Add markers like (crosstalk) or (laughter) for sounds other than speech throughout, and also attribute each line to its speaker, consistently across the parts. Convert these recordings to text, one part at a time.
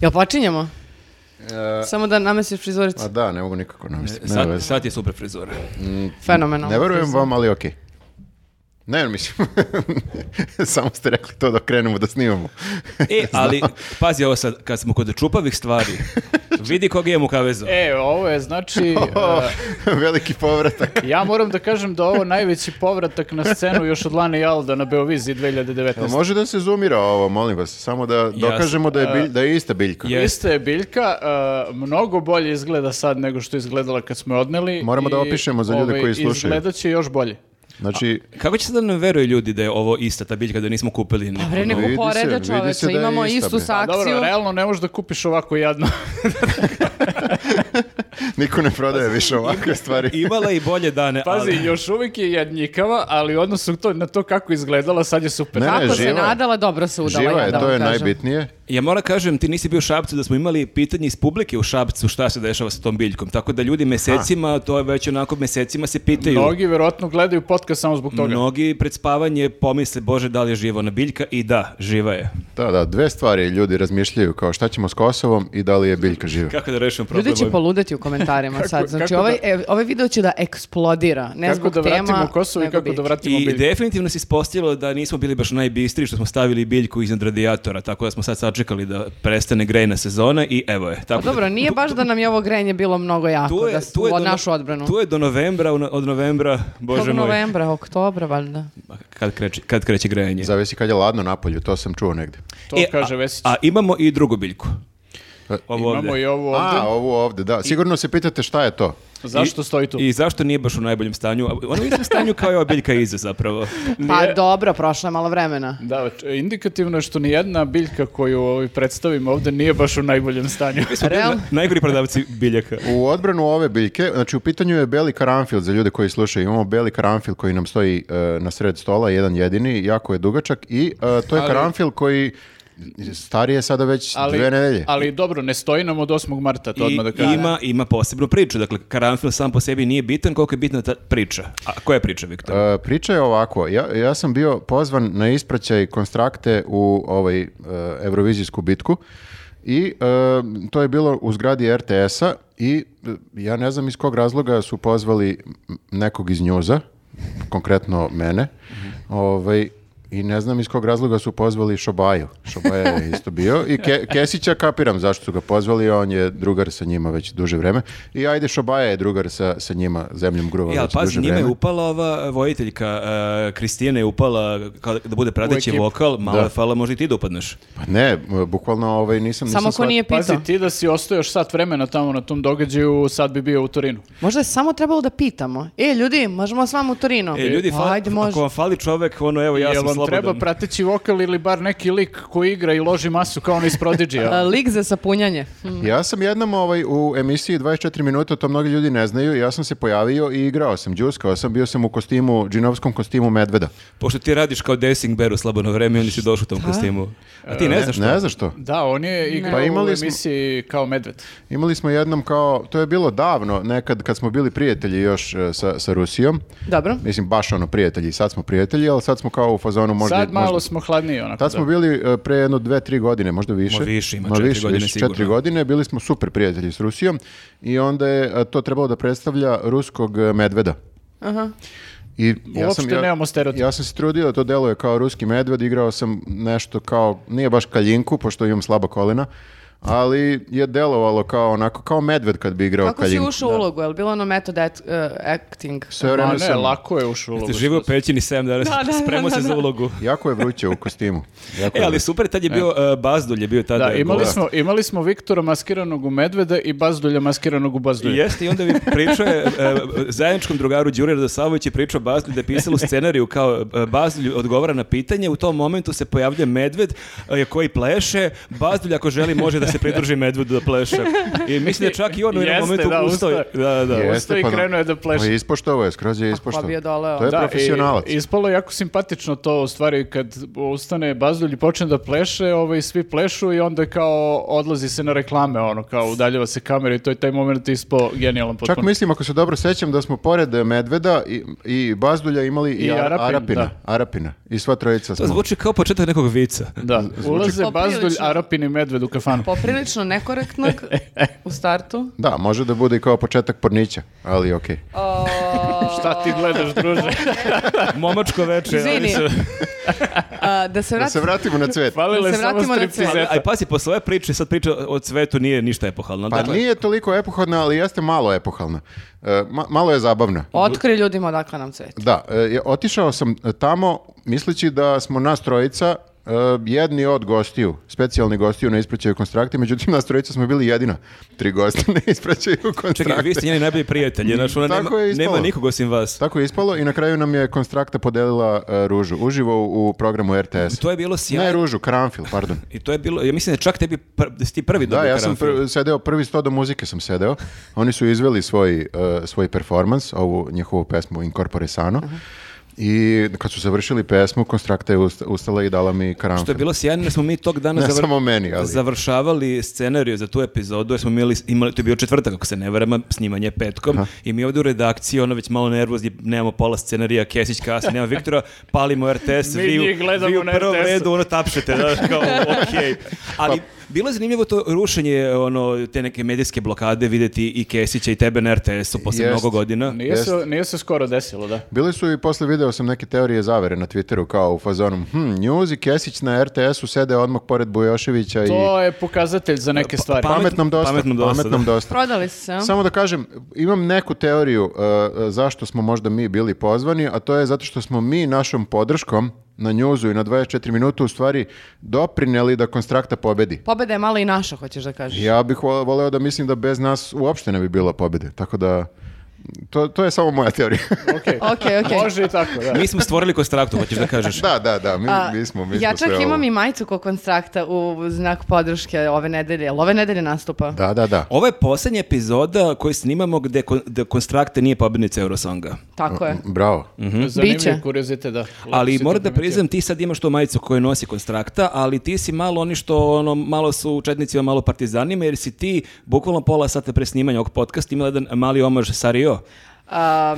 Speaker 1: Jel počinjemo?
Speaker 2: E,
Speaker 1: Samo da namestiš frizuricu.
Speaker 2: a Pa da, ne mogu nikako namisliti. Nema
Speaker 3: E, Sad,
Speaker 2: veze.
Speaker 3: sad je super
Speaker 1: (laughs)
Speaker 3: frizura.
Speaker 1: Fenomenalno.
Speaker 2: Ne verujem
Speaker 1: frizura.
Speaker 2: vam, ali okej. Ne, ne, mislim, (laughs) samo ste rekli to da krenemo da snimamo.
Speaker 3: E, ali pazi ovo sad, kad smo kod
Speaker 1: (laughs)
Speaker 3: čupavih stvari, vidi koga imam u kavezu.
Speaker 4: E, ovo je znači... e,
Speaker 2: Veliki povratak.
Speaker 4: (laughs) ja moram da kažem da je ovo najveći povratak na scenu još od Lane Jalda na Beoviziji 2019.
Speaker 2: Jel Može da se zoomira ovo, molim vas, samo da dokažemo da je, bilj- da je ista biljka.
Speaker 3: Je.
Speaker 4: Ista je biljka, e, mnogo bolje izgleda sad nego što je izgledala kad smo je odneli.
Speaker 2: Moramo da
Speaker 4: i,
Speaker 2: opišemo za ljude
Speaker 4: ovaj,
Speaker 2: koji slušaju.
Speaker 4: Izgledat će još bolje.
Speaker 2: Znači,
Speaker 3: Kako će sad da nam veruju ljudi da je ovo ista ta biljka da nismo kupili?
Speaker 1: Pa bre,
Speaker 3: neku
Speaker 1: neko
Speaker 2: (laughs) Vidi se,
Speaker 1: poreda
Speaker 2: vidi se
Speaker 1: čoveče,
Speaker 2: da je
Speaker 1: imamo
Speaker 2: ista,
Speaker 1: istu
Speaker 2: bre.
Speaker 4: A
Speaker 1: sakciju.
Speaker 4: Dobro, realno ne možeš da kupiš
Speaker 2: (laughs)
Speaker 4: ovako jadno.
Speaker 2: niko ne prodaje više ovakve stvari.
Speaker 3: (laughs) Imala i bolje dane,
Speaker 4: Pazi,
Speaker 3: ali...
Speaker 4: još uvijek je jadnjikava, ali u odnosu to, na to kako izgledala, sad je super.
Speaker 2: Ne, ne,
Speaker 1: Kako se
Speaker 2: živa je.
Speaker 1: nadala, dobro se udala.
Speaker 2: Živa
Speaker 1: ja
Speaker 2: je,
Speaker 1: da
Speaker 2: to
Speaker 1: vam
Speaker 2: je
Speaker 1: kažem.
Speaker 2: najbitnije.
Speaker 3: Ja moram kažem, ti nisi bio u Šapcu da smo imali pitanje iz publike u Šapcu šta se dešava sa tom biljkom. Tako da ljudi mesecima, to je već onako mesecima se pitaju.
Speaker 4: Mnogi verovatno gledaju podcast samo zbog toga.
Speaker 3: Mnogi pred spavanje pomisle, bože, da li je živa ona biljka? I da, živa je.
Speaker 2: Da, da, dve stvari ljudi razmišljaju, kao šta ćemo s Kosovom i da li je biljka živa.
Speaker 3: Kako da rešimo problem?
Speaker 1: Ljudi će poludeti u komentarima sad. Znači,
Speaker 4: kako
Speaker 1: ovaj, e, ovaj video će da eksplodira. Ne
Speaker 4: Kako
Speaker 1: zbog
Speaker 4: da vratimo
Speaker 1: tema,
Speaker 4: Kosovo i
Speaker 1: nego
Speaker 4: kako
Speaker 1: biljke.
Speaker 4: da vratimo
Speaker 3: I
Speaker 4: biljku.
Speaker 3: definitivno se ispostavilo da nismo bili baš najbistri što smo stavili biljku iznad radijatora, tako da smo sad sačekali da prestane grejna sezona i evo je. Tako
Speaker 1: Pa dobro, nije baš da nam je ovo grenje bilo mnogo jako
Speaker 3: tu je-
Speaker 1: da
Speaker 3: tu je
Speaker 1: od
Speaker 3: do-
Speaker 1: našu odbranu.
Speaker 3: Tu je do novembra, u no- od novembra, bože
Speaker 1: Tog
Speaker 3: moj,
Speaker 1: novembra, oktobra, valjda.
Speaker 3: Ma, kad kreće, kad kreće grejanje.
Speaker 2: Zavisi kad je ladno napolju, to sam čuo negde.
Speaker 4: To
Speaker 3: E,
Speaker 4: kaže
Speaker 3: a,
Speaker 4: Vesić.
Speaker 3: A imamo i drugu biljku.
Speaker 2: E,
Speaker 3: Ovo
Speaker 4: Imamo
Speaker 3: ovdje.
Speaker 4: i ovo ovdje.
Speaker 2: A, ovo ovde, da. Sigurno se pitate šta je to.
Speaker 4: Zašto stoji tu?
Speaker 3: I zašto nije baš u najboljem stanju? A Ona je u istom stanju kao i ova biljka iza zapravo.
Speaker 1: Pa dobro, prošlo je malo vremena.
Speaker 4: Da, č- indikativno je što nijedna biljka koju ovaj, predstavimo ovdje nije baš u najboljem stanju.
Speaker 1: Real?
Speaker 3: Najgori prodavci biljaka.
Speaker 2: U odbranu ove biljke, znači u pitanju je beli karanfil za ljude koji slušaju. Imamo beli karanfil koji nam stoji e, na sred stola, jedan jedini, jako je dugačak i e, to je karanfil koji stari je sada već dve nedelje.
Speaker 4: (laughs) ali dobro, ne stoji nam od 8. marta, to
Speaker 3: I
Speaker 4: odmah da kažem.
Speaker 3: ima, ima posebnu priču. Dakle, karanfil sam po sebi nije bitan koliko je bitna ta priča. A koja je priča, Viktor?
Speaker 2: E, priča je ovako, ja, ja sam bio pozvan na ispraćaj konstrakte u ovaj e, Eurovizijsku bitku i e, to je bilo u zgradi RTS-a i e, ja ne znam iz kog razloga su pozvali m- nekog iz njuza, konkretno mene, ovaj, i ne znam iz kog razloga su pozvali Šobaju. Šobaja
Speaker 3: (laughs)
Speaker 2: je isto bio. I Ke- Kesića kapiram zašto su ga pozvali, on je drugar sa njima već duže vreme. I ajde, Šobaja je drugar sa, sa njima, zemljom gruva
Speaker 3: Ja,
Speaker 4: znači,
Speaker 2: već
Speaker 3: pazi,
Speaker 2: duže
Speaker 3: njima je
Speaker 2: vreme.
Speaker 3: upala ova vojiteljka, uh, Kristijana je upala kao da bude prateći
Speaker 4: ekipu.
Speaker 3: vokal, malo
Speaker 2: Da.
Speaker 3: je fala, možda i ti da upadneš. E,
Speaker 2: Pa ne, m, bukvalno ovaj, nisam...
Speaker 1: Samo
Speaker 2: nisam
Speaker 1: ko nije pitao.
Speaker 4: Pazi, ti da si ostao još sat vremena tamo na tom događaju, sad bi bio u Torinu.
Speaker 1: Možda je samo trebalo da pitamo. E, ljudi, možemo s vama u Torino? Pa,
Speaker 3: E, ljudi, fali,
Speaker 1: Ajde, može.
Speaker 3: ako vam fali čovek, ono, evo, ja
Speaker 4: Jel
Speaker 3: sam
Speaker 4: vam
Speaker 3: slobodan.
Speaker 4: treba prateći vokal ili bar neki lik koji igra i loži masu kao ono iz
Speaker 1: (laughs) A,
Speaker 4: Prodigy-a?
Speaker 1: Lik za sapunjanje.
Speaker 2: Ja sam jednom ovaj, u emisiji 24 minuta, to mnogi ljudi ne znaju, ja sam se pojavio i igrao sam, džuskao sam, bio sam u kostimu, džinovskom kostimu medveda.
Speaker 3: Pošto ti radiš kao Dessing Bear u slabano vreme, onda si došao u tom kostimu. A
Speaker 4: E,
Speaker 3: ti ne znaš što?
Speaker 2: Ne znaš to?
Speaker 4: Da, on je igrao
Speaker 2: Pa imali
Speaker 4: u
Speaker 2: smo-
Speaker 4: emisiji kao medved.
Speaker 2: Imali smo jednom kao, to je bilo davno, nekad kad smo bili prijatelji još e, sa, sa Rusijom,
Speaker 1: Dobro.
Speaker 2: mislim baš ono prijatelji, sad smo prijatelji, ali sad smo kao u fazonu možda...
Speaker 4: sad malo
Speaker 2: možda-
Speaker 4: smo hladniji onako.
Speaker 2: Tad smo
Speaker 4: da.
Speaker 2: bili e, pre jedno dve, tri godine, možda više.
Speaker 3: Ma više, ima
Speaker 2: Ma
Speaker 3: četiri
Speaker 2: više,
Speaker 3: godine
Speaker 2: više,
Speaker 3: sigurno.
Speaker 2: Četiri godine, bili smo super prijatelji s Rusijom i onda je e, to trebalo da predstavlja ruskog e, medveda. I ja
Speaker 4: Uopšte
Speaker 2: sam, ja,
Speaker 4: nemamo stereotip.
Speaker 2: Ja sam se trudio, to deluje kao ruski medved, igrao sam nešto kao, nije baš kaljinku, pošto imam slaba kolena, ali je delovalo kao onako, kao medved kad bi igrao
Speaker 1: Kako si
Speaker 2: kaljinku.
Speaker 1: ušao u ulogu? Je li bilo ono method at- e, acting?
Speaker 2: Sve
Speaker 4: Ma
Speaker 2: vreme
Speaker 4: ne,
Speaker 2: sam,
Speaker 4: lako je ušao u ulogu.
Speaker 3: Ti živio u pećini 7 danas,
Speaker 1: Da, da, da,
Speaker 3: spremao se
Speaker 1: da,
Speaker 3: za
Speaker 1: da.
Speaker 3: ulogu.
Speaker 2: jako je vruće u
Speaker 4: (laughs)
Speaker 2: kostimu. Jako
Speaker 3: E,
Speaker 2: je
Speaker 3: ali
Speaker 2: vruće.
Speaker 3: super, tad je bio uh, Bazdulj, je bio tada.
Speaker 4: Da, imali
Speaker 3: gost.
Speaker 4: smo, imali smo Viktora maskiranog u medveda i Bazdulja maskiranog u Bazdulja.
Speaker 3: Jeste, i onda mi pričao je e, zajedničkom drugaru Đuri Radosavović je pričao Bazlju da je pisalo u scenariju kao e, Bazlju odgovara na pitanje, u tom momentu se pojavlja medved e, koji pleše, Bazlju ako želi može da se pridruži medvedu da pleše. I mislim da čak i on u jednom
Speaker 4: Jeste,
Speaker 3: momentu
Speaker 4: da,
Speaker 3: ustao. je- Da, da.
Speaker 4: Je. Ustao i
Speaker 2: da-
Speaker 4: krenuo je da pleše.
Speaker 2: Pa ispoštovao je, skroz je
Speaker 1: Pa
Speaker 2: ispoštovao.
Speaker 1: bi je doleo.
Speaker 2: To je
Speaker 4: Da, i-
Speaker 2: profesionalac.
Speaker 4: ispalo je jako simpatično to u stvari kad ustane Bazdulj i počne da pleše, ovaj, svi plešu i onda kao odlazi se na reklame, ono kao udaljava se kamera i to je taj moment ispao genijalan potpuno.
Speaker 2: Čak mislim, ako se dobro sećam, da smo pored e, Medveda i, i Bazdulja imali i,
Speaker 4: I
Speaker 2: Ara-
Speaker 4: Arapin,
Speaker 2: Arapina.
Speaker 4: da.
Speaker 2: Arapina. I sva trojica
Speaker 3: To
Speaker 2: smo.
Speaker 3: zvuči kao početak nekog vica.
Speaker 4: Da, ulaze
Speaker 1: Poprilično. Pa-
Speaker 4: Bazdulj, Arapin i Medved u kafanu.
Speaker 1: prilično nekorektnog u startu.
Speaker 2: Da, može da bude i kao početak pornića, ali okej.
Speaker 1: O,
Speaker 4: Šta ti
Speaker 1: (laughs)
Speaker 4: gledaš, druže?
Speaker 3: Momačko veče. ali
Speaker 1: Izvini.
Speaker 3: se-
Speaker 1: a, da se
Speaker 2: Da
Speaker 1: vrati...
Speaker 2: se vratimo na
Speaker 3: (laughs) Pa,
Speaker 2: cvet.
Speaker 4: Falile
Speaker 1: Da se
Speaker 4: samo
Speaker 1: vratimo na
Speaker 4: striptizeta.
Speaker 1: cvet.
Speaker 3: Aj, pasi, posle ove priče, sad priča o cvetu nije ništa epohalna.
Speaker 2: Pa
Speaker 3: Dakle,
Speaker 2: nije toliko epohalna, ali jeste malo epohalna. E, ma- malo je zabavna.
Speaker 1: Otkri ljudima odakle nam cvet.
Speaker 2: Da, e, je- otišao sam e, tamo misleći da smo nas trojica e, jedni od gostiju, specijalni gostiju na ispraćaju konstrakte, međutim nas trojica smo bili jedina tri gosta (laughs) na ispraćaju konstrakte.
Speaker 3: Čekaj, vi ste njeni najbolji prijatelji, znaš, ona nema,
Speaker 2: Tako je ispalo.
Speaker 3: nema nikog osim vas.
Speaker 2: Tako je ispalo i na kraju nam je konstrakta podelila e, ružu, uživo u, u programu RTS.
Speaker 3: To je bilo
Speaker 2: Ne
Speaker 3: sjajno.
Speaker 2: ružu, karanfil,
Speaker 3: (laughs)
Speaker 2: pardon.
Speaker 3: I to je bilo, ja mislim da čak tebi, pr, da si ti prvi
Speaker 2: Da,
Speaker 3: dobio
Speaker 2: ja sam
Speaker 3: karanfil.
Speaker 2: pr- sedeo prvi sto do muzike sam sedeo. Oni su izveli svoj e, svoj performans, ovu njihovu pesmu Incorpore Sano. I kad su završili pesmu, Konstrakta je ust- ustala i dala mi karanfil.
Speaker 3: Što je bilo sjajno, jer smo mi tog dana
Speaker 2: Ne samo meni, ali-
Speaker 3: završavali scenariju za tu epizodu, jer smo mi imali, imali- to je bio četvrtak, ako se ne varam, snimanje je petkom, i mi ovdje u redakciji, ono već malo nervozni, nemamo pola scenarija, Kesić kasni, nema Viktora, palimo RTS,
Speaker 4: Mi
Speaker 3: vi, u-
Speaker 4: njih gledamo
Speaker 3: vi u
Speaker 4: na
Speaker 3: prvom
Speaker 4: RTS-u.
Speaker 3: redu, ono tapšete, znaš,
Speaker 4: (laughs)
Speaker 3: kao, okej.
Speaker 2: Pa-
Speaker 3: Ali bilo je zanimljivo to rušenje ono, te neke medijske blokade, vidjeti i Kesića i tebe na RTS-u posle
Speaker 2: Jest.
Speaker 3: mnogo godina.
Speaker 4: Nije se, nije se skoro desilo, da.
Speaker 2: Bili su i posle video sam neke teorije zavere na Twitteru kao u fazonu hm, News i Kesić na RTS-u sede odmah pored Bujoševića i
Speaker 4: To je pokazatelj za neke stvari.
Speaker 3: pa-
Speaker 2: pametnom dosta.
Speaker 3: Pametnom dosta,
Speaker 2: pametnom
Speaker 3: da. (laughs)
Speaker 2: dosta.
Speaker 1: Prodali su se, a?
Speaker 2: Samo da kažem, imam neku teoriju uh, uh, zašto smo možda mi bili pozvani, a to je zato što smo mi našom podrškom na njuzu i na 24 minuta u stvari doprineli da Konstrakta pobedi.
Speaker 1: Pobeda je malo i naša, hoćeš da kažeš.
Speaker 2: Ja bih vo- voleo da mislim da bez nas uopšte ne bi bilo pobede, tako da to, to je samo moja teorija. (laughs)
Speaker 4: Okej.
Speaker 1: (laughs) Okej, okej.
Speaker 4: Može i tako, da.
Speaker 3: Mi smo stvorili konstraktu, hoćeš da kažeš.
Speaker 2: da, da, da, mi,
Speaker 1: A,
Speaker 2: mi smo, mi
Speaker 1: ja
Speaker 2: smo
Speaker 1: čak
Speaker 2: sve
Speaker 1: imam
Speaker 2: ovo.
Speaker 1: i majicu ko konstrakta u znak podrške ove nedelje. Jel ove nedelje nastupa?
Speaker 2: Da, da, da.
Speaker 3: Ovo je posljednja epizoda koju snimamo gde, kon- gde Konstrakte nije pobjednica Eurosonga.
Speaker 1: Tako je.
Speaker 2: Bravo.
Speaker 4: Zanimljiv
Speaker 1: Biće.
Speaker 4: kuriozite, da. Lepo si
Speaker 3: Ali
Speaker 4: to
Speaker 3: moram da
Speaker 4: primetio.
Speaker 3: priznam, ti sad imaš to majicu koju nosi Konstrakta, ali ti si malo oni što ono, malo su u četnicima, malo partizanima, jer si ti bukvalno pola sata pre snimanja ovog podcasta imala jedan mali omaž Sario.
Speaker 1: A,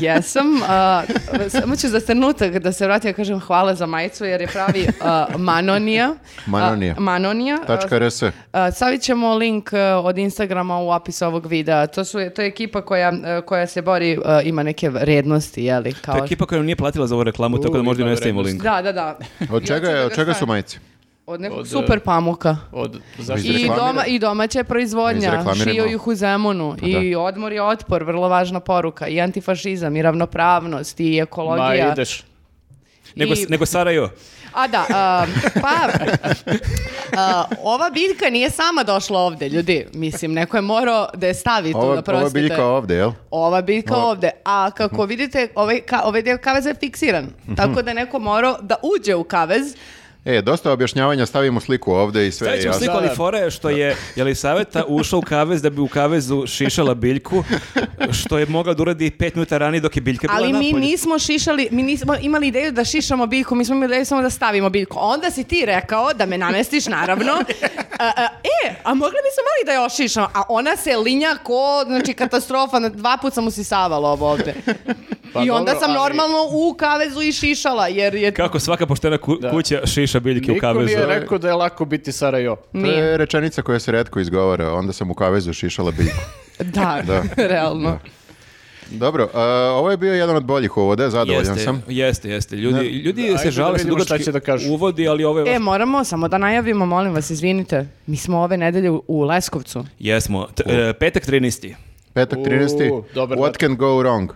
Speaker 1: jesam. a, samo ću za trenutak da se vratim, ja kažem hvala za majicu, jer je pravi a, Manonija.
Speaker 2: Manonija.
Speaker 1: A, Manonija.
Speaker 2: Tačka RS.
Speaker 1: A, Stavit ćemo link e, od Instagrama u opis ovog videa. To, su, to je ekipa koja, e, koja se bori, e, ima neke rednosti, jeli? Kao...
Speaker 3: To je ekipa koja nam nije platila za ovu reklamu, tako da
Speaker 4: U,
Speaker 3: možda i
Speaker 4: ima
Speaker 3: ne stavimo
Speaker 4: vrednost.
Speaker 3: link.
Speaker 1: Da, da, da.
Speaker 2: Od čega, je,
Speaker 1: da
Speaker 2: od
Speaker 1: ga
Speaker 2: čega su
Speaker 1: stavim.
Speaker 2: majice?
Speaker 1: Od nekog
Speaker 4: Od, e,
Speaker 1: super pamuka.
Speaker 4: Od, zašto
Speaker 1: I,
Speaker 2: Izreklamiraj.
Speaker 1: doma, I domaća je proizvodnja,
Speaker 2: Izreklamiraj
Speaker 1: šio
Speaker 2: malo.
Speaker 1: ih u Zemunu i odmor je otpor, vrlo važna poruka i antifašizam i ravnopravnost i
Speaker 4: Ma
Speaker 1: ekologija.
Speaker 4: ideš.
Speaker 3: Nego,
Speaker 1: I-
Speaker 3: nego Sarajo.
Speaker 1: A da, a, pa a, ova biljka nije sama došla ovde, ljudi. Mislim, neko je morao da je stavi tu,
Speaker 2: Ova,
Speaker 1: da
Speaker 2: ova
Speaker 1: prostite.
Speaker 2: biljka ovde, jel?
Speaker 1: Ova biljka
Speaker 2: Ova-
Speaker 1: ovde. A kako vidite, ovaj, ka, ovaj deo kaveza je fiksiran. Tako da je neko morao da uđe u kavez.
Speaker 2: E, dosta objašnjavanja, stavimo sliku ovde i sve je
Speaker 3: Stavit ćemo
Speaker 2: jasno.
Speaker 3: sliku,
Speaker 4: Da,
Speaker 3: ali
Speaker 4: da.
Speaker 3: fora je što je
Speaker 4: (laughs)
Speaker 3: Jelisaveta ušla u kavez da bi u kavezu šišala biljku, što je mogla da uradi pet minuta ranije dok je biljka bila
Speaker 1: Ali mi
Speaker 3: napolju.
Speaker 1: nismo šišali, mi nismo imali ideju da šišamo biljku, mi smo imali ideju samo da stavimo biljku. Onda si ti rekao da me namestiš,
Speaker 3: (laughs)
Speaker 1: naravno. A, a, e, a mogli bismo mali da je ošišam, a ona se linja ko, znači katastrofa, na- dva put sam usisavalo ovo ovde.
Speaker 4: Pa
Speaker 1: I onda
Speaker 4: dobro,
Speaker 1: sam
Speaker 4: ali-
Speaker 1: normalno u kavezu i šišala, jer je...
Speaker 3: Kako svaka poštena ku-
Speaker 4: Da.
Speaker 3: kuća šiša biljke u
Speaker 4: Niko
Speaker 3: kavezu.
Speaker 4: nije rekao da je lako biti Sarajevo.
Speaker 2: To
Speaker 1: Nije.
Speaker 2: je rečenica koja se redko izgovara, onda sam u kavezu šišala
Speaker 3: (laughs)
Speaker 2: biljku.
Speaker 1: Da, realno.
Speaker 2: Dobro, a, ovo je bio jedan od boljih uvoda, zadovoljan
Speaker 3: Jeste,
Speaker 2: sam.
Speaker 3: Jeste, jeste. Ljudi, ljudi
Speaker 4: Ajde
Speaker 3: se
Speaker 4: da
Speaker 3: žale se
Speaker 4: vidimo šta
Speaker 3: dugački
Speaker 4: će da kažu.
Speaker 3: uvodi, ali ovo je...
Speaker 1: E,
Speaker 3: baš-
Speaker 1: moramo samo da najavimo, molim vas, izvinite. Mi smo ove nedelje u- u Leskovcu.
Speaker 3: Jesmo. T- e, petak 13.
Speaker 2: Petak
Speaker 4: U,
Speaker 2: 13.
Speaker 4: dobar
Speaker 2: What
Speaker 4: dan.
Speaker 2: can go wrong?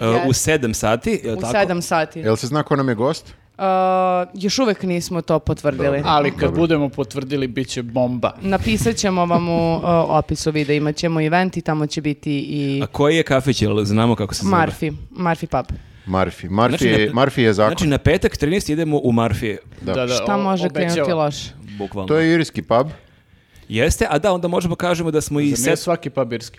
Speaker 3: E,
Speaker 1: Jeste.
Speaker 3: u 7 sati. je li
Speaker 1: U
Speaker 3: tako?
Speaker 1: 7 sati.
Speaker 2: Jel se zna ko nam je gost?
Speaker 1: Uh, još uvek nismo to potvrdili.
Speaker 4: Ali kad budemo potvrdili, bit će bomba.
Speaker 1: Napisat ćemo vam u uh, opisu videa, imat ćemo event i tamo će biti i
Speaker 3: A koji je kafić, jel znamo kako se zove?
Speaker 1: Marfi, Marfi Pub.
Speaker 2: Marfi. Marfi,
Speaker 3: Znači,
Speaker 2: je-
Speaker 3: na-
Speaker 2: Marfi je zakon.
Speaker 3: Znači, na petak 13 idemo u Marfije,
Speaker 2: Da.
Speaker 1: Šta
Speaker 4: o-
Speaker 1: može
Speaker 4: obećava.
Speaker 1: krenuti loše?
Speaker 3: bukvalno.
Speaker 2: to je irski pub.
Speaker 3: Jeste, a da, onda možemo kažemo da smo i
Speaker 4: Za mene je
Speaker 3: set
Speaker 4: svaki pabirski.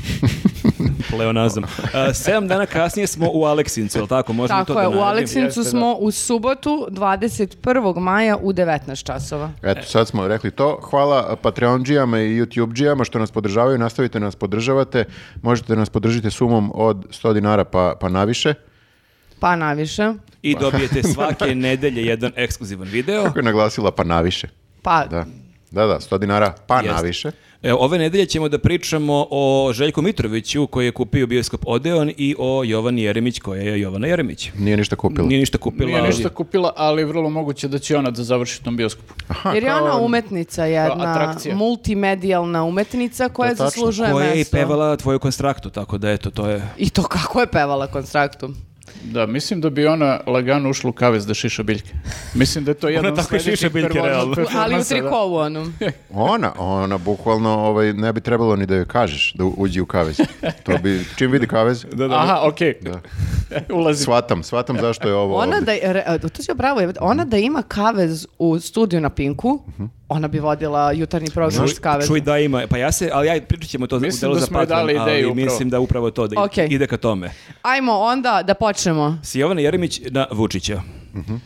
Speaker 4: (laughs)
Speaker 3: pleonazam. E, sedam dana kasnije smo u Aleksincu, jel tako? Možemo to
Speaker 1: Tako
Speaker 3: da
Speaker 1: je, u
Speaker 3: najavimo.
Speaker 1: Aleksincu
Speaker 4: Jeste, da.
Speaker 1: smo u subotu 21. maja u 19 časova.
Speaker 3: E.
Speaker 2: Eto, sad smo rekli to. Hvala Patreonđijama i YouTubeđijama što nas podržavaju. Nastavite da nas podržavate. Možete da nas podržite sumom od 100 dinara pa, pa naviše.
Speaker 1: Pa naviše.
Speaker 3: I dobijete svake nedelje jedan ekskluzivan video.
Speaker 2: Kako je naglasila pa naviše.
Speaker 1: Pa,
Speaker 2: Da. Da, da, 100 dinara, pa
Speaker 3: Jeste.
Speaker 2: naviše.
Speaker 3: E, ove nedelje ćemo da pričamo o Željku Mitroviću koji je kupio bioskop Odeon i o Jovani Jeremić koja je Jovana Jeremić.
Speaker 2: Nije ništa kupila.
Speaker 3: Nije ništa kupila.
Speaker 4: Nije
Speaker 3: ali-
Speaker 4: ništa kupila, ali je vrlo moguće da će ona da završi u tom bioskopu.
Speaker 1: Jer je ona umetnica jedna,
Speaker 4: atrakcija.
Speaker 1: multimedijalna umetnica koja
Speaker 2: tačno.
Speaker 1: zaslužuje
Speaker 3: koja je i
Speaker 1: mesto.
Speaker 3: pevala tvoju konstraktu, tako da eto, to je...
Speaker 1: I to kako je pevala konstraktu.
Speaker 4: Da, mislim da bi ona lagano ušla u kavez da šiša biljke. Mislim da je to jedan od
Speaker 3: tako i
Speaker 4: sledećih
Speaker 3: šiša biljke,
Speaker 4: performansa-
Speaker 3: realno.
Speaker 1: Ali u
Speaker 4: performansa, da.
Speaker 1: trikovu onom.
Speaker 2: Ona, ona, bukvalno, ovaj, ne bi trebalo ni da joj kažeš da u- uđi u kavez. To bi, čim vidi kavez,
Speaker 4: Aha, okej. Ulazim.
Speaker 2: shvatam, shvatam zašto je ovo
Speaker 1: Ona
Speaker 2: ovdje.
Speaker 1: da, je- re- e, to će bravo, jebote. ona da ima kavez u studiju na Pinku, ona bi vodila jutarnji program s kavezom.
Speaker 3: Čuj da ima, pa ja se, ali ja pričat ćemo to
Speaker 4: Mislim
Speaker 3: u delu
Speaker 4: da
Speaker 3: za
Speaker 4: smo joj
Speaker 3: Patreon,
Speaker 4: dali ideju
Speaker 3: ali
Speaker 4: upravo.
Speaker 3: mislim da upravo to da
Speaker 1: Okej.
Speaker 3: ide ka tome.
Speaker 1: Ajmo onda da počnemo.
Speaker 3: Si Jovana Jeremić na Vučića.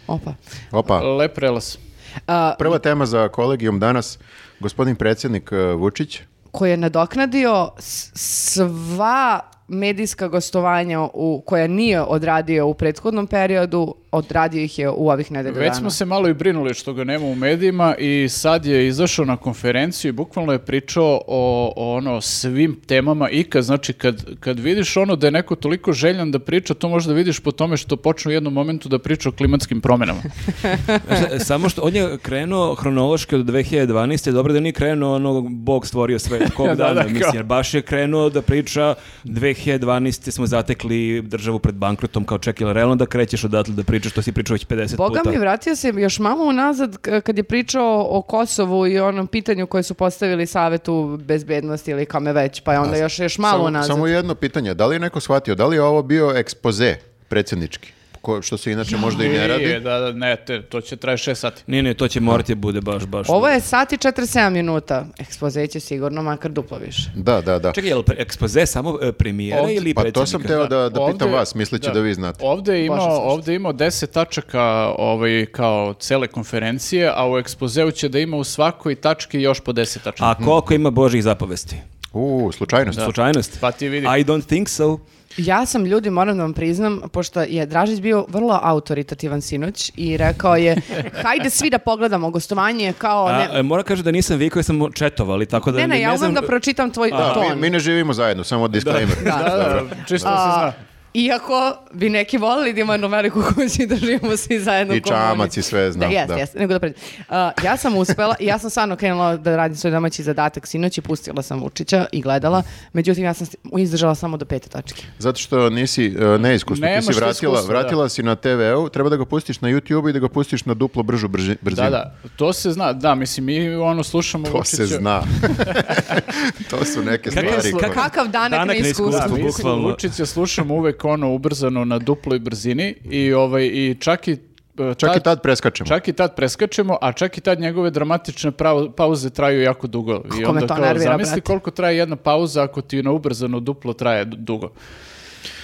Speaker 1: Opa.
Speaker 2: Opa,
Speaker 4: Lep prelas.
Speaker 1: A,
Speaker 2: prva tema za kolegijum danas, gospodin predsjednik eh, Vučić,
Speaker 1: koji je nadoknadio s- sva medijska gostovanja u, koja nije odradio u prethodnom periodu, odradio ih je u ovih nedelju
Speaker 4: Već
Speaker 1: dana.
Speaker 4: smo se malo i brinuli što ga nema u medijima i sad je izašao na konferenciju i bukvalno je pričao o, o ono svim temama ikad. Znači kad, kad vidiš ono da je neko toliko željan da priča, to možda vidiš po tome što počne u jednom momentu da priča o klimatskim promjenama.
Speaker 3: Znaš,
Speaker 1: (laughs)
Speaker 3: Pa Samo što on je krenuo hronološki od 2012. Dobro da nije krenuo ono, Bog stvorio
Speaker 1: (laughs)
Speaker 3: sve kog
Speaker 4: Da,
Speaker 3: dana,
Speaker 4: da, kao.
Speaker 3: mislim, jer baš je krenuo da priča 2012. smo zatekli državu pred bankrotom kao čekaj, jel realno da krećeš odatle da pričaš što si pričao već 50
Speaker 1: Boga
Speaker 3: puta.
Speaker 1: mi vratio se još malo unazad k- kad je pričao o Kosovu i onom pitanju koje su postavili Savetu bezbednosti ili kome već, pa je onda još, još malo
Speaker 2: samo,
Speaker 1: unazad.
Speaker 2: samo jedno pitanje, da li je neko shvatio, da li je ovo bio ekspoze predsjednički, ko, što se inače (laughs) možda i ne
Speaker 4: Nije,
Speaker 2: radi?
Speaker 4: da, da, ne, te, to će traje šest sati.
Speaker 3: Ne, ne, to će morati da bude baš, baš.
Speaker 1: Ovo je sat i 47 minuta. Ekspoze će sigurno makar duplo više.
Speaker 2: Da, da, da.
Speaker 3: Čekaj, je li pre- ekspoze samo e, premijera
Speaker 4: Ovdje-
Speaker 3: ili
Speaker 2: Pa
Speaker 3: predsjednika?
Speaker 2: to sam teo da, da
Speaker 4: Ovde-
Speaker 2: pitam vas, misleći da, vi znate.
Speaker 4: Ovde je
Speaker 1: Baš sam
Speaker 4: imao,
Speaker 1: slušao.
Speaker 4: ovde je imao deset tačaka ovaj, kao cele konferencije, a u ekspozeu će da ima u svakoj tački još po deset tačaka.
Speaker 3: A koliko ima Božih zapovesti?
Speaker 2: U, slučajnost.
Speaker 3: Slučajnost?
Speaker 4: Pa ti vidi.
Speaker 3: I don't think so.
Speaker 1: Ja sam, ljudi, moram da vam priznam, pošto je Dražić bio vrlo autoritativan sinoć i rekao
Speaker 2: (laughs)
Speaker 1: je, hajde svi da pogledamo gostovanje kao...
Speaker 3: A,
Speaker 1: ne,
Speaker 3: e, moram kažem da nisam vi koji sam četovali, tako da
Speaker 1: ne, ne, ja umem
Speaker 3: znam...
Speaker 1: da pročitam tvoj
Speaker 2: Da, mi-
Speaker 1: ton.
Speaker 2: mi, ne živimo zajedno, samo disclaimer.
Speaker 4: Da, da, čisto se zna.
Speaker 1: Iako bi neki volili da imaju jednu veliku kuću i da živimo svi zajedno.
Speaker 2: I
Speaker 1: u komuniji.
Speaker 2: čamac i sve, znam,
Speaker 1: Da, jes,
Speaker 2: da.
Speaker 1: jes, nego da pređem. A, ja sam uspela, ja sam stvarno krenula da radim svoj domaći zadatak sinoć i pustila sam Vučića i gledala. Međutim, ja sam sti- izdržala samo do pete tačke.
Speaker 2: Zato što nisi e, neiskusna, ti
Speaker 4: Nemaš
Speaker 2: si
Speaker 4: ti
Speaker 2: vratila,
Speaker 4: iskustva, da.
Speaker 2: vratila si na TV-u, treba da ga pustiš na YouTube i da ga pustiš na duplo bržu brži, brzinu.
Speaker 4: Da, da, to se zna, da, mislim, mi ono slušamo
Speaker 2: To
Speaker 4: Vučića.
Speaker 2: se
Speaker 4: (laughs)
Speaker 2: zna. to su neke
Speaker 3: Kakav-
Speaker 2: stvari. koje-
Speaker 3: kakav-
Speaker 1: Kakav danak,
Speaker 3: Danak
Speaker 1: neiskustva.
Speaker 4: Da,
Speaker 3: neiskustva.
Speaker 4: mi
Speaker 3: Bukvalno.
Speaker 4: Vučića slušamo uvek ono ubrzano na duploj brzini i, ovaj, i čak i e,
Speaker 2: Čak i tad preskačemo.
Speaker 4: Čak i tad preskačemo, a čak i tad njegove dramatične pravo- pauze traju jako dugo. I
Speaker 1: Kako me to nervira,
Speaker 4: Zamisli
Speaker 1: brate.
Speaker 4: koliko traje jedna pauza ako ti na ubrzano duplo traje d- dugo.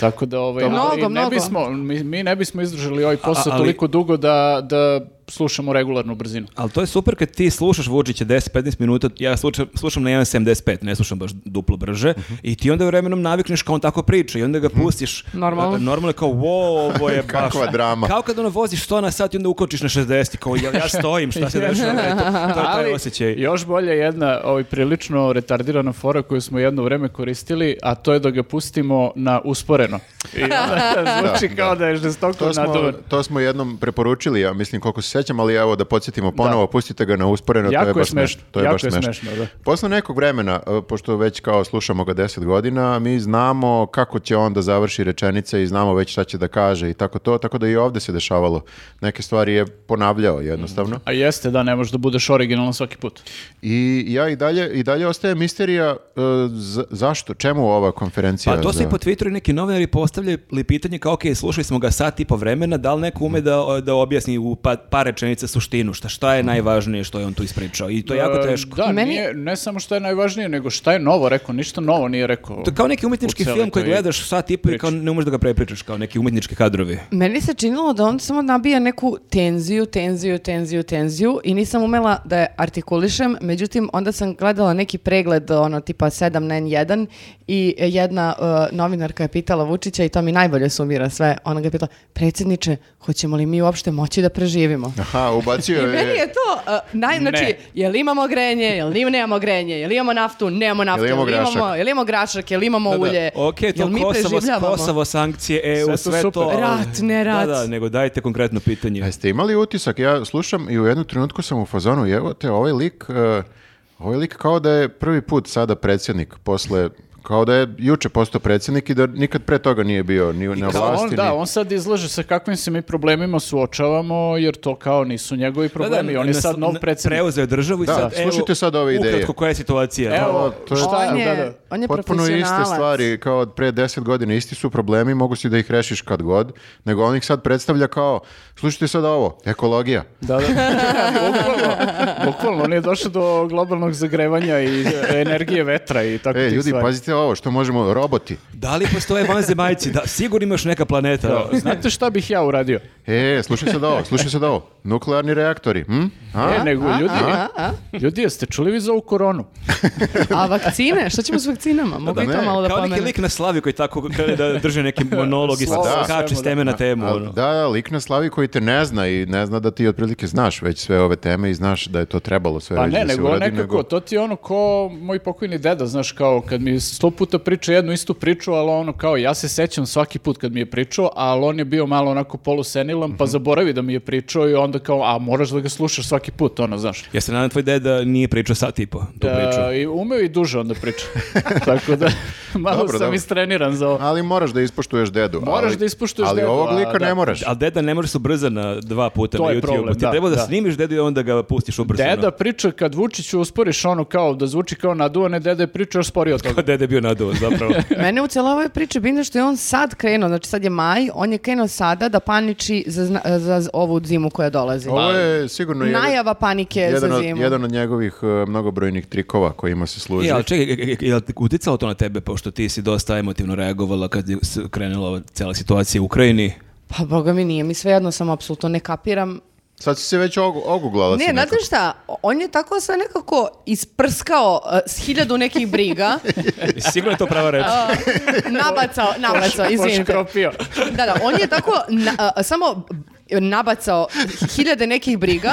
Speaker 4: Tako da ovaj,
Speaker 1: Mnogo,
Speaker 4: ali ne
Speaker 1: mnogo.
Speaker 4: Bismo, mi, mi ne bismo izdržali ovaj posao
Speaker 3: A- ali-
Speaker 4: toliko dugo da, da slušamo regularnu brzinu.
Speaker 3: Ali to je super kad ti slušaš Vučića 10-15 minuta, ja slušam, slušam na 1.75, ne slušam baš duplo brže,
Speaker 2: Mhm.
Speaker 3: i ti onda vremenom navikneš kao on tako priča i onda ga pustiš.
Speaker 1: Normalno.
Speaker 3: E, Normalno je kao, wow, ovo je baš...
Speaker 2: (laughs) Kakva drama.
Speaker 3: Kao kad ono voziš 100 na sat i onda ukočiš na 60 i kao, jel ja stojim, šta se dešava? Eto, to je taj osjećaj.
Speaker 4: još bolje je jedna ovaj, prilično retardirana fora koju smo jedno vreme koristili, a to je da ga pustimo na usporeno.
Speaker 3: (laughs)
Speaker 4: I onda zvuči kao da je žestoko
Speaker 2: To smo,
Speaker 4: naduvan.
Speaker 2: to smo jednom preporučili, ja mislim koliko se sećam, ali evo da podsjetimo ponovo, pustite ga na usporeno, to
Speaker 4: Jako
Speaker 2: je
Speaker 4: je
Speaker 2: baš
Speaker 4: smešno,
Speaker 2: smešno. To je
Speaker 4: jako
Speaker 2: baš
Speaker 4: je
Speaker 2: smešno.
Speaker 4: smešno, da.
Speaker 2: Posle nekog vremena, e, pošto već kao slušamo ga 10 godina, mi znamo kako će on da završi rečenice i znamo već šta će da kaže i tako to, tako da i ovde se dešavalo. Neke stvari je ponavljao jednostavno.
Speaker 4: A jeste, da, ne možeš da budeš originalan svaki put.
Speaker 2: I ja i dalje, i dalje ostaje misterija e, za- zašto, čemu ova konferencija?
Speaker 3: Pa to su
Speaker 2: za-
Speaker 3: i po Twitteru i neki novinari postavljali pitanje kao, ok, slušali smo ga sat i po vremena, da li neko ume da, da objasni u pa- par rečenica suštinu, šta, šta
Speaker 2: Mhm.
Speaker 3: je najvažnije što je on tu ispričao i to je jako
Speaker 4: E,
Speaker 3: teško.
Speaker 4: Da,
Speaker 1: Meni-
Speaker 4: nije, ne samo što je najvažnije, nego šta je novo rekao, ništa novo nije rekao.
Speaker 3: To je kao neki umetnički
Speaker 4: U celoj
Speaker 3: film koji
Speaker 4: toj
Speaker 3: gledaš sat i po i kao ne umeš da ga prepričaš, kao neki umetnički kadrovi.
Speaker 1: Meni se činilo da on samo nabija neku tenziju, tenziju, tenziju, tenziju i nisam umela da je artikulišem, međutim onda sam gledala neki pregled ono tipa 7N1 i jedna e, novinarka je pitala
Speaker 2: (laughs)
Speaker 1: Vučića i to mi najbolje sumira sve, ona ga je pitala, predsjedniče, hoćemo li mi uopšte moći da preživimo?
Speaker 2: Aha, ubacio
Speaker 1: I meni
Speaker 2: je...
Speaker 1: je to, uh, naj, znači,
Speaker 4: Ne.
Speaker 1: jel imamo grenje, jel ni- nemamo grenje, jel imamo naftu, nemamo naftu,
Speaker 2: Jel
Speaker 1: jel
Speaker 2: imamo
Speaker 1: imamo, jel imamo,
Speaker 2: grašak?
Speaker 1: grašak, jel imamo ulje,
Speaker 3: Ok, to
Speaker 1: jel mi
Speaker 3: Kosovo,
Speaker 1: preživljavamo?
Speaker 3: Kosovo, sankcije,
Speaker 4: Sve
Speaker 3: EU,
Speaker 4: to
Speaker 3: sve to.
Speaker 4: super.
Speaker 3: ali-
Speaker 1: Rat, ne rat.
Speaker 3: Da, da, nego dajte konkretno pitanje.
Speaker 2: A Jeste imali utisak, ja slušam i u jednu trenutku sam u fazonu, evo te, ovaj lik, e, ovaj lik kao da je prvi put sada predsjednik, posle, kao da je juče postao predsjednik i da nikad pre toga nije bio ni na
Speaker 4: Kao
Speaker 2: vlasti.
Speaker 4: on, da,
Speaker 2: ni-
Speaker 4: on sad izlaže sa kakvim se mi problemima suočavamo, jer to kao nisu njegovi
Speaker 3: Da, da,
Speaker 4: problemi. on je
Speaker 3: na-
Speaker 4: sad nov
Speaker 3: na-
Speaker 4: predsjednik.
Speaker 3: Preuzeo je državu i
Speaker 2: Da,
Speaker 3: sad, evo,
Speaker 2: slušajte sad ove ideje.
Speaker 3: Ukratko, koja je situacija?
Speaker 4: Evo,
Speaker 2: Evo, to je-
Speaker 4: šta,
Speaker 1: on je,
Speaker 4: da, da.
Speaker 1: on je
Speaker 2: Potpuno iste
Speaker 1: profesionalac.
Speaker 2: stvari kao od pre deset godina, isti su problemi, mogu si da ih rešiš kad god, nego on ih sad predstavlja kao, slušajte sad ovo, ekologija.
Speaker 4: Da, da. bukvalno, bukvalno, on je došao do globalnog zagrevanja
Speaker 2: (laughs)
Speaker 4: i energije vetra i tako
Speaker 2: E,
Speaker 4: tih
Speaker 2: ljudi,
Speaker 4: stvari.
Speaker 2: pazite ovo, što možemo, roboti.
Speaker 3: Da li postoje vanzemaljci? Da, sigurno imaš neka planeta.
Speaker 4: Da. Znate šta bih ja uradio?
Speaker 2: E, slušaj sad ovo, slušaj sad ovo, (laughs) nuklearni reaktori, hm? A?
Speaker 4: E, nego, ljudi, ljudi, jeste čuli vi za ovu koronu?
Speaker 1: A vakcine, šta ćemo s vakcinama? Mogu
Speaker 2: Da,
Speaker 1: i to
Speaker 2: ne,
Speaker 1: malo da
Speaker 3: Kao neki
Speaker 1: pomenem.
Speaker 3: lik na Slavi koji tako krene da drže neki monolog i
Speaker 4: Slovo
Speaker 2: o
Speaker 3: skače
Speaker 4: svemu,
Speaker 3: s teme na temu.
Speaker 2: A,
Speaker 3: ono.
Speaker 2: da, da, lik na slavi koji te ne zna i ne zna da ti otprilike znaš već sve ove teme i znaš da je to trebalo sve
Speaker 4: Pa
Speaker 2: već
Speaker 4: ne,
Speaker 2: da se
Speaker 4: nego
Speaker 2: uradi,
Speaker 4: nekako, to ti je ono ko moj pokojni deda, znaš, kao kad mi sto puta priča jednu istu priču, ali ono kao ja se sećam svaki put kad mi je pričao, ali on je bio malo onako polusenilan,
Speaker 2: Mhm.
Speaker 4: pa zaboravi da mi je pričao i onda kao, a moraš da ga slušaš svaki put, ono, znaš.
Speaker 3: Ja se nadam tvoj deda nije pričao sat i po tu priču.
Speaker 4: E, I umeo i duže onda priča. Tako da, malo
Speaker 2: Dobro,
Speaker 4: sam
Speaker 2: dobro.
Speaker 4: istreniran za ovo.
Speaker 2: Ali moraš da ispoštuješ dedu.
Speaker 4: Moraš
Speaker 2: ali,
Speaker 4: da ispoštuješ
Speaker 2: ali
Speaker 4: dedu,
Speaker 2: ovog
Speaker 4: a,
Speaker 2: lika
Speaker 4: da.
Speaker 2: ne moraš.
Speaker 3: Ali deda ne može se ubrza na dva puta
Speaker 4: To
Speaker 3: na
Speaker 4: je
Speaker 3: YouTube.
Speaker 4: problem,
Speaker 3: Ti
Speaker 4: da,
Speaker 3: treba da,
Speaker 4: da.
Speaker 3: snimiš dedu i onda ga pustiš ubrzano. (laughs)
Speaker 4: Deda priča kad Vučiću usporiš ono kao da zvuči kao naduvan, ne deda je priča još sporije
Speaker 3: (laughs)
Speaker 4: od toga.
Speaker 3: Dede je bio naduvan, (laughs) zapravo.
Speaker 1: Mene u cijeloj ovoj priči bitno što je on sad krenuo, znači sad je maj, on je krenuo sada da paniči za, zna- za z- ovu zimu koja dolazi.
Speaker 2: Ovo je sigurno Pa, ono, jedan-
Speaker 1: Najava panike
Speaker 2: jedan,
Speaker 1: za
Speaker 2: od,
Speaker 1: zimu.
Speaker 2: jedan od njegovih e, mnogobrojnih trikova kojima se služi.
Speaker 3: E, ali čekaj, e, e, je li uticalo to na tebe, pošto ti si dosta emotivno reagovala kad je s- krenula ova cijela situacija u Ukrajini?
Speaker 1: Pa boga mi nije, mi svejedno sam apsolutno ne kapiram.
Speaker 2: Sad si se već ogu- oguglala.
Speaker 1: Ne,
Speaker 2: si
Speaker 1: znate
Speaker 2: nekako.
Speaker 1: šta, on je tako sve nekako isprskao uh, s hiljadu nekih
Speaker 2: (laughs)
Speaker 1: briga,
Speaker 3: (laughs)
Speaker 1: e,
Speaker 3: Sigurno je to prava reč.
Speaker 1: nabacao, nabacao, izvinite.
Speaker 4: Poškropio.
Speaker 1: (laughs) Da, da, on je tako na- a, a, samo nabacao hiljade nekih briga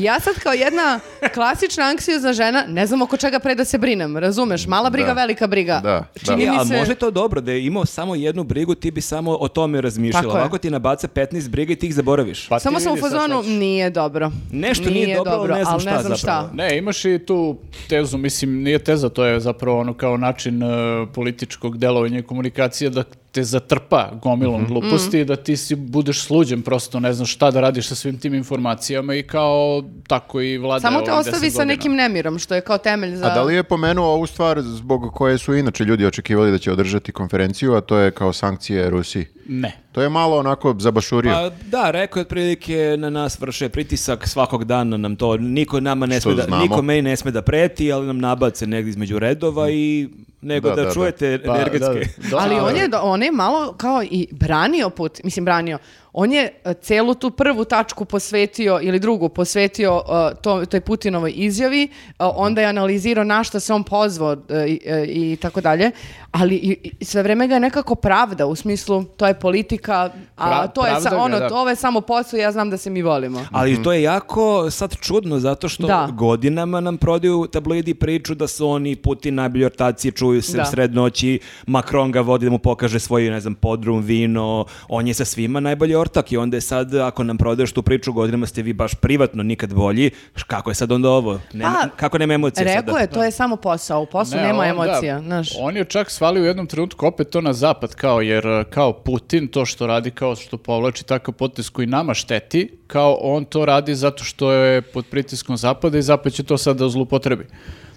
Speaker 1: i ja sad kao jedna klasična anksiozna žena ne znam oko čega pre da se brinem, razumeš? Mala briga,
Speaker 2: Da.
Speaker 1: velika briga.
Speaker 2: Da,
Speaker 1: Čini
Speaker 3: E,
Speaker 1: mi
Speaker 3: ali
Speaker 1: se...
Speaker 3: možda je to dobro, da je imao samo jednu brigu, ti bi samo o tome razmišljala.
Speaker 1: Tako je.
Speaker 3: Ovako ti nabaca 15 briga i ti ih zaboraviš.
Speaker 4: Pa ti
Speaker 1: Samo sam u
Speaker 4: vidi sad šta
Speaker 1: fazonu,
Speaker 4: ćeš.
Speaker 1: nije dobro.
Speaker 3: Nešto nije dobro, ali ne znam
Speaker 1: ali
Speaker 3: šta zapravo.
Speaker 4: Ne, imaš i tu tezu, mislim, nije teza, to je zapravo ono kao način e, političkog delovanja i komunikacije da te zatrpa gomilom gluposti, da ti si budeš sluđen prosto, ne znaš šta da radiš sa svim tim informacijama i kao tako i vlada
Speaker 1: Samo te ostavi sa nekim nemirom, što je kao temelj za...
Speaker 2: A da li je pomenuo ovu stvar zbog koje su inače ljudi očekivali da će održati konferenciju, a to je kao sankcije Rusiji?
Speaker 4: Ne.
Speaker 2: To je malo onako zabašurio.
Speaker 3: Pa da, rekao je otprilike na nas vrše pritisak svakog dana nam to niko nama ne
Speaker 2: Što
Speaker 3: sme da,
Speaker 2: znamo.
Speaker 3: niko meni ne sme da preti, ali nam nabace negdje između redova i nego
Speaker 2: Mm. Da,
Speaker 3: da,
Speaker 2: da, da.
Speaker 3: čujete
Speaker 4: Pa,
Speaker 3: energetske.
Speaker 4: da, da.
Speaker 1: Ali
Speaker 4: Da,
Speaker 1: on
Speaker 4: da.
Speaker 1: je, do- on je malo kao i branio put, mislim branio, on je e, celu tu prvu tačku posvetio ili drugu posvetio e, to, toj Putinovoj izjavi, e, onda je analizirao na što se on pozvao e, i- e, i tako dalje, ali i, i sve vreme ga je nekako pravda u smislu to je politika, a
Speaker 4: Pra-
Speaker 1: to je
Speaker 4: pravda
Speaker 1: sa,
Speaker 4: ga,
Speaker 1: ono,
Speaker 4: da.
Speaker 1: to, ovo je samo posao, ja znam da se mi volimo.
Speaker 3: Ali to je jako sad čudno zato što
Speaker 1: Da.
Speaker 3: godinama nam prodaju tabloidi priču da su oni Putin najbolji ortaci, čuju se
Speaker 1: Da.
Speaker 3: u sred noći, Macron ga vodi da mu pokaže svoj, ne znam, podrum, vino, on je sa svima najbolji ortak i onda je sad, ako nam prodaješ tu priču, godinama ste vi baš privatno nikad bolji, š- kako je sad onda ovo? Nema-
Speaker 1: Pa,
Speaker 3: kako nema emocije
Speaker 1: Rekao
Speaker 3: sada?
Speaker 1: je, to je samo posao, u poslu
Speaker 4: Ne,
Speaker 1: nema
Speaker 4: on,
Speaker 1: emocija,
Speaker 4: da.
Speaker 1: znaš.
Speaker 4: On je čak svalio u jednom trenutku opet to na zapad, kao jer e, kao Putin to što radi, kao što povlači takav potez koji nama šteti, kao on to radi zato što je pod pritiskom zapada i zapad će to sad da zlupotrebi.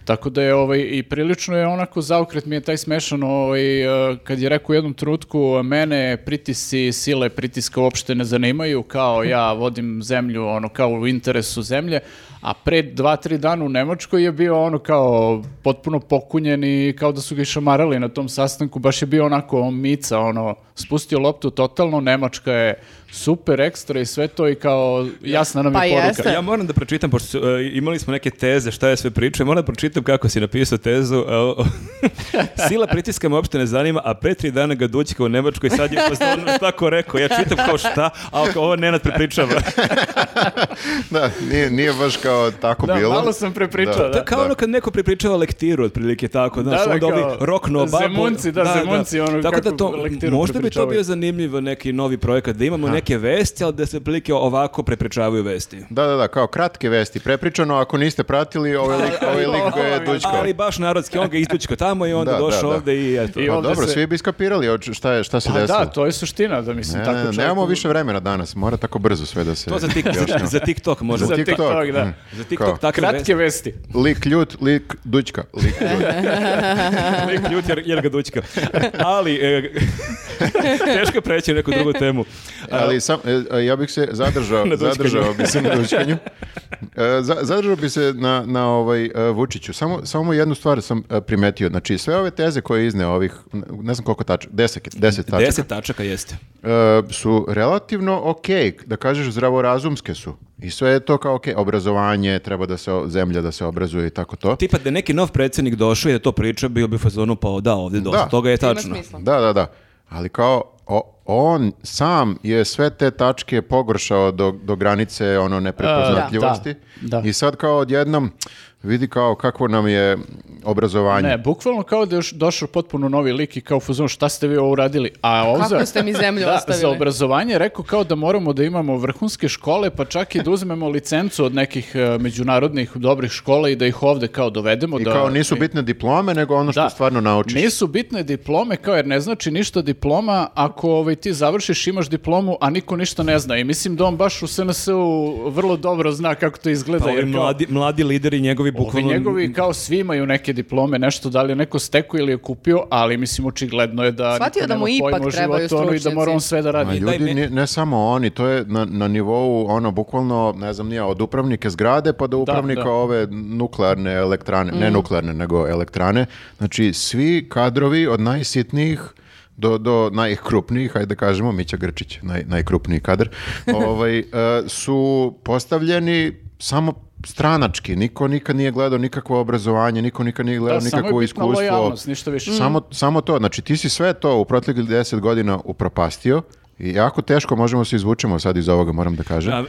Speaker 4: Tako da je ovaj, i prilično je onako zaokret mi je taj smešan ovaj, e, kad je rekao u jednom trenutku mene pritisci sile pritiska uopšte ne zanimaju kao ja vodim zemlju ono kao u interesu zemlje a pre dva, tri dana u Nemačkoj je bio ono kao potpuno pokunjen i kao da su ga išamarali na tom sastanku, baš je bio onako mica, ono, spustio loptu totalno, Nemačka je super ekstra i sve to i kao jasna nam je
Speaker 1: Pa
Speaker 4: poruka.
Speaker 1: jeste.
Speaker 3: Ja moram da pročitam, pošto su, e, imali smo neke teze šta je sve priča, moram da pročitam čitam kako si napisao tezu. a o- (laughs) Sila pritiska me uopšte ne zanima, a pre tri dana ga Dućka u Nemačkoj sad je pozorno tako rekao. Ja čitam kao šta, a kao ovo Nenad prepričava.
Speaker 2: (laughs)
Speaker 4: (laughs)
Speaker 2: Da, nije, nije baš kao tako
Speaker 4: Da,
Speaker 2: bilo.
Speaker 4: malo sam prepričao,
Speaker 3: To je kao ono kad neko prepričava lektiru, otprilike tako, znaš,
Speaker 4: da,
Speaker 3: onda ovi
Speaker 4: kao
Speaker 3: rock noba.
Speaker 4: Zemunci, da, Zemunci, ono
Speaker 3: tako da
Speaker 4: kako
Speaker 3: to,
Speaker 4: lektiru
Speaker 3: možda bi to
Speaker 4: prepričavaju.
Speaker 3: bio zanimljiv neki novi projekat, da imamo neke vesti, ali da se otprilike ovako prepričavaju vesti.
Speaker 2: Da, da, da, kao kratke vesti. Prepričano, ako niste pratili, ovaj lik, ovaj lik ga je dućkao.
Speaker 3: Ali baš narodski, on ga istučko tamo i onda
Speaker 2: Da, da,
Speaker 3: došao
Speaker 2: da.
Speaker 3: ovde i eto.
Speaker 4: I
Speaker 2: Pa
Speaker 4: ovde
Speaker 2: dobro,
Speaker 4: se-
Speaker 2: svi bi iskapirali od- šta, je, šta se
Speaker 4: Pa
Speaker 2: desilo.
Speaker 4: da, to je suština, da mislim,
Speaker 2: Ne,
Speaker 4: tako
Speaker 2: ne,
Speaker 4: čovjeku-
Speaker 2: nemamo više vremena danas, mora tako brzo sve da se...
Speaker 3: To za, tik,
Speaker 2: objašnjava.
Speaker 3: za TikTok možda.
Speaker 4: Za
Speaker 3: Za,
Speaker 4: TikTok, da.
Speaker 2: mm.
Speaker 3: za
Speaker 2: Kao,
Speaker 3: TikTok takve
Speaker 4: Kratke vesti.
Speaker 2: Lik ljut, lik dućka, lik ljut.
Speaker 3: vesti. Lik ljut jer, jer ga dućka. Ali, e, (laughs) teško je preći na neku drugu temu.
Speaker 2: Ali sam, e, ja bih se zadržao,
Speaker 3: Na dućkanju.
Speaker 2: zadržao bih se na dućkanju. E, za- zadržao bih se na, na ovaj, e, Vučiću. Samo, samo jednu stvar sam e, primetio. Znači, sve ove teze koje je izneo, ovih, ne znam koliko tačaka, deset, deset tačaka,
Speaker 3: Deset tačaka jeste.
Speaker 2: e, su relativno okej, da kažeš zdravorazumske su. I sve je to kao okej, obrazovanje, treba da se o- zemlja da se obrazuje i tako to.
Speaker 3: Tipa da je neki nov predsjednik došao i da to priča, bio bi u fazonu pa da, ovdje dosta
Speaker 2: Da.
Speaker 3: toga je
Speaker 1: Ima
Speaker 3: tačno.
Speaker 1: smisla.
Speaker 2: Da, da, da. Ali kao o- on sam je sve te tačke pogoršao do, do granice ono neprepoznatljivosti.
Speaker 4: E, da, da.
Speaker 2: I sad kao odjednom vidi kao kakvo nam je obrazovanje.
Speaker 4: Ne, bukvalno kao da je još došao potpuno novi lik i kao fuzon šta ste vi ovo uradili. A ovo za-
Speaker 1: ste mi zemlju
Speaker 4: (laughs) da,
Speaker 1: ostavili?
Speaker 4: Za obrazovanje je rekao kao da moramo da imamo vrhunske škole, pa čak i da uzmemo licencu od nekih e, međunarodnih dobrih škola i da ih ovde kao dovedemo.
Speaker 2: I
Speaker 4: da,
Speaker 2: kao nisu bitne diplome, nego ono što
Speaker 4: Da.
Speaker 2: stvarno naučiš.
Speaker 4: Nisu bitne diplome, kao jer ne znači ništa diploma ako ovaj, ti završiš, imaš diplomu, a niko ništa ne zna. I mislim da on baš u SNS-u vrlo dobro zna kako to izgleda.
Speaker 3: Pa ovi
Speaker 4: jer kao-
Speaker 3: mladi, mladi lideri njegovi
Speaker 4: Ovi
Speaker 3: bukvalno...
Speaker 4: njegovi kao svi imaju neke diplome, nešto da li je neko stekao ili je kupio, ali mislim očigledno je da
Speaker 1: Shvatio
Speaker 4: niko
Speaker 1: da
Speaker 4: nema
Speaker 1: mu ipak
Speaker 4: pojma o
Speaker 1: trebaju
Speaker 4: životu, ono, i da
Speaker 1: stručnjaci.
Speaker 4: mora on sve da
Speaker 2: A
Speaker 4: radi.
Speaker 3: daj
Speaker 2: ljudi,
Speaker 3: meni-
Speaker 2: ne, ne samo oni, to je na, na nivou ono bukvalno, ne znam nije, od upravnike zgrade pa do upravnika
Speaker 4: da.
Speaker 2: ove nuklearne elektrane, ne nuklearne nego elektrane. Znači svi kadrovi od najsitnijih do, do najkrupnijih, hajde da kažemo, Mića Grčić, naj, najkrupniji
Speaker 4: (laughs)
Speaker 2: kadar, ovaj, e, su postavljeni samo stranački. Niko nikad nije gledao nikakvo obrazovanje, niko nikad nije gledao
Speaker 4: Da, samo je
Speaker 2: nikakvo
Speaker 4: bitna
Speaker 2: iskustvo.
Speaker 4: lojalnost, ništa više.
Speaker 2: Mm. Samo, samo to, znači ti si sve to u proteklih 10 godina upropastio i jako teško možemo se izvučemo sad iz ovoga, moram da kažem.
Speaker 3: A-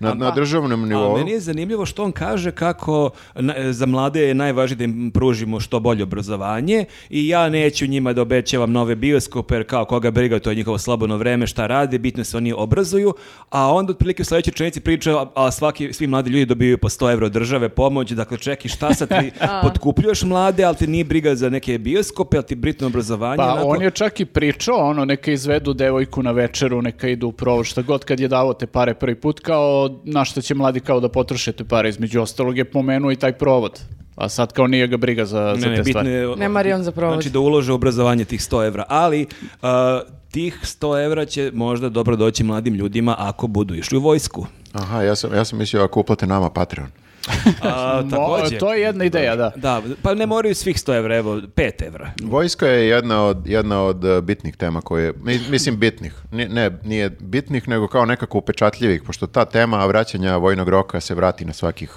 Speaker 2: na, na državnom
Speaker 3: A
Speaker 2: nivou.
Speaker 3: meni je zanimljivo što on kaže kako na- za mlade je najvažnije da im pružimo što bolje obrazovanje i ja neću njima da obećavam nove bioskope jer kao koga briga, to je njihovo slobodno vreme, šta rade, bitno je se oni obrazuju, a onda otprilike u sledećoj rečenici priča, a, a svaki, svi mladi ljudi dobiju po 100 evra od države pomoć, dakle čeki šta sad ti potkupljuješ mlade, ali ti nije briga za neke bioskope, ali ti britno obrazovanje.
Speaker 4: Pa
Speaker 3: onako.
Speaker 4: on je čak i pričao, ono, neka izvedu devojku na večeru, neka idu u provo, šta god kad je davao te pare prvi put, kao na što će mladi kao da potroše te pare, između ostalog je pomenuo i taj provod. A sad kao nije ga briga za, za
Speaker 3: Ne, ne,
Speaker 4: te
Speaker 3: bitno
Speaker 4: stvari.
Speaker 3: je...
Speaker 1: Ne mari on za provod.
Speaker 3: Znači da ulože u obrazovanje tih 100 evra, ali a, tih 100 evra će možda dobro doći mladim ljudima ako budu išli u vojsku.
Speaker 4: (laughs)
Speaker 2: Aha, ja sam, ja sam mislio ako uplate nama Patreon.
Speaker 3: A,
Speaker 4: Mo-
Speaker 3: takođe,
Speaker 4: to je jedna ideja, da.
Speaker 3: da, pa ne moraju svih 100 evra, evo, 5 evra.
Speaker 2: Vojska je jedna od, jedna od e, bitnih tema koje, mi- mislim bitnih, Ni- ne, nije bitnih, nego kao nekako upečatljivih, pošto ta tema vraćanja vojnog roka se vrati na svakih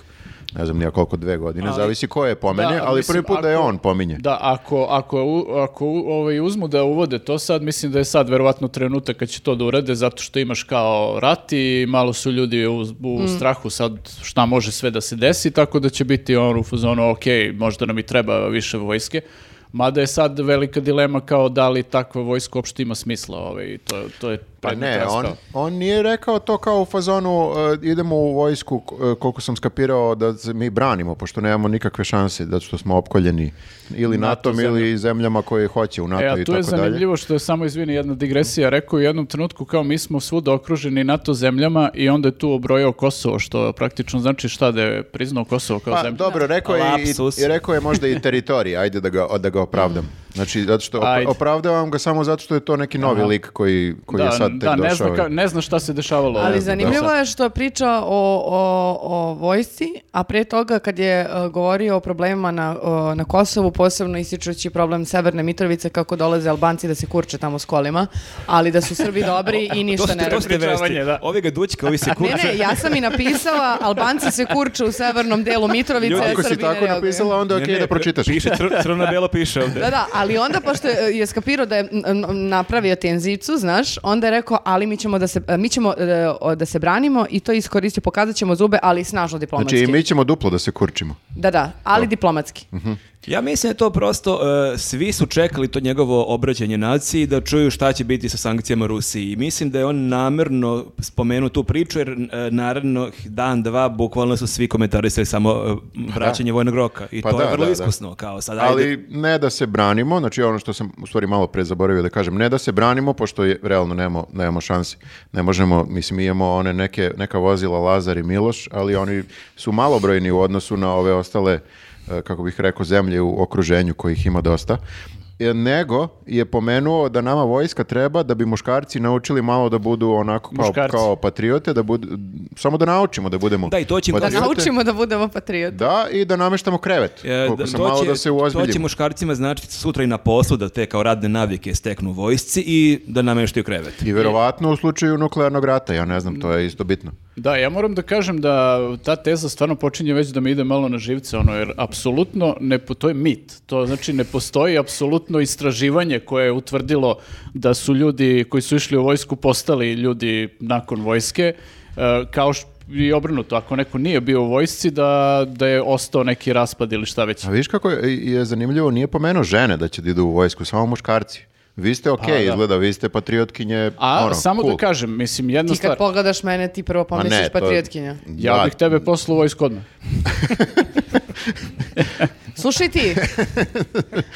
Speaker 2: ne znam nija koliko dve godine, zavisi ko je pomene,
Speaker 4: Da,
Speaker 2: ali
Speaker 4: mislim,
Speaker 2: prvi put da je
Speaker 4: ako-
Speaker 2: on pominje.
Speaker 4: Da, ako, ako, u- ako u- ovaj, uzmu da uvode to sad, mislim da je sad verovatno trenutak kad će to da urade, zato što imaš kao rat i malo su ljudi u, u strahu sad šta može sve da se desi, tako da će biti on u fazonu, ok, možda nam i treba više vojske, mada je sad velika dilema kao da li takva vojska uopšte ima smisla, ovaj, to, to je
Speaker 2: Pa
Speaker 4: predmet
Speaker 2: ne, on,
Speaker 4: rasprave.
Speaker 2: on nije rekao to kao u fazonu e, idemo u vojsku, k- e, koliko sam skapirao da se mi branimo, pošto nemamo nikakve šanse da što smo opkoljeni ili NATO-om ili zemljama koje hoće u NATO
Speaker 4: E,
Speaker 2: i
Speaker 4: a tu je
Speaker 2: tako dalje.
Speaker 4: zanimljivo što je samo, izvini, jedna digresija, rekao je u jednom trenutku kao mi smo svuda okruženi NATO zemljama i onda je tu obrojao Kosovo, što praktično znači šta da je priznao Kosovo kao
Speaker 2: Pa
Speaker 4: zemlju.
Speaker 2: dobro, rekao je, i,
Speaker 3: Lapsus.
Speaker 2: i rekao je možda i teritorij, ajde da ga, da ga opravdam. (laughs) Znači, zato što op-
Speaker 4: Ajde.
Speaker 2: opravdavam ga samo zato što je to neki novi lik koji, koji je
Speaker 4: da,
Speaker 2: sad tek
Speaker 4: da, ne,
Speaker 2: došao.
Speaker 4: zna, ka- ne zna šta se dešavalo.
Speaker 1: Ali
Speaker 4: ovdje.
Speaker 1: zanimljivo
Speaker 4: Pa Da.
Speaker 1: je što priča o, o, o vojsci, a pre toga kad je e, govorio o problemima na, o, na Kosovu, posebno ističući problem Severne Mitrovice, kako dolaze Albanci da se kurče tamo s kolima, ali da su Srbi dobri i
Speaker 3: To
Speaker 1: ništa
Speaker 3: ste,
Speaker 1: ne
Speaker 3: to
Speaker 1: rade.
Speaker 3: ste vesti.
Speaker 4: Prepričavanje, da.
Speaker 3: Ovi ga dućka, ovi se
Speaker 1: Ne,
Speaker 3: kurče.
Speaker 1: ne, ja sam i napisala Albanci se kurče u severnom delu Mitrovice,
Speaker 3: Ljudi,
Speaker 2: Ako
Speaker 1: Srbi
Speaker 2: si
Speaker 1: ne
Speaker 2: tako
Speaker 1: reaguju.
Speaker 2: napisala, onda je
Speaker 3: Ne,
Speaker 2: okej
Speaker 3: ne,
Speaker 2: da pročitaš.
Speaker 3: Piše, cr- crno na belo piše
Speaker 4: (laughs)
Speaker 3: ovde.
Speaker 1: Da, da, ali onda pošto je, je skapirao da je m, m, napravio tenzicu, znaš, onda je rekao, ali mi ćemo da se, mi ćemo e, o, da se branimo i to iskoristio, pokazat ćemo zube, ali snažno diplomatski.
Speaker 2: Znači, i mi Mhm. ćemo duplo da se kurčimo.
Speaker 1: Da, da, ali diplomatski.
Speaker 3: Ja mislim da je to prosto, e, svi su čekali to njegovo obraćanje naciji da čuju šta će biti sa sankcijama Rusiji. I mislim da je on namerno spomenuo tu priču jer e, naravno dan, dva, bukvalno su svi komentarisali samo e, vraćanje vojnog roka. I
Speaker 2: Pa
Speaker 3: to
Speaker 2: da,
Speaker 3: je vrlo
Speaker 2: da, da.
Speaker 3: iskusno. Kao sad, ajde,
Speaker 2: Ali ne da se branimo, znači ono što sam u stvari malo pre zaboravio da kažem, ne da se branimo, pošto je, realno nemamo, nemamo šansi. Ne možemo, mislim, mi imamo one neke, neka vozila Lazar i Miloš, ali oni su malobrojni u odnosu na ove ostale, e, kako bih rekao, zemlje u okruženju kojih ima dosta. E, Nego je pomenuo da nama vojska treba da bi muškarci naučili malo da budu onako kao,
Speaker 4: Muškarci.
Speaker 2: kao patriote, da budu, samo da naučimo da budemo
Speaker 3: Da, i to će im
Speaker 1: Da
Speaker 3: Patriote.
Speaker 1: naučimo da budemo patrioti.
Speaker 2: da, i da nameštamo krevet.
Speaker 3: E,
Speaker 2: koliko
Speaker 3: da-
Speaker 2: sam malo da se uozbiljimo.
Speaker 3: to će muškarcima značiti sutra i na poslu da te kao radne navike steknu u vojsci i da nameštaju krevet.
Speaker 4: E,
Speaker 2: I verovatno u slučaju nuklearnog rata, ja ne znam, to je isto bitno.
Speaker 4: Da, ja moram da kažem da ta teza stvarno počinje već da mi ide malo na živce, ono, jer apsolutno ne, po- to je mit, to znači ne postoji apsolutno istraživanje koje je utvrdilo da su ljudi koji su išli u vojsku postali ljudi nakon vojske, e, kao š- i obrnuto, ako neko nije bio u vojsci, da, da je ostao neki raspad ili šta već.
Speaker 2: A viš kako je, je zanimljivo, nije pomenuo žene da će da idu u vojsku, samo muškarci. Vi ste okej,
Speaker 4: Pa, da.
Speaker 2: izgleda, vi ste patriotkinje,
Speaker 4: A
Speaker 2: ono,
Speaker 4: samo
Speaker 2: cool.
Speaker 4: da kažem, mislim, jedna
Speaker 1: Ti kad
Speaker 4: stvar,
Speaker 1: pogledaš mene, ti prvo
Speaker 2: Ma ne,
Speaker 1: pomisliš
Speaker 2: to-
Speaker 1: Pa patriotkinja.
Speaker 4: ja
Speaker 2: Da, Pa
Speaker 4: bih tebe poslao u vojsku odmah.
Speaker 1: Slušaj
Speaker 2: (laughs)
Speaker 1: ti,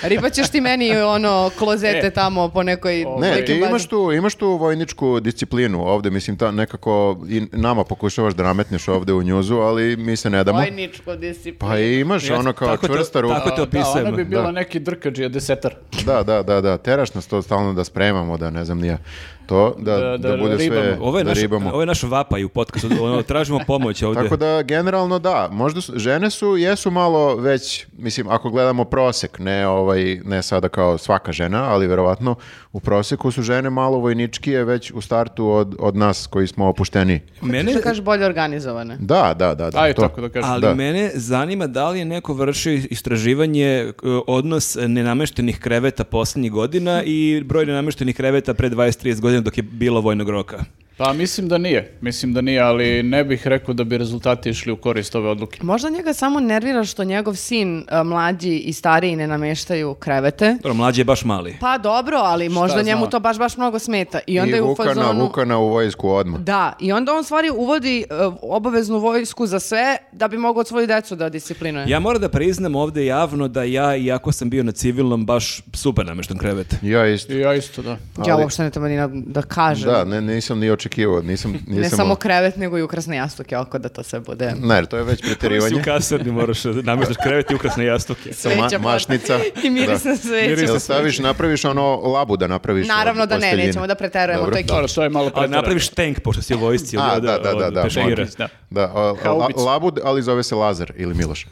Speaker 1: ribaćeš ti meni ono klozete tamo po nekoj...
Speaker 2: Ne,
Speaker 1: nekoj
Speaker 2: ti
Speaker 1: bazi.
Speaker 2: imaš tu, imaš tu vojničku disciplinu ovde, mislim, ta nekako i nama pokušavaš da nametneš ovde u njuzu, ali mi se ne damo.
Speaker 1: Vojničko disciplinu.
Speaker 2: Pa imaš
Speaker 3: Ja,
Speaker 2: ono kao
Speaker 3: tako to-
Speaker 2: čvrsta ruka.
Speaker 3: tako to-
Speaker 4: Da, ona
Speaker 3: Opisujemo,
Speaker 4: bi bila
Speaker 2: da.
Speaker 4: neki drkađija, desetar.
Speaker 2: Da, da, da, da, teraš nas to stalno da spremamo, da ne znam nije to, da, da,
Speaker 4: Da- da
Speaker 2: bude sve,
Speaker 4: ribamo.
Speaker 3: Ovo je,
Speaker 2: da
Speaker 3: naš,
Speaker 2: ribamo.
Speaker 3: ovo je naš vapaj u podcastu, ono, tražimo pomoć ovdje.
Speaker 2: Tako da generalno da, možda su, žene su jesu malo već, mislim ako gledamo prosek, ne ovaj ne sada kao svaka žena, ali verovatno u proseku su žene malo vojničkije već u startu od, od nas koji smo opušteni.
Speaker 3: Mene,
Speaker 1: Što kažeš bolje organizovane.
Speaker 2: Da, da, da, da.
Speaker 4: Ajde
Speaker 2: to.
Speaker 4: tako da kažem.
Speaker 3: Ali
Speaker 2: Da.
Speaker 3: mene zanima da li je neko vršio istraživanje e, odnos nenameštenih kreveta posljednjih godina i broj nenameštenih kreveta pre 20-30 godina dok je bilo vojnog roka.
Speaker 4: Pa mislim da nije, mislim da nije, ali ne bih rekao da bi rezultati išli u korist ove odluke.
Speaker 1: Možda njega samo nervira što njegov sin, a, mlađi i stariji, ne nameštaju krevete.
Speaker 3: Dobro, mlađi je baš mali.
Speaker 1: Pa dobro, ali možda
Speaker 4: zna?
Speaker 1: njemu to baš, baš mnogo smeta. I onda
Speaker 2: I
Speaker 1: je u
Speaker 2: Vukana,
Speaker 1: fazonu...
Speaker 2: Vukana u vojsku odmah.
Speaker 1: Da, i onda on u stvari uvodi e, obaveznu vojsku za sve da bi mogao svoju decu da disciplinuje.
Speaker 3: Ja moram da priznam ovdje javno da ja, iako sam bio na civilnom, baš super namešten krevet.
Speaker 2: Ja isto.
Speaker 4: I ja isto da.
Speaker 1: Ja
Speaker 2: ali-
Speaker 1: uopšte ne treba ni na- da kažem.
Speaker 2: Da, ne, nisam ni očekivao, nisam, nisam
Speaker 1: ne samo krevet, nego i ukrasne jastuke, oko da to sve bude.
Speaker 2: Ne, jer to je već
Speaker 3: Si u
Speaker 4: (laughs)
Speaker 2: preterivanje.
Speaker 3: kasarni moraš da nameštaš krevet i ukrasne
Speaker 2: (laughs)
Speaker 3: jastuke.
Speaker 1: Sveća
Speaker 2: ma- mašnica.
Speaker 1: (laughs) I miris na sveću.
Speaker 2: Jel staviš, napraviš ono labu da napraviš?
Speaker 1: Naravno
Speaker 2: od
Speaker 1: da ne,
Speaker 2: posteljine?
Speaker 1: nećemo da preterujemo,
Speaker 2: Dobro.
Speaker 1: to je
Speaker 4: Dobro, to je malo
Speaker 3: A
Speaker 4: preterano.
Speaker 3: napraviš tank, pošto si u vojsci.
Speaker 2: Pa
Speaker 3: ono,
Speaker 2: A,
Speaker 3: od-
Speaker 2: da, da,
Speaker 3: od
Speaker 2: da, da,
Speaker 3: peškira.
Speaker 2: molim.
Speaker 4: Da.
Speaker 2: Da, a- a-
Speaker 4: Haubicu.
Speaker 2: labud, ali zove se Lazar ili Miloš.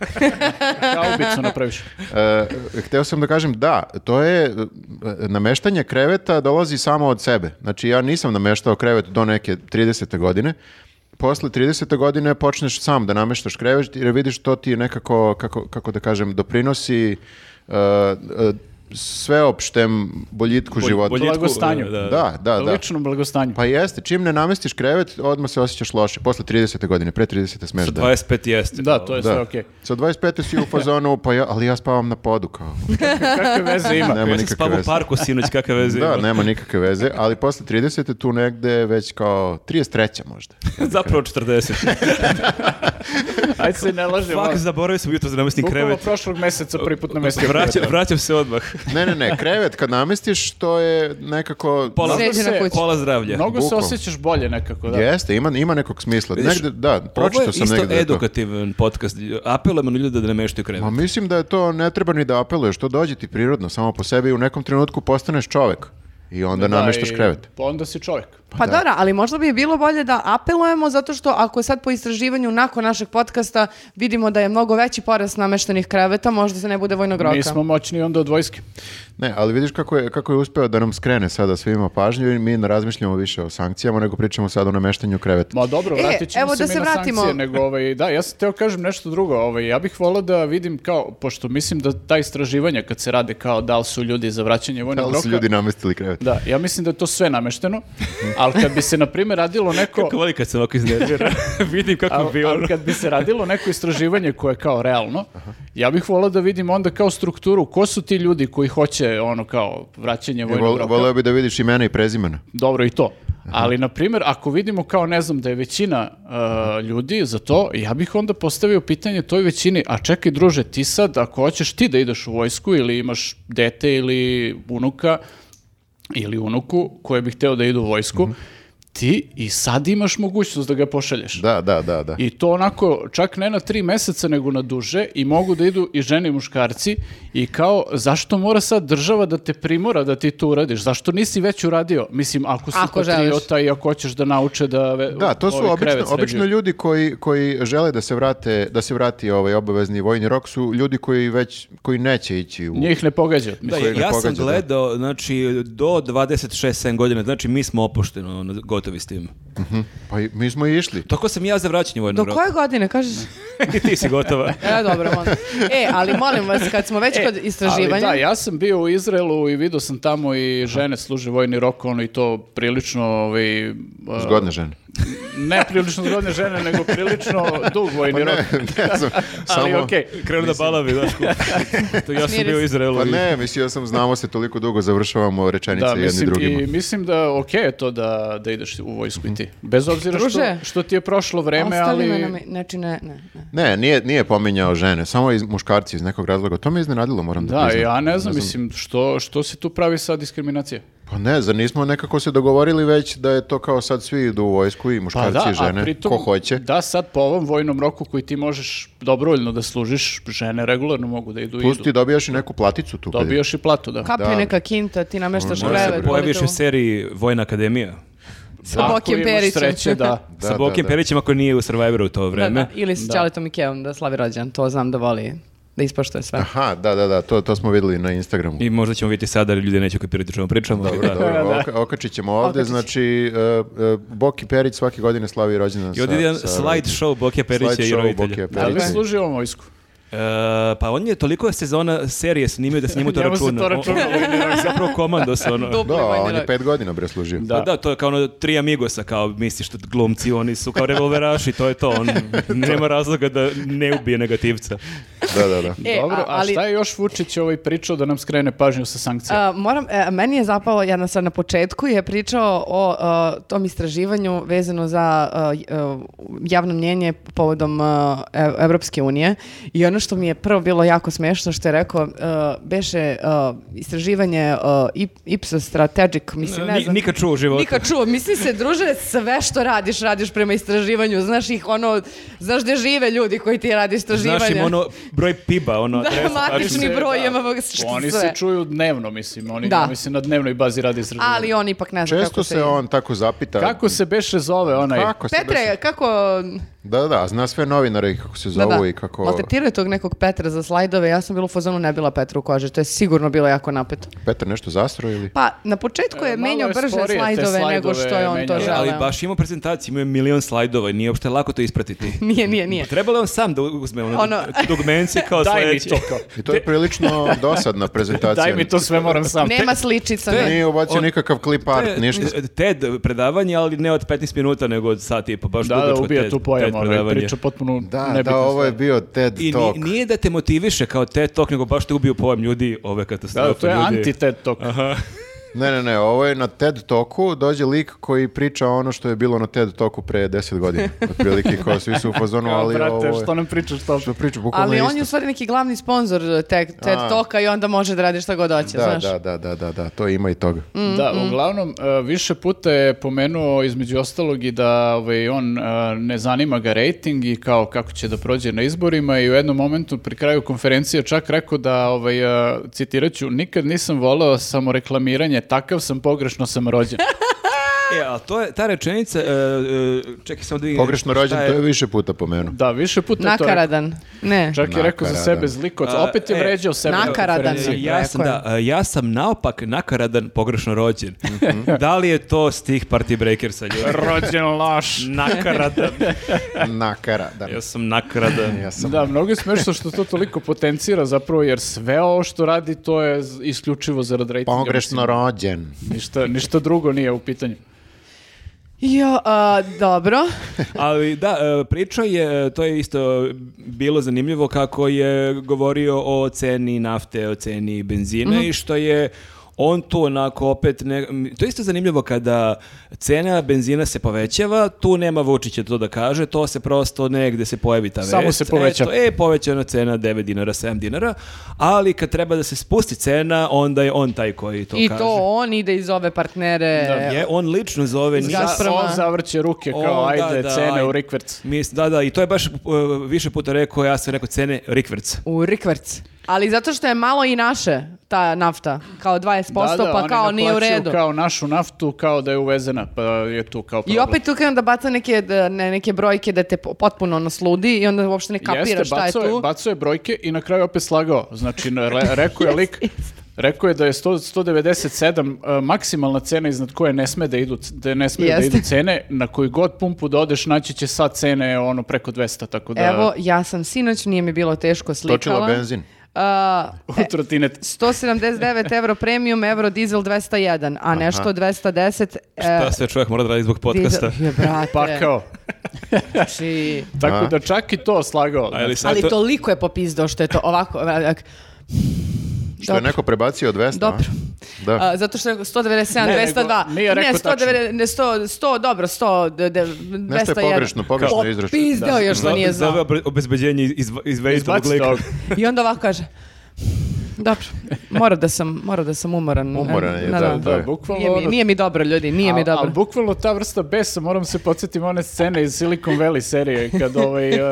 Speaker 4: Haubicu napraviš.
Speaker 2: E, hteo sam da kažem, da, to je, e, nameštanje kreveta dolazi samo od sebe. Znači, ja nisam nameštao krevet do neke 30. godine, posle 30. godine počneš sam da nameštaš krevet jer vidiš to ti je nekako, kako, kako da kažem, doprinosi e, e, sveopštem boljitku
Speaker 3: Bolj-
Speaker 2: života.
Speaker 3: boljitku,
Speaker 4: Blagostanju.
Speaker 3: Da, da.
Speaker 2: Da, (laughs) da, da.
Speaker 4: Ličnom blagostanju.
Speaker 2: Pa jeste, čim ne namestiš krevet, odmah se osjećaš loše. Posle 30. godine, pre 30. smeš da...
Speaker 3: 25 jeste. pa ono.
Speaker 4: Da, to je sve
Speaker 2: Da.
Speaker 4: okej.
Speaker 2: Sa 25. si u fazonu, pa ja, ali ja spavam na podu kao.
Speaker 4: Kakve veze ima?
Speaker 2: Nema
Speaker 3: Ja sam
Speaker 2: nikakve
Speaker 3: spavao u
Speaker 2: veze.
Speaker 3: parku sinoć, kakve veze
Speaker 2: Da,
Speaker 3: ima.
Speaker 2: nema nikakve veze, ali posle 30. tu negde već kao 33. možda.
Speaker 3: Zapravo (laughs) 40.
Speaker 4: Ajde se ne lažemo.
Speaker 3: Fak, zaboravio sam jutro za namestni
Speaker 4: Bukvalno
Speaker 3: krevet.
Speaker 4: prošlog meseca prvi put na mestu.
Speaker 3: Vraća- vraćam se odmah.
Speaker 2: Ne, ne, ne, krevet kad namestiš, to je nekako...
Speaker 3: Pola,
Speaker 1: Sređena kuća.
Speaker 3: pola zdravlja.
Speaker 4: Mnogo se
Speaker 2: Bukvalno.
Speaker 4: osjećaš bolje nekako, da.
Speaker 2: Jeste, ima, ima nekog smisla. Negde, da,
Speaker 3: Ovo je
Speaker 2: pročitao sam
Speaker 3: isto
Speaker 2: negde. da je to.
Speaker 3: edukativan podcast. Apelujemo na ljude da ne meštaju krevet.
Speaker 2: Ma mislim da je to, ne treba ni da apeluješ, to dođe ti prirodno, samo po sebi u nekom trenutku postaneš čovek i onda nameštaš
Speaker 4: i
Speaker 2: krevet.
Speaker 4: Onda si čovjek.
Speaker 1: Pa dobro, ali možda bi bilo bolje da apelujemo zato što ako sad po istraživanju nakon našeg podcasta vidimo da je mnogo veći porast nameštenih kreveta, možda se ne bude vojnog roka.
Speaker 4: Mi smo moćni onda od vojske.
Speaker 2: Ne, ali vidiš kako je, kako je uspeo da nam skrene sada svima pažnju i mi ne razmišljamo više o sankcijama, nego pričamo sad o nameštanju kreveta.
Speaker 4: Ma dobro,
Speaker 1: E,
Speaker 4: vratit ćemo
Speaker 1: evo
Speaker 4: se
Speaker 1: da
Speaker 4: mi
Speaker 1: se
Speaker 4: na
Speaker 1: vratimo.
Speaker 4: sankcije, nego ovaj, da, ja sam teo kažem nešto drugo, ovaj, ja bih volao da vidim kao, pošto mislim da ta istraživanja kad se rade kao da li su ljudi za vraćanje
Speaker 2: Da
Speaker 4: vojnog
Speaker 2: li su
Speaker 4: roka,
Speaker 2: ljudi namestili krevet?
Speaker 4: da, ja mislim da je to sve namešteno, ali kad bi se, na primjer, radilo
Speaker 2: (laughs)
Speaker 4: neko...
Speaker 3: Kako voli kad se ovako iznervira. (laughs) Vidim kako
Speaker 4: Ali,
Speaker 3: bi ono.
Speaker 4: ali kad bi se radilo neko istraživanje koje je kao realno, ja bih volao da vidim onda kao strukturu ko su ti ljudi koji hoće ono kao vraćanje
Speaker 2: I
Speaker 4: vojnog
Speaker 2: Vol,
Speaker 4: roka.
Speaker 2: voleo bi da vidiš imena i prezimena.
Speaker 4: Dobro i to. Ali, na primjer, ako vidimo kao, ne znam, da je većina uh, ljudi za to, ja bih onda postavio pitanje toj većini, a čekaj druže, ti sad, ako hoćeš ti da ideš u vojsku ili imaš dete ili unuka ili unuku koje bi hteo da idu u vojsku, ti i sad imaš mogućnost da ga pošalješ.
Speaker 2: Da, da, da, da.
Speaker 4: I to onako, čak ne na tri meseca, nego na duže i mogu da idu i žene i muškarci i kao, zašto mora sad država da te primora da ti to uradiš? Zašto nisi već uradio? Mislim, ako si
Speaker 1: Ako želiš.
Speaker 4: patriota i ako hoćeš da nauče da... ve-
Speaker 2: Da, to su
Speaker 4: ovaj
Speaker 2: obično,
Speaker 4: krevet
Speaker 2: obično
Speaker 4: sređuju.
Speaker 2: ljudi koji, koji žele da se vrate, da se vrati ovaj obavezni vojni rok su ljudi koji već koji neće ići u
Speaker 4: Njih ne pogađa.
Speaker 3: Da,
Speaker 2: Koji ga
Speaker 3: ja sam
Speaker 2: pogađa, da.
Speaker 3: gledao, znači, do 26-7 godina, znači, mi smo opušteno ono, gotovi s tim.
Speaker 2: pa i- mi smo i išli.
Speaker 3: Tako sam i ja za vraćanje
Speaker 1: Do
Speaker 3: vojnog roka.
Speaker 1: koje godine, kažeš?
Speaker 3: (laughs) I ti si gotova.
Speaker 1: E, dobro, molim. E, ali molim vas, kad smo već kod istraživanja...
Speaker 4: E, Ali da, ja sam bio u Izraelu i vidio sam tamo i žene služe vojni rok, ono i to prilično, ovaj, uh,
Speaker 2: Zgodne žene.
Speaker 4: ne prilično zgodne žene, nego
Speaker 2: (laughs)
Speaker 4: prilično dug vojni
Speaker 2: Pa Ne,
Speaker 4: rok.
Speaker 2: (laughs) ne znam,
Speaker 4: (laughs) Ali
Speaker 2: samo-
Speaker 4: okej.
Speaker 3: Krenu da balavi, znaš ko. To ja sam
Speaker 1: Smiri
Speaker 3: bio u
Speaker 1: se.
Speaker 3: Izraelu.
Speaker 2: Pa
Speaker 3: i-
Speaker 2: ne, mislio sam, znamo se toliko dugo, završavamo rečenice
Speaker 4: Da,
Speaker 2: jedni
Speaker 4: mislim,
Speaker 2: drugima.
Speaker 4: i mislim da ok je to da, da ideš u vojsku i ti. Bez obzira
Speaker 1: Druže,
Speaker 4: što, što ti je prošlo vreme,
Speaker 1: Ostali me
Speaker 4: ali...
Speaker 1: na me- znači, ne, ne, ne.
Speaker 2: Ne, nije, nije pominjao žene, samo iz, muškarci iz nekog razloga. To me iznenadilo, moram da,
Speaker 4: Da,
Speaker 2: priznam.
Speaker 4: ja ne znam, mislim, što, što se tu pravi sad diskriminacija?
Speaker 2: Pa ne, zar nismo nekako se dogovorili već da je to kao sad svi idu u vojsku i
Speaker 4: Pa
Speaker 2: muškarci i žene, ko hoće.
Speaker 4: Da, sad po ovom vojnom roku koji ti možeš dobrovoljno da služiš, žene regularno mogu da idu i
Speaker 2: Plus
Speaker 4: idu.
Speaker 2: ti dobijaš i neku platicu tu. kad je-
Speaker 4: Dobijaš i platu, da.
Speaker 1: Kapi
Speaker 2: Da.
Speaker 1: neka kinta, ti nameštaš
Speaker 2: Može
Speaker 3: Da
Speaker 1: krevet.
Speaker 3: se pojaviš
Speaker 1: budete
Speaker 3: u
Speaker 1: u-
Speaker 3: seriji Vojna akademija.
Speaker 1: Sa Bokim
Speaker 4: Ako imaš
Speaker 1: Perićem. (laughs)
Speaker 4: sreće, da.
Speaker 2: Da,
Speaker 3: sa
Speaker 2: da,
Speaker 3: Bokim
Speaker 2: da.
Speaker 3: Perićem ako nije u Survivoru u to
Speaker 1: Da,
Speaker 3: vreme.
Speaker 1: da, ili s Ćaletom Ikeom da slavi rođan, to znam da voli da ispoštuje sve.
Speaker 2: Aha, da, da, da, to, to smo videli na Instagramu.
Speaker 3: I možda ćemo vidjeti sada, jer ljudi neće kopirati o čemu pričamo. ali (laughs) da.
Speaker 2: Dobro, oka- okačit ćemo ovde,
Speaker 1: Okačit.
Speaker 2: znači e, e, Boki Perić svake godine slavi rođendan
Speaker 3: I ovdje je jedan
Speaker 2: sa- sa
Speaker 3: slide
Speaker 2: roditeljima.
Speaker 3: show Bokija Perića i
Speaker 2: Slideshow
Speaker 3: roditelja.
Speaker 2: Bokija
Speaker 4: (laughs) Da li
Speaker 2: Perića.
Speaker 4: služi ovom vojsku?
Speaker 3: E, pa on je toliko sezona serije snimio da se njemu
Speaker 1: (laughs)
Speaker 3: to
Speaker 4: Njemu
Speaker 3: računa.
Speaker 4: se to
Speaker 3: On-
Speaker 4: računa,
Speaker 3: on- on je zapravo komando se ono.
Speaker 1: Dupli
Speaker 2: Da,
Speaker 1: vojni
Speaker 2: on je
Speaker 1: rok.
Speaker 2: pet godina bre služio.
Speaker 4: Da.
Speaker 3: Pa Da. to je kao ono tri amigosa, kao misliš što glumci, oni su kao revolveraši, to je to,
Speaker 1: (laughs)
Speaker 3: on nema razloga da ne ubije negativca.
Speaker 2: da, da. da.
Speaker 1: E,
Speaker 4: Dobro, a,
Speaker 1: a- ali-
Speaker 4: šta je još Vučić ovaj pričao da nam skrene pažnju sa sankcijama?
Speaker 1: A, moram, e, meni je zapao jedna stvar na početku je pričao o a, tom istraživanju vezano za a, j- a, javno mnjenje povodom a, Ev- Evropske unije i ono što mi je prvo bilo jako smešno što je rekao a, beše a, istraživanje a, Ip- Ipsos Strategic, mislim ne
Speaker 3: Ni-
Speaker 1: znam.
Speaker 3: nikad čuo u životu.
Speaker 1: Nikad čuo, misli se, druže, sve što radiš, radiš prema istraživanju, znaš ih ono, znaš gde žive ljudi koji ti radi istraživanje.
Speaker 3: Znaš im
Speaker 1: (laughs)
Speaker 3: ono broj piba, ono
Speaker 1: Da,
Speaker 3: adresa,
Speaker 1: matični
Speaker 3: tačno.
Speaker 1: mi broj
Speaker 4: Da.
Speaker 1: ima što
Speaker 4: Oni se
Speaker 1: sve.
Speaker 4: čuju dnevno, mislim. Oni,
Speaker 1: Da.
Speaker 4: mislim, na dnevnoj bazi radi istraživanje.
Speaker 1: Ali on ipak ne zna
Speaker 2: Često
Speaker 1: kako
Speaker 2: se on tako zapita.
Speaker 4: Kako se beše zove onaj?
Speaker 2: Kako se
Speaker 1: Petre,
Speaker 2: beše-
Speaker 1: kako...
Speaker 2: Da, da, zna sve novinare i kako se
Speaker 1: Da,
Speaker 2: zovu
Speaker 1: da.
Speaker 2: i kako...
Speaker 1: Maltretirao je tog nekog Petra za slajdove, ja sam bila u fazonu ne bila Petra u koži, to je sigurno bilo jako napeto.
Speaker 2: Petar nešto zastro ili...
Speaker 1: Pa, na početku je
Speaker 4: E, malo
Speaker 1: menjao
Speaker 4: je
Speaker 1: brže
Speaker 4: sporije te
Speaker 1: slajdove nego
Speaker 4: slajdove
Speaker 1: što je on to
Speaker 4: menjao.
Speaker 1: želeo.
Speaker 3: E, Ali baš ima prezentaciju, ima milion slajdova i nije uopšte lako to ispratiti.
Speaker 1: (laughs)
Speaker 3: Pa
Speaker 1: Nije, nije, nije.
Speaker 3: Trebalo je on sam da uzme ono, (laughs)
Speaker 1: Ono-
Speaker 3: dugmenci kao
Speaker 4: Daj mi
Speaker 3: sledeći.
Speaker 4: to kao.
Speaker 2: I to je
Speaker 4: (laughs)
Speaker 2: prilično dosadna prezentacija.
Speaker 4: Daj mi to sve, moram sam.
Speaker 1: Nema sličica. ne.
Speaker 2: Nije ubacio
Speaker 3: On-
Speaker 2: nikakav klip art, ništa.
Speaker 3: e, TED predavanje, ali ne od 15 minuta, nego od sat i po, baš
Speaker 4: Da, da,
Speaker 3: dugačko
Speaker 4: ubija
Speaker 3: TED-
Speaker 4: tu pojam,
Speaker 3: TED
Speaker 4: ali
Speaker 3: predavanje.
Speaker 4: priča potpuno
Speaker 2: Da,
Speaker 4: nebitna
Speaker 2: da, ovo je
Speaker 4: stvar.
Speaker 2: bio TED
Speaker 3: I ni-
Speaker 2: Talk.
Speaker 3: nije da te motiviše kao TED Talk, nego baš te ubio pojam ljudi, ove katastrofe.
Speaker 4: Da, to je
Speaker 3: ljudi.
Speaker 4: anti-TED Talk.
Speaker 2: Ne, ne, ne, ovo je na TED Talku, dođe lik koji priča ono što je bilo na TED Talku pre 10
Speaker 4: (laughs)
Speaker 2: godina, otprilike, kao svi su u fazonu,
Speaker 4: Kao,
Speaker 2: ali
Speaker 4: brate,
Speaker 2: ovo je...
Speaker 4: što nam pričaš to?
Speaker 2: Što priča, bukvalno
Speaker 1: Ali
Speaker 2: je
Speaker 1: on
Speaker 2: isto.
Speaker 1: je u stvari neki glavni sponsor TED, TED
Speaker 2: A.
Speaker 1: Talka i onda može da radi šta god hoće,
Speaker 2: Da,
Speaker 1: znaš.
Speaker 2: da, da, da, da, da, to ima i toga.
Speaker 1: Mm,
Speaker 4: Da, uglavnom, e, više puta je pomenuo između ostalog i da ovaj, on e, ne zanima ga rating i kao kako će da prođe na izborima i u jednom momentu pri kraju konferencije čak rekao da, ovaj, e, citirat ću, nikad nisam voleo samoreklamiranje, takav sam, pogrešno
Speaker 1: (laughs)
Speaker 4: sam rođen.
Speaker 3: E, a to je, ta rečenica, e, e, čekaj samo da vidim.
Speaker 2: Pogrešno
Speaker 3: šta
Speaker 2: rođen, to je više puta
Speaker 4: (laughs)
Speaker 2: pomenuo.
Speaker 4: Da, više puta je to rekao.
Speaker 1: Nakaradan. Ne.
Speaker 4: Čak je rekao za
Speaker 2: Nakaradan.
Speaker 4: sebe zlikovac,
Speaker 3: A,
Speaker 4: opet je
Speaker 3: e,
Speaker 4: vređao sebe. na
Speaker 1: nakaradan.
Speaker 4: konferenciji.
Speaker 1: Nakaradan.
Speaker 3: Ja sam, da,
Speaker 1: Rekao
Speaker 3: e, ja sam naopak nakaradan pogrešno rođen.
Speaker 2: Mhm.
Speaker 3: da li je to stih Party Breakersa,
Speaker 4: (laughs)
Speaker 3: ljudi?
Speaker 4: Rođen laš.
Speaker 3: nakaradan.
Speaker 2: Nakara, da.
Speaker 3: Ja sam nakaradan.
Speaker 2: Ja sam
Speaker 4: (laughs) Da, mnogo je smešno što to toliko potencira zapravo, jer sve ovo što radi to je z- isključivo zarad ratinga.
Speaker 2: pogrešno rođen.
Speaker 4: mislim. Ništa, ništa drugo nije u pitanju.
Speaker 1: Jo, a, dobro.
Speaker 3: Ali da, e, priča je, e, to je isto e, bilo zanimljivo kako je govorio o ceni nafte, o ceni benzina i što je on tu onako opet, ne, m, to je isto zanimljivo kada cena benzina se povećava, tu nema Vučića to da kaže, to se prosto negde se pojavi ta
Speaker 4: Samo
Speaker 3: vest.
Speaker 4: se poveća.
Speaker 3: Eto, e, povećana cena 9 dinara, 7 dinara, ali kad treba da se spusti cena, onda je on taj koji to
Speaker 1: I
Speaker 3: kaže.
Speaker 1: to on ide i zove partnere.
Speaker 4: Da,
Speaker 3: Je, on lično zove,
Speaker 1: Iz
Speaker 3: nije-
Speaker 1: Gazproma. Prema-
Speaker 4: On zavrće ruke kao
Speaker 3: On, da,
Speaker 4: ajde,
Speaker 3: da,
Speaker 4: cene
Speaker 3: ajde.
Speaker 4: u rikverc.
Speaker 3: Mislim, da, da, i to je baš uh, više puta rekao, ja sam rekao cene rikverc.
Speaker 1: U rikverc. Ali zato što je malo i naše ta nafta, kao 20%,
Speaker 4: Da, da,
Speaker 1: pa
Speaker 4: oni
Speaker 1: kao nije u
Speaker 4: naplaćuju
Speaker 1: redu.
Speaker 4: Kao našu naftu, kao da je uvezena, pa je tu kao
Speaker 1: I
Speaker 4: problem.
Speaker 1: opet tu krenem da baca neke, da- ne, neke brojke da te po- potpuno ono sludi i onda uopšte ne kapiraš
Speaker 4: Jeste,
Speaker 1: šta je
Speaker 4: bacao
Speaker 1: tu.
Speaker 4: bacao je brojke i na kraju opet slagao. Znači, na-
Speaker 1: (laughs)
Speaker 4: re- rekao je lik, rekao je da je 100, 197 e, maksimalna cena iznad koje ne sme da idu, c- da ne sme da
Speaker 1: Jeste.
Speaker 4: idu cene, na koju god pumpu da odeš naći će sad cene ono preko 200, tako da (laughs)
Speaker 1: Evo, ja sam sinoć, nije mi bilo teško slikala.
Speaker 2: Točila benzin.
Speaker 1: A,
Speaker 4: u
Speaker 1: e,
Speaker 4: trotinet.
Speaker 1: 179 euro premium, euro diesel 201, a nešto 210 E.
Speaker 3: Šta sve čovjek mora da radi zbog podcasta?
Speaker 1: Je, brate,
Speaker 4: pakao.
Speaker 1: e. znači-
Speaker 4: Tako
Speaker 2: A.
Speaker 4: da čak i to slagao. Znači,
Speaker 3: A je li sad
Speaker 1: Ali
Speaker 3: to-
Speaker 1: toliko je popizdao što je to ovako. e, ovak-
Speaker 2: Što je
Speaker 1: Dobro.
Speaker 2: neko prebacio 200, a?
Speaker 1: Dobro.
Speaker 2: Da.
Speaker 1: A, zato što je 197,
Speaker 4: Ne,
Speaker 1: 202.
Speaker 4: nego nije rekao
Speaker 1: ne, 190, ne, 100, 100, dobro, 100, de, de,
Speaker 2: Nešto
Speaker 1: 201.
Speaker 2: je pogrešno, pogrešno izračun.
Speaker 1: Popizdao je što
Speaker 3: Za-
Speaker 1: nije
Speaker 3: Zove
Speaker 1: znao.
Speaker 3: obe- obezbeđenje iz, iz, vegetog
Speaker 4: Izbaci
Speaker 3: lika.
Speaker 4: tog.
Speaker 1: I onda ovako kaže, dobro, mora da sam, mora da sam umoran.
Speaker 2: (laughs) Umoran je, da, da.
Speaker 4: Da,
Speaker 2: je.
Speaker 4: bukvalno
Speaker 1: Nije mi,
Speaker 4: ono-
Speaker 1: nije mi dobro, ljudi, nije mi
Speaker 4: Al- al
Speaker 1: dobro.
Speaker 4: bukvalno ta vrsta besa, moram se podsjetiti one scene iz Silicon Valley serije, kad
Speaker 1: (laughs)
Speaker 4: ovaj, e,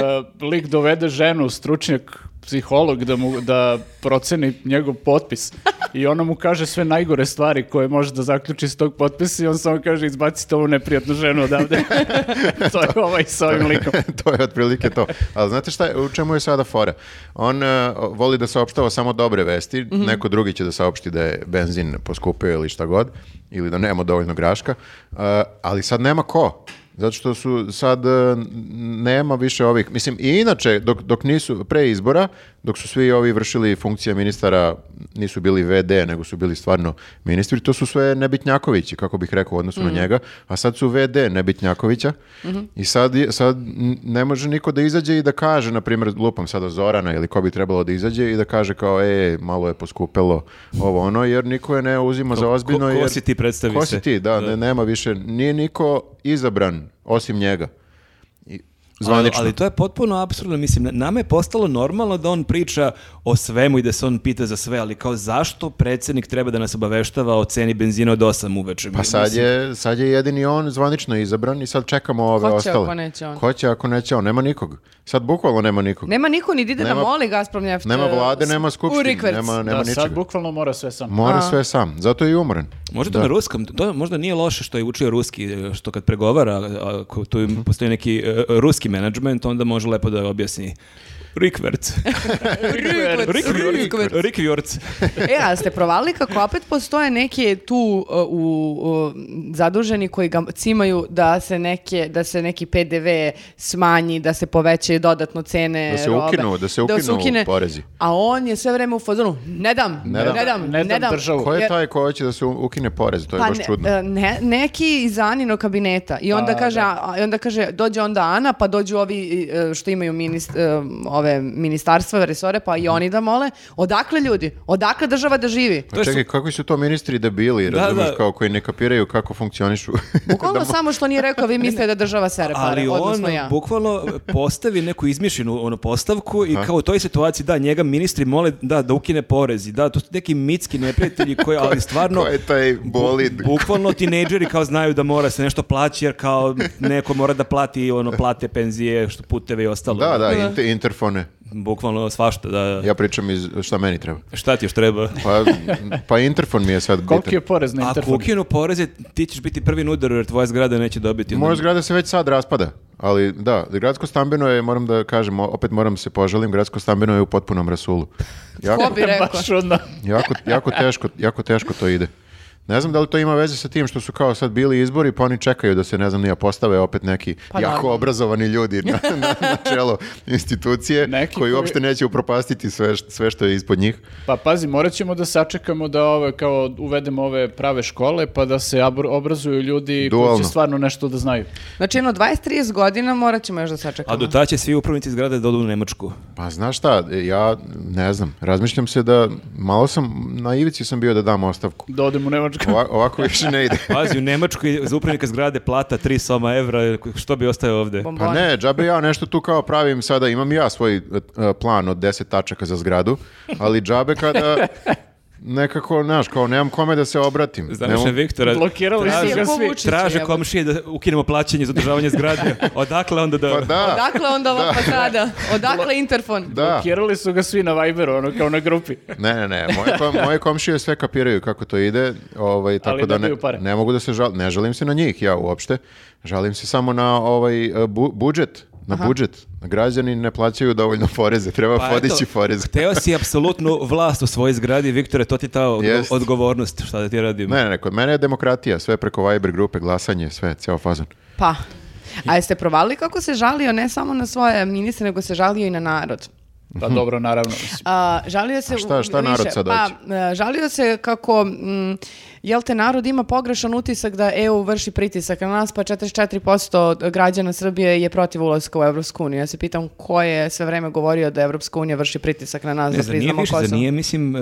Speaker 4: lik dovede ženu, stručnjak, psiholog, da, mu, da proceni njegov potpis. I ona mu kaže sve najgore stvari koje može da zaključi iz tog potpisa i on samo kaže izbacite ovu neprijatnu
Speaker 2: (laughs)
Speaker 4: ženu odavde. to je ovaj sa ovim likom.
Speaker 2: to je otprilike to. Ali znate šta, je- u čemu je sada fora? On e, voli da saopštava samo dobre vesti,
Speaker 1: Mhm.
Speaker 2: neko drugi će da saopšti da je benzin poskupio ili šta god, ili da nema dovoljno graška, E, ali sad nema ko. Zato što su sad e, n- nema više ovih, mislim i inače dok, dok nisu pre izbora, dok su svi ovi vršili funkcije ministara, nisu bili VD, nego su bili stvarno ministri, to su sve Nebitnjakovići, kako bih rekao u odnosu na njega, a sad su VD Nebitnjakovića i sad, je- sad n- ne može niko da izađe i da kaže, na primjer, lupam sada Zorana ili ko bi trebalo da izađe i da kaže kao, e, malo je poskupelo ovo ono, jer niko je ne uzima za ozbiljno.
Speaker 3: ko- ko
Speaker 2: jer-
Speaker 3: si ti, predstavi
Speaker 2: ko
Speaker 3: se.
Speaker 2: si ti, da, ne- nema više, nije niko izabran osim njega. I,
Speaker 3: Ali,
Speaker 2: zvanično.
Speaker 3: ali to je potpuno apsurdno, mislim, na- nama je postalo normalno da on priča o svemu i da se on pita za sve, ali kao zašto predsjednik treba da nas obaveštava o ceni benzina od 8 uveče?
Speaker 2: Pa sad je, sad je jedini on zvanično izabran i sad čekamo ove
Speaker 1: Ko će
Speaker 2: ostale.
Speaker 1: ako neće on?
Speaker 2: Ko će ako neće on? Nema nikog. Sad bukvalno nema nikog.
Speaker 1: Nema niko ni ide da
Speaker 2: Nema-
Speaker 1: moli Gazprom neft.
Speaker 2: nema
Speaker 1: e,
Speaker 2: vlade, nema
Speaker 1: u
Speaker 2: skupštine,
Speaker 1: rikverc. (laughs)
Speaker 2: nema, nema
Speaker 4: da,
Speaker 2: ničega.
Speaker 4: sad bukvalno mora sve sam.
Speaker 2: Mora sve sam, zato je i umoran.
Speaker 3: Možda to na ruskom, to možda nije loše što je učio ruski, što kad pregovara, a- ako tu
Speaker 2: Mhm.
Speaker 3: im postoji neki e, ruski menadžment, onda može lepo da objasni. Rikverc.
Speaker 1: (laughs) Rikverc, rikverc.
Speaker 3: Rikverc.
Speaker 1: E, ali ste provali kako opet postoje neke tu uh, u, u, zaduženi koji ga cimaju da se, neke, da se neki PDV smanji, da se povećaju dodatno cene
Speaker 2: Da se
Speaker 1: robe.
Speaker 2: ukinu, da se ukinu porezi.
Speaker 1: A on je sve vreme u fazonu, ne dam, ne dam, ne dam,
Speaker 4: Ne dam državu.
Speaker 2: Ko je
Speaker 1: Jer-
Speaker 2: taj ko hoće da se u- ukine porez? To je
Speaker 1: Pa
Speaker 2: baš
Speaker 1: ne,
Speaker 2: čudno.
Speaker 1: e, ne, neki iz Anino kabineta i onda
Speaker 4: Pa,
Speaker 1: kaže,
Speaker 4: da.
Speaker 1: a- a- i onda kaže, dođe onda Ana, pa dođu ovi e, što imaju minist, e, ove ove ministarstva, resore, pa i oni da mole. Odakle ljudi? Odakle država da živi?
Speaker 3: To je
Speaker 2: Pa Čekaj, kako su to ministri debili,
Speaker 3: Da,
Speaker 2: razumiješ,
Speaker 3: da.
Speaker 2: kao koji ne kapiraju kako funkcionišu.
Speaker 3: (laughs)
Speaker 1: Bukvalno samo što nije rekao, vi mislite da država sere pare,
Speaker 3: Ali ono, on
Speaker 1: odnosno ja.
Speaker 3: bukvalno postavi neku izmišljenu ono, postavku i kao u toj situaciji da njega ministri mole da, da ukine porezi, da, to su neki mitski neprijatelji
Speaker 2: (laughs)
Speaker 3: koji, ali stvarno...
Speaker 2: Ko je taj bolid?
Speaker 3: Bukvalno tinejdžeri kao znaju da mora se nešto plaći jer kao neko mora da plati ono plate, penzije, što puteve i ostalo.
Speaker 2: Da, da, inte- interfone.
Speaker 3: Bukvalno svašta da
Speaker 2: Ja pričam iz šta meni treba.
Speaker 3: šta ti još treba.
Speaker 2: Pa, pa interfon mi je sad bitan.
Speaker 4: Koliki je porez na
Speaker 3: Ako
Speaker 4: interfon?
Speaker 3: ukinu poreze, ti ćeš biti prvi nudar jer tvoja zgrada neće dobiti.
Speaker 2: Moja zgrada se već sad raspada, ali da, gradsko stambeno je, moram da kažem, o- opet moram se požalim, gradsko stambeno je u potpunom rasulu.
Speaker 1: Ko
Speaker 2: Jako,
Speaker 1: bi rekao?
Speaker 4: Baš odmah.
Speaker 2: jako, jako, teško, jako teško to ide. Ne znam da li to ima veze sa tim što su kao sad bili izbori, pa oni čekaju da se, ne znam, nija postave opet neki
Speaker 1: Pa
Speaker 2: jako
Speaker 1: naravno.
Speaker 2: obrazovani
Speaker 1: (laughs)
Speaker 2: ljudi na, na, na čelo institucije
Speaker 4: Neki
Speaker 2: koji
Speaker 4: koji-
Speaker 2: uopšte neće upropastiti sve, št- sve što je ispod njih.
Speaker 4: Pa pazi, morat ćemo da sačekamo da ove, kao uvedemo ove prave škole, pa da se abor- obrazuju ljudi koji
Speaker 2: Dualno.
Speaker 4: će stvarno nešto da znaju.
Speaker 1: Znači, jedno 20-30 godina morat ćemo još da sačekamo.
Speaker 3: A do tada će svi upravnici zgrade da odu u Nemačku.
Speaker 2: Pa znaš šta, ja ne znam, razmišljam se da malo sam, na ivici sam bio da dam ostavku.
Speaker 4: Da odem u Nemačku.
Speaker 2: Ova- ovako više ne ide.
Speaker 3: Pazi, u Nemačkoj za upravnika zgrade plata 3 soma evra, što bi ostaje ovde?
Speaker 2: Pa
Speaker 1: Bomboni.
Speaker 2: ne, džabe ja nešto tu kao pravim sada, imam ja svoj e, e, plan od 10 tačaka za zgradu, ali džabe kada nekako, znaš, kao nemam kome da se obratim.
Speaker 3: Znaš,
Speaker 2: Nemam-
Speaker 3: Viktora,
Speaker 4: Blokirali
Speaker 1: Traži-
Speaker 4: su ga svi.
Speaker 1: Vučić je,
Speaker 3: traže
Speaker 1: jebote.
Speaker 3: komšije da ukinemo plaćanje za održavanje zgrade. Odakle onda da...
Speaker 2: Pa da,
Speaker 1: Odakle Dakle, onda ova fasada? Odakle interfon?
Speaker 2: da.
Speaker 4: Blokirali su ga svi na Viberu, ono kao na grupi.
Speaker 2: Ne, ne, ne, moje, kom- moje komšije sve kapiraju kako to ide, ovaj, tako da ne,
Speaker 4: dobiju pare.
Speaker 2: ne mogu da se žalim, ne žalim se na njih ja uopšte, žalim se samo na ovaj e, bu- budžet, na budžet. Građani ne plaćaju dovoljno poreze, treba
Speaker 3: Pa
Speaker 2: podići
Speaker 3: eto,
Speaker 2: poreze.
Speaker 3: Hteo si apsolutnu vlast u svojoj zgradi, Viktore, to ti je ta odgo-
Speaker 2: Jest.
Speaker 3: odgovornost, šta da ti radim.
Speaker 2: Ne, ne, ne, kod mene je demokratija, sve preko Viber grupe, glasanje, sve, ceo fazon.
Speaker 1: Pa. A jeste provalili kako se žalio ne samo na svoje ministre, nego se žalio i na narod?
Speaker 4: Pa
Speaker 2: Mhm.
Speaker 4: dobro, naravno. mislim.
Speaker 1: A, žalio se...
Speaker 2: A šta-
Speaker 1: u-
Speaker 2: šta narod sad
Speaker 1: Pa,
Speaker 2: hoće?
Speaker 1: e, žalio se kako, mm, jel te narod ima pogrešan utisak da EU vrši pritisak na nas, pa 44% građana Srbije je protiv ulaska u Evropsku uniju. Ja se pitam ko je sve vreme govorio da Evropska unija vrši pritisak na nas
Speaker 3: Ne,
Speaker 1: da
Speaker 3: zar nije
Speaker 1: priznamo
Speaker 3: više, zar
Speaker 1: Kosovo.
Speaker 3: nije, mislim, e,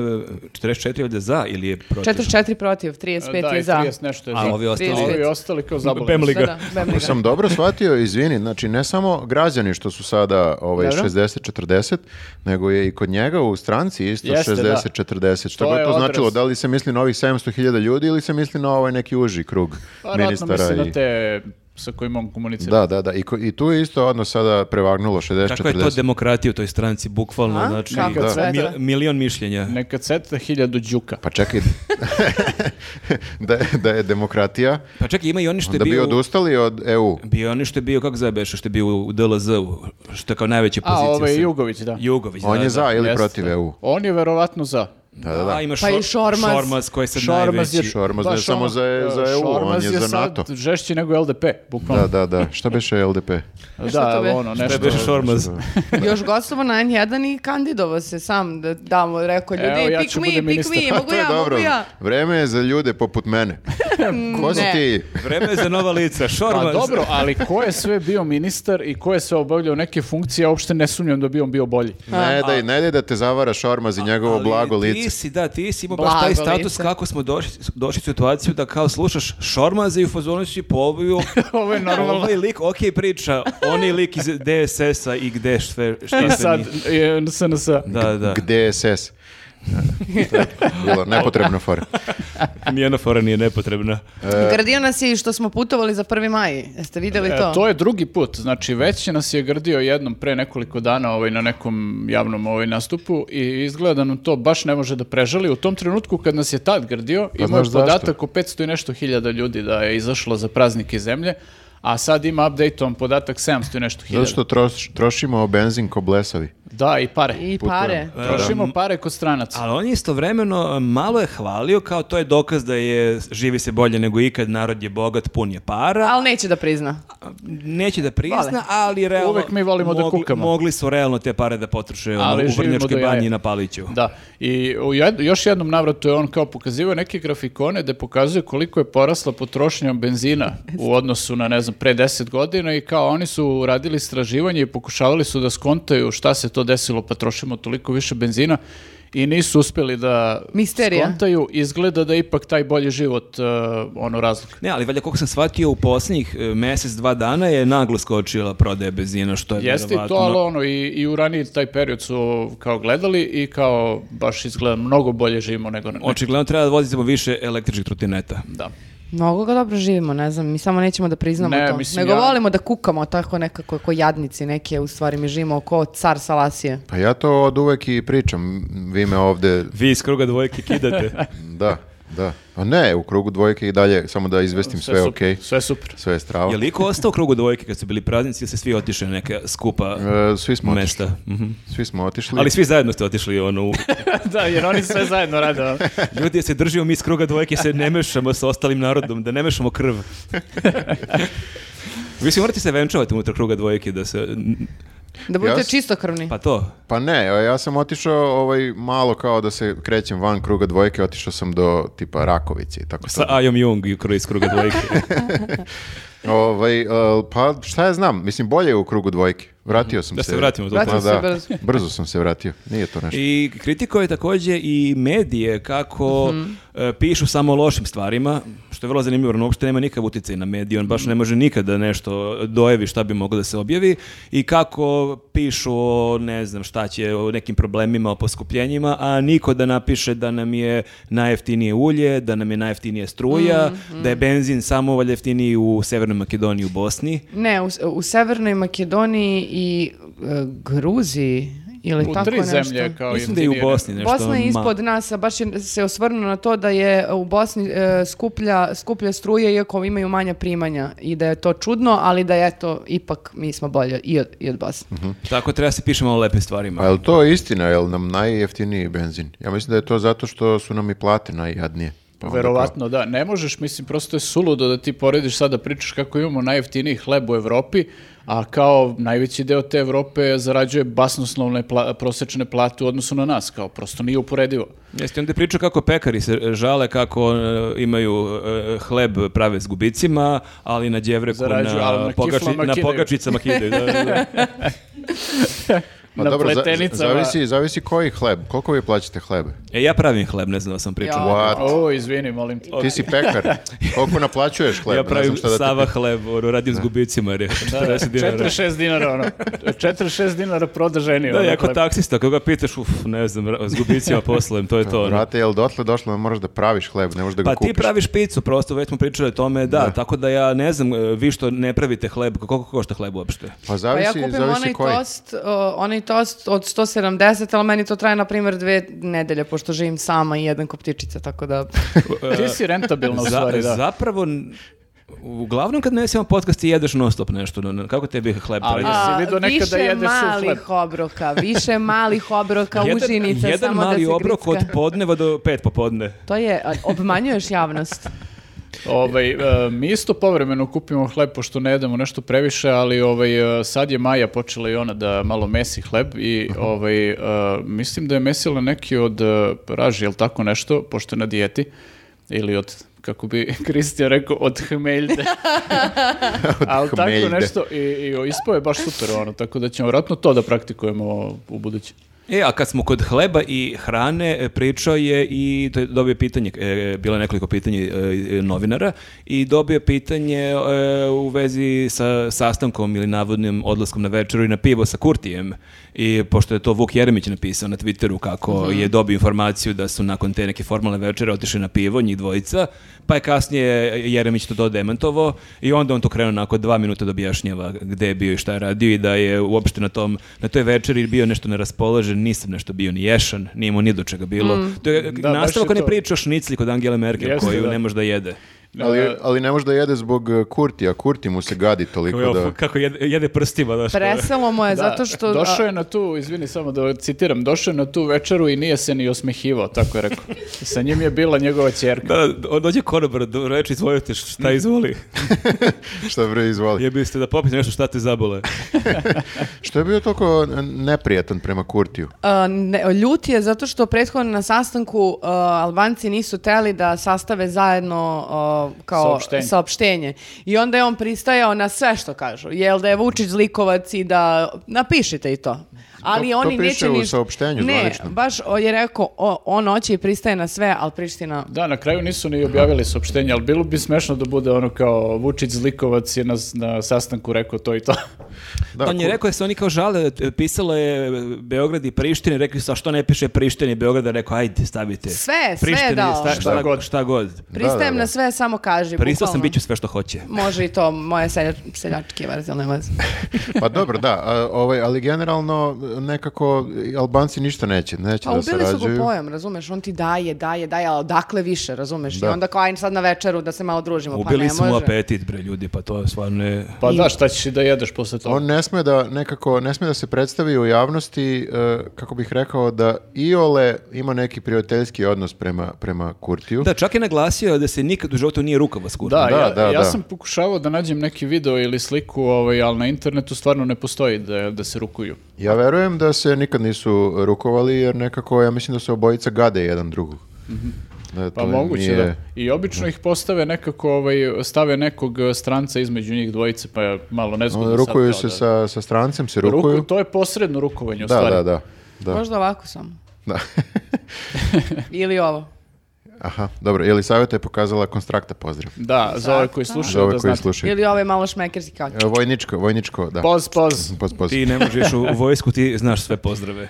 Speaker 3: 44 ovdje za ili je protiv?
Speaker 1: 44 protiv, 35
Speaker 4: da,
Speaker 1: je
Speaker 4: i
Speaker 1: za.
Speaker 4: 30 nešto je
Speaker 3: A
Speaker 4: za.
Speaker 3: ovi
Speaker 4: A
Speaker 3: ostali...
Speaker 1: Trideset.
Speaker 4: ovi ostali kao zabavljeni.
Speaker 3: Bemliga.
Speaker 1: Da, da, Bemliga.
Speaker 2: Ako sam dobro shvatio, izvini, znači ne samo građani što su sada ovaj,
Speaker 4: Dobro.
Speaker 2: 60-40, nego je i kod njega u stranci isto
Speaker 4: Jeste, da.
Speaker 2: 60-40. Šta
Speaker 4: To
Speaker 2: god
Speaker 4: je
Speaker 2: to
Speaker 4: odraz.
Speaker 2: značilo, da li se misli na ovih 700.000 ljudi ili se misli na ovaj neki uži krug
Speaker 4: Pa ratno
Speaker 2: ministara?
Speaker 4: mislim
Speaker 2: i-
Speaker 4: na te sa kojima on komunicira.
Speaker 2: Da, da, da. I, ko- I tu je isto odnos sada prevagnulo 60-40.
Speaker 3: Kako je to demokratija u toj stranci, bukvalno,
Speaker 1: A?
Speaker 3: znači,
Speaker 1: Kako
Speaker 4: Da.
Speaker 1: sve to?
Speaker 3: (laughs) mil- milion mišljenja.
Speaker 4: Neka ceta hiljadu đuka.
Speaker 2: Pa čekaj, (laughs) da, je, da je demokratija,
Speaker 3: Pa čekaj, ima i oni što je
Speaker 2: da bi
Speaker 3: bio... u-
Speaker 2: odustali od E EU.
Speaker 3: Bio oni što je bio, kako zove beše, što je bio u DLZ-u, što je kao najveća
Speaker 4: A,
Speaker 3: pozicija.
Speaker 4: ovaj
Speaker 3: sad.
Speaker 4: Jugović, da.
Speaker 3: Jugović,
Speaker 2: On
Speaker 3: da,
Speaker 2: je za ili
Speaker 4: Jeste.
Speaker 2: protiv E EU.
Speaker 4: On je verovatno za.
Speaker 2: Da, da, da.
Speaker 3: A, ima
Speaker 1: Pa i
Speaker 3: šor-
Speaker 1: Šormaz.
Speaker 3: Šormaz koji je sad
Speaker 4: Šormaz
Speaker 3: najveći.
Speaker 4: je-
Speaker 2: Šormaz
Speaker 4: Baš
Speaker 2: ne samo
Speaker 4: ono,
Speaker 2: za, za
Speaker 4: e,
Speaker 2: EU, on
Speaker 4: Šormaz
Speaker 2: je za
Speaker 4: sad
Speaker 2: NATO.
Speaker 4: žešći nego LDP, bukvalno.
Speaker 2: Da, da, da. Šta beše LDP?
Speaker 4: Da,
Speaker 1: Šta to be?
Speaker 4: ono, nešto.
Speaker 3: Šta beše Šormaz?
Speaker 1: Još gostovo na N1 i kandidovao se sam da damo, rekao ljudi,
Speaker 4: Evo, ja
Speaker 1: pick
Speaker 4: ću
Speaker 1: me,
Speaker 4: budem
Speaker 1: pick (laughs)
Speaker 4: ministar.
Speaker 1: me, mogu
Speaker 2: (laughs) to je
Speaker 1: ja,
Speaker 2: dobro.
Speaker 1: mogu ja.
Speaker 2: Vreme je za ljude poput mene. Ko si
Speaker 1: Ne.
Speaker 2: ti?
Speaker 3: Vreme je za nova lica, Šormaz.
Speaker 4: Pa dobro, ali ko je sve bio ministar i ko je sve obavljao neke funkcije, ja uopšte ne sumnjam da bi on bio bolji. (laughs)
Speaker 2: Ne daj, ne daj da te zavara šormaz i njegovo
Speaker 3: Ali
Speaker 2: blago
Speaker 3: Ti
Speaker 2: lice.
Speaker 3: si, da, ti si imao baš
Speaker 1: Blago
Speaker 3: taj status
Speaker 1: lice.
Speaker 3: kako smo došli, došli u situaciju da kao slušaš Šormaza i u fazonu si po oviju,
Speaker 4: Ovo je normalno.
Speaker 3: ovaj lik, ok priča, oni lik iz DSS-a i gde sve, šta
Speaker 4: I
Speaker 3: sve
Speaker 4: (laughs) sad
Speaker 3: nije.
Speaker 4: je SNS.
Speaker 3: Da, da.
Speaker 2: Gde SS? To je bilo nepotrebno fora.
Speaker 3: Nijena fora nije nepotrebna.
Speaker 1: Gradio nas je i što smo putovali za 1. maj. Jeste vidjeli
Speaker 4: E,
Speaker 1: to?
Speaker 4: to je drugi put, znači već je nas je grdio jednom pre nekoliko dana ovaj, na nekom javnom ovaj, nastupu i izgleda da nam to baš ne može da prežali. U tom trenutku kad nas je tad grdio, imao je
Speaker 2: znaš zašto?
Speaker 4: podatak o 500 i nešto hiljada ljudi da je izašlo za praznike zemlje, a sad ima update-om podatak 700 i nešto hiljada.
Speaker 2: Zato što troš- trošimo benzin ko blesavi.
Speaker 4: Da, i pare.
Speaker 1: I
Speaker 2: Putujem.
Speaker 1: pare.
Speaker 4: Trošimo pare kod stranaca.
Speaker 3: Ali on je istovremeno e, malo je hvalio kao to je dokaz da je živi se bolje nego ikad, narod je bogat, pun je para.
Speaker 1: Ali neće da prizna.
Speaker 3: neće da prizna,
Speaker 1: Vole.
Speaker 3: ali realno...
Speaker 4: Uvek mi volimo da
Speaker 3: mogli-
Speaker 4: kukamo.
Speaker 3: Mogli su realno te pare da potroše ono,
Speaker 4: Ali
Speaker 3: u
Speaker 4: živimo
Speaker 3: Vrnjačkoj
Speaker 4: do jaja.
Speaker 3: banji na Paliću.
Speaker 4: Da, i u jed- još jednom navratu je on kao pokazivao neke grafikone da pokazuje koliko je porasla potrošnja benzina u odnosu na, ne znam, pre 10 godina i kao oni su radili istraživanje i pokušavali su da skontaju šta se to desilo pa trošimo toliko više benzina i nisu uspeli da
Speaker 1: Misterija.
Speaker 4: skontaju. Izgleda da je ipak taj bolji život e, ono razlog.
Speaker 3: Ne, ali valjda koliko sam shvatio u posljednjih e, mjesec, dva dana je naglo skočila prodaja benzina, što je
Speaker 4: Jeste i to,
Speaker 3: verovatno-
Speaker 4: ali ono, i, i u raniji taj period su kao gledali i kao baš izgleda mnogo bolje živimo nego na
Speaker 3: Očigledno treba da vozimo više električnih trotineta.
Speaker 4: Da.
Speaker 1: Mnogo ga dobro živimo, ne znam, mi samo nećemo da priznamo
Speaker 4: Ne,
Speaker 1: to.
Speaker 4: mislim,
Speaker 1: Nego
Speaker 4: ja-
Speaker 1: volimo da kukamo tako nekako ko jadnici neke, u stvari mi živimo ko car Salasije.
Speaker 2: Pa ja to od uvek i pričam. Vi me ovde,
Speaker 3: Vi iz kruga dvojke kidate.
Speaker 2: da, da. Pa ne, u krugu dvojke i dalje, samo da izvestim sve,
Speaker 4: su-
Speaker 2: ok.
Speaker 4: Sve super.
Speaker 2: Sve je strava.
Speaker 3: je li iko ostao u krugu dvojke kad su bili praznici ili se svi otišli na neka skupa
Speaker 2: E, svi smo
Speaker 3: mesta?
Speaker 2: otišli.
Speaker 3: Mhm.
Speaker 2: Svi smo otišli.
Speaker 3: Ali svi zajedno ste otišli ono u...
Speaker 4: da, jer oni sve zajedno rade. ono.
Speaker 3: Ljudi, se držimo mi iz kruga dvojke, se ne mešamo sa ostalim narodom, da ne mešamo krv. Vi svi morate se venčavati unutar kruga dvojke da se...
Speaker 1: Da budete
Speaker 2: Jas-
Speaker 1: čistokrvni.
Speaker 3: Pa to.
Speaker 2: Pa ne, evo, ja sam otišao ovaj, malo kao da se krećem van kruga dvojke, otišao sam do tipa Rakovice i tako
Speaker 3: Sa
Speaker 2: to.
Speaker 3: Ajom Jung i kru- iz kruga dvojke.
Speaker 2: Ovaj, el, pa šta ja znam, mislim bolje je u krugu dvojke. Vratio sam
Speaker 3: Da
Speaker 2: se.
Speaker 3: se vratimo do
Speaker 2: Pa
Speaker 1: toga.
Speaker 2: da,
Speaker 1: Vratio se brzo.
Speaker 2: brzo sam se vratio, nije to nešto.
Speaker 3: I kritikao je također i medije kako
Speaker 1: Mhm.
Speaker 3: e, pišu samo o lošim stvarima, što je vrlo zanimljivo, jer on uopšte nema nikakav utjecaj na medije, on baš ne može nikada nešto dojevi šta bi moglo da se objavi i kako pišu o ne znam šta će, o nekim problemima, o poskupljenjima, a niko da napiše da nam je najjeftinije ulje, da nam je najjeftinije struja,
Speaker 1: Mhm.
Speaker 3: da je benzin samo valjda jeftiniji u Severnoj Makedoniji, u Bosni.
Speaker 1: Ne, u, u Severnoj Makedoniji i e, Gruziji ili
Speaker 4: U
Speaker 1: tako
Speaker 4: tri
Speaker 1: nešto.
Speaker 4: zemlje kao
Speaker 3: Mislim da je i u
Speaker 4: jeftinije.
Speaker 3: Bosni nešto.
Speaker 1: Bosna je
Speaker 3: ma-
Speaker 1: ispod nas, a baš je se osvrnuo na to da je u Bosni e, skuplja, skuplja struje iako imaju manja primanja i da je to čudno, ali da je to ipak mi smo bolje i od, i od Bosne.
Speaker 3: Tako treba se pišemo o lepim stvarima.
Speaker 2: Pa je li to istina, je li nam najjeftiniji benzin? Ja mislim da je to zato što su nam i plate najjadnije. Pa onda
Speaker 4: Verovatno, da. Ne možeš, mislim, prosto je suludo da ti porediš sada da pričaš kako imamo najjeftiniji hleb u Evropi, a kao najveći deo te Evrope zarađuje basnoslovne pla prosečne plate u odnosu na nas, kao prosto nije uporedivo.
Speaker 3: Jeste, onda je pričao kako pekari se e, žale kako e, imaju e, hleb prave s gubicima, ali na đevreku
Speaker 4: Zarađuju, ali
Speaker 3: na,
Speaker 4: na
Speaker 3: pogači-
Speaker 4: kiflama
Speaker 3: na
Speaker 4: kidaju.
Speaker 3: pogačicama kidaju. Da, da, da.
Speaker 2: kao-
Speaker 4: na
Speaker 2: Ma dobro, za-
Speaker 4: pletenicama.
Speaker 2: zavisi, zavisi koji hleb, koliko vi plaćate hlebe?
Speaker 3: E, ja pravim hleb, ne znam da sam pričao.
Speaker 1: Ja.
Speaker 2: What?
Speaker 4: O, izvini, molim te.
Speaker 2: Ti si
Speaker 3: (laughs)
Speaker 2: pekar, koliko naplaćuješ hleb?
Speaker 3: Ja pravim
Speaker 2: šta da te
Speaker 3: Sava
Speaker 2: pitam.
Speaker 3: hleb, ono, radim s gubicima, jer je 40 dinara.
Speaker 4: 46 dinara,
Speaker 3: (laughs)
Speaker 4: ono. 46 dinara prodaženi.
Speaker 3: Da,
Speaker 4: ono,
Speaker 3: jako
Speaker 4: hleb.
Speaker 3: taksista, koga pitaš, uf, ne znam, ra- s gubicima poslujem, to je to. ono.
Speaker 2: Brate, jel dotle došlo da moraš da praviš hleb, ne možeš da ga
Speaker 3: Pa
Speaker 2: kupiš?
Speaker 3: ti praviš picu, prosto već smo pričali o tome, da, tako da ja ne znam, e, vi što ne pravite hleb, koliko košta hleb uopšte?
Speaker 2: Pa
Speaker 1: Pa ja
Speaker 2: zavisi,
Speaker 1: kupim
Speaker 2: zavisi
Speaker 1: onaj
Speaker 2: koji. (laughs)
Speaker 1: tost, o, onaj tost od 170, ali meni to traje na primjer dve nedelje, pošto živim sama i jedan koptičica, tako da...
Speaker 4: Ti si rentabilna u
Speaker 3: Za-
Speaker 4: stvari, da.
Speaker 3: Zapravo, n- uglavnom kad ne sjećam podcast ti jedeš non stop nešto. no, no, Kako tebi hleb
Speaker 4: Ali-
Speaker 3: pravi?
Speaker 4: Jesi vidio nekada
Speaker 1: više
Speaker 4: jedeš
Speaker 1: malih
Speaker 4: sufled?
Speaker 1: obroka, više malih obroka, užinica,
Speaker 3: jedan
Speaker 1: samo
Speaker 3: mali
Speaker 1: da se
Speaker 3: obrok
Speaker 1: gricka.
Speaker 3: od podneva do pet popodne.
Speaker 1: To je, a, obmanjuješ javnost.
Speaker 4: Ovaj, e, mi isto povremeno kupimo hleb, pošto ne jedemo nešto previše, ali ovaj, e, sad je Maja počela i ona da malo mesi hleb i ovaj, e, mislim da je mesila neki od e, raži ili tako nešto, pošto je na dijeti, ili od kako bi (laughs) Kristijan rekao, od hmeljde. Ali
Speaker 2: hmeljde.
Speaker 4: tako nešto, i, i ispao je baš super, ono, tako da ćemo vjerojatno to da praktikujemo u budući.
Speaker 3: E, a kad smo kod hleba i hrane, e, pričao je i to je dobio pitanje, e, bilo je nekoliko pitanja e, e, novinara i dobio pitanje e, u vezi sa sastankom ili navodnim odlaskom na večeru i na pivo sa Kurtijem. I pošto je to Vuk Jeremić napisao na Twitteru kako
Speaker 4: Mhm.
Speaker 3: je dobio informaciju da su nakon te neke formalne večere otišli na pivo, njih dvojica, pa je kasnije Jeremić to dodemantovao i onda on to krenuo nakon dva minuta da objašnjava gde je bio i šta je radio i da je uopšte na, tom, na toj večeri bio nešto neraspoložen, nisam nešto bio ni ješan, nije mu ni do čega bilo. To je
Speaker 4: Da, baš je
Speaker 3: nastavak one
Speaker 4: to.
Speaker 3: priče o šnicli kod Angele Merkel
Speaker 4: Jeste,
Speaker 3: koju
Speaker 4: da.
Speaker 3: ne može da jede.
Speaker 2: Ali, ali ne može da jede zbog e, Kurtija. Kurti mu se gadi toliko
Speaker 3: Kako,
Speaker 2: da...
Speaker 3: kako jede, jede prstima, znaš.
Speaker 1: Preselo mu je zato što...
Speaker 4: Došao je na tu, izvini samo da citiram, došao je na tu večeru i nije se ni osmehivao, tako je
Speaker 1: (laughs)
Speaker 4: rekao. I sa njim je bila njegova ćerka.
Speaker 3: Da, da, on dođe konobar, do reči izvolite šta izvoli.
Speaker 2: (laughs) Šta bre izvali.
Speaker 3: Je biste da popite nešto šta te zabole.
Speaker 2: Što je bio toliko e, neprijetan prema Kurtiju?
Speaker 1: A, ne, ljut je zato što prethodno na sastanku a, Albanci nisu teli da sastave zajedno a, kao
Speaker 4: Saopštenje.
Speaker 1: saopštenje. I onda je on pristajao na sve što kažu. Jel da je Vučić zlikovac i da napišite i to. Ali
Speaker 2: To- to
Speaker 1: oni
Speaker 2: piše
Speaker 1: neće
Speaker 2: u
Speaker 1: niš-
Speaker 2: saopštenju
Speaker 1: Ne,
Speaker 2: zvaničnom.
Speaker 1: baš o, je rekao o, on hoće i pristaje na sve, ali Priština
Speaker 4: Da, na kraju nisu ni objavili saopštenje, ali bilo bi smešno da bude ono kao Vučić Zlikovac je na, na sastanku rekao to (laughs) i to.
Speaker 2: Da,
Speaker 3: on je
Speaker 2: Kur-
Speaker 3: rekao da se oni kao žale, e, pisalo je e, Beograd i Prištine, rekli su, a što ne piše Prištine i Beograd, rekao, ajde, stavite.
Speaker 1: Sve, sve
Speaker 3: Prištini,
Speaker 1: dao.
Speaker 3: sta- šta,
Speaker 4: Šta
Speaker 3: god.
Speaker 4: god.
Speaker 3: Šta god.
Speaker 1: pristajem
Speaker 2: da, da.
Speaker 1: na sve, samo kaži.
Speaker 3: Pristao sam,
Speaker 1: bukvalno.
Speaker 3: bit ću sve što hoće.
Speaker 1: Može i to moje selja, seljačke verzije, ali nema veze.
Speaker 2: Pa dobro, da, a, ovaj, ali generalno e, nekako Albanci ništa neće, neće
Speaker 1: Pa
Speaker 2: da
Speaker 1: ubili su
Speaker 2: sarađuju.
Speaker 1: ga pojam, razumeš, on ti daje, daje, daje, ali dakle više, razumeš?
Speaker 2: Da.
Speaker 1: I onda kao ajde sad na večeru da se malo družimo, pa
Speaker 3: Ubili
Speaker 1: ne
Speaker 3: smo mu
Speaker 1: može.
Speaker 3: apetit, bre, ljudi, pa to stvarno je...
Speaker 4: Pa da, šta ćeš i da jedeš posle toga?
Speaker 2: On ne sme da nekako ne sme da se predstavi u javnosti e, kako bih rekao da Iole ima neki prijateljski odnos prema prema Kurtiju.
Speaker 3: Da, čak je naglasio da se nikad u životu nije rukava skurno.
Speaker 4: Da,
Speaker 2: Da,
Speaker 4: ja,
Speaker 2: da,
Speaker 4: ja
Speaker 2: da.
Speaker 4: sam pokušavao da nađem neki video ili sliku, ovaj, ali na internetu stvarno ne postoji da, da se rukuju.
Speaker 2: Ja verujem da se nikad nisu rukovali jer nekako ja mislim da se obojica gade jedan drugog. Da,
Speaker 4: Pa
Speaker 2: to
Speaker 4: moguće
Speaker 2: nije- Ono,
Speaker 4: da. I obično ih postave nekako, ovaj, stave nekog eh, stranca između njih dvojice, pa je malo nezgodno. sad
Speaker 2: Ono, Rukuju
Speaker 4: kao
Speaker 2: se
Speaker 4: da-
Speaker 2: sa, sa strancem, se
Speaker 4: Ruku-
Speaker 2: rukuju.
Speaker 4: to je posredno rukovanje u
Speaker 2: da,
Speaker 4: stvari.
Speaker 2: da, da, da.
Speaker 1: Možda ovako sam.
Speaker 2: da. (laughs)
Speaker 3: E.
Speaker 1: Ili ovo.
Speaker 2: Aha, dobro. Ili savjeta je pokazala konstrakta pozdrav.
Speaker 4: Da, za ove koji
Speaker 2: Za
Speaker 4: slušaju
Speaker 2: ove
Speaker 4: da
Speaker 2: koji
Speaker 4: znate.
Speaker 2: slušaju.
Speaker 1: Ili ovo je malo šmekerski kao.
Speaker 2: E, Vojničko, vojničko, da.
Speaker 4: Poz,
Speaker 2: (laughs)
Speaker 4: poz.
Speaker 2: Poz, poz.
Speaker 3: Ti ne možeš u, u vojsku, ti znaš sve pozdrave.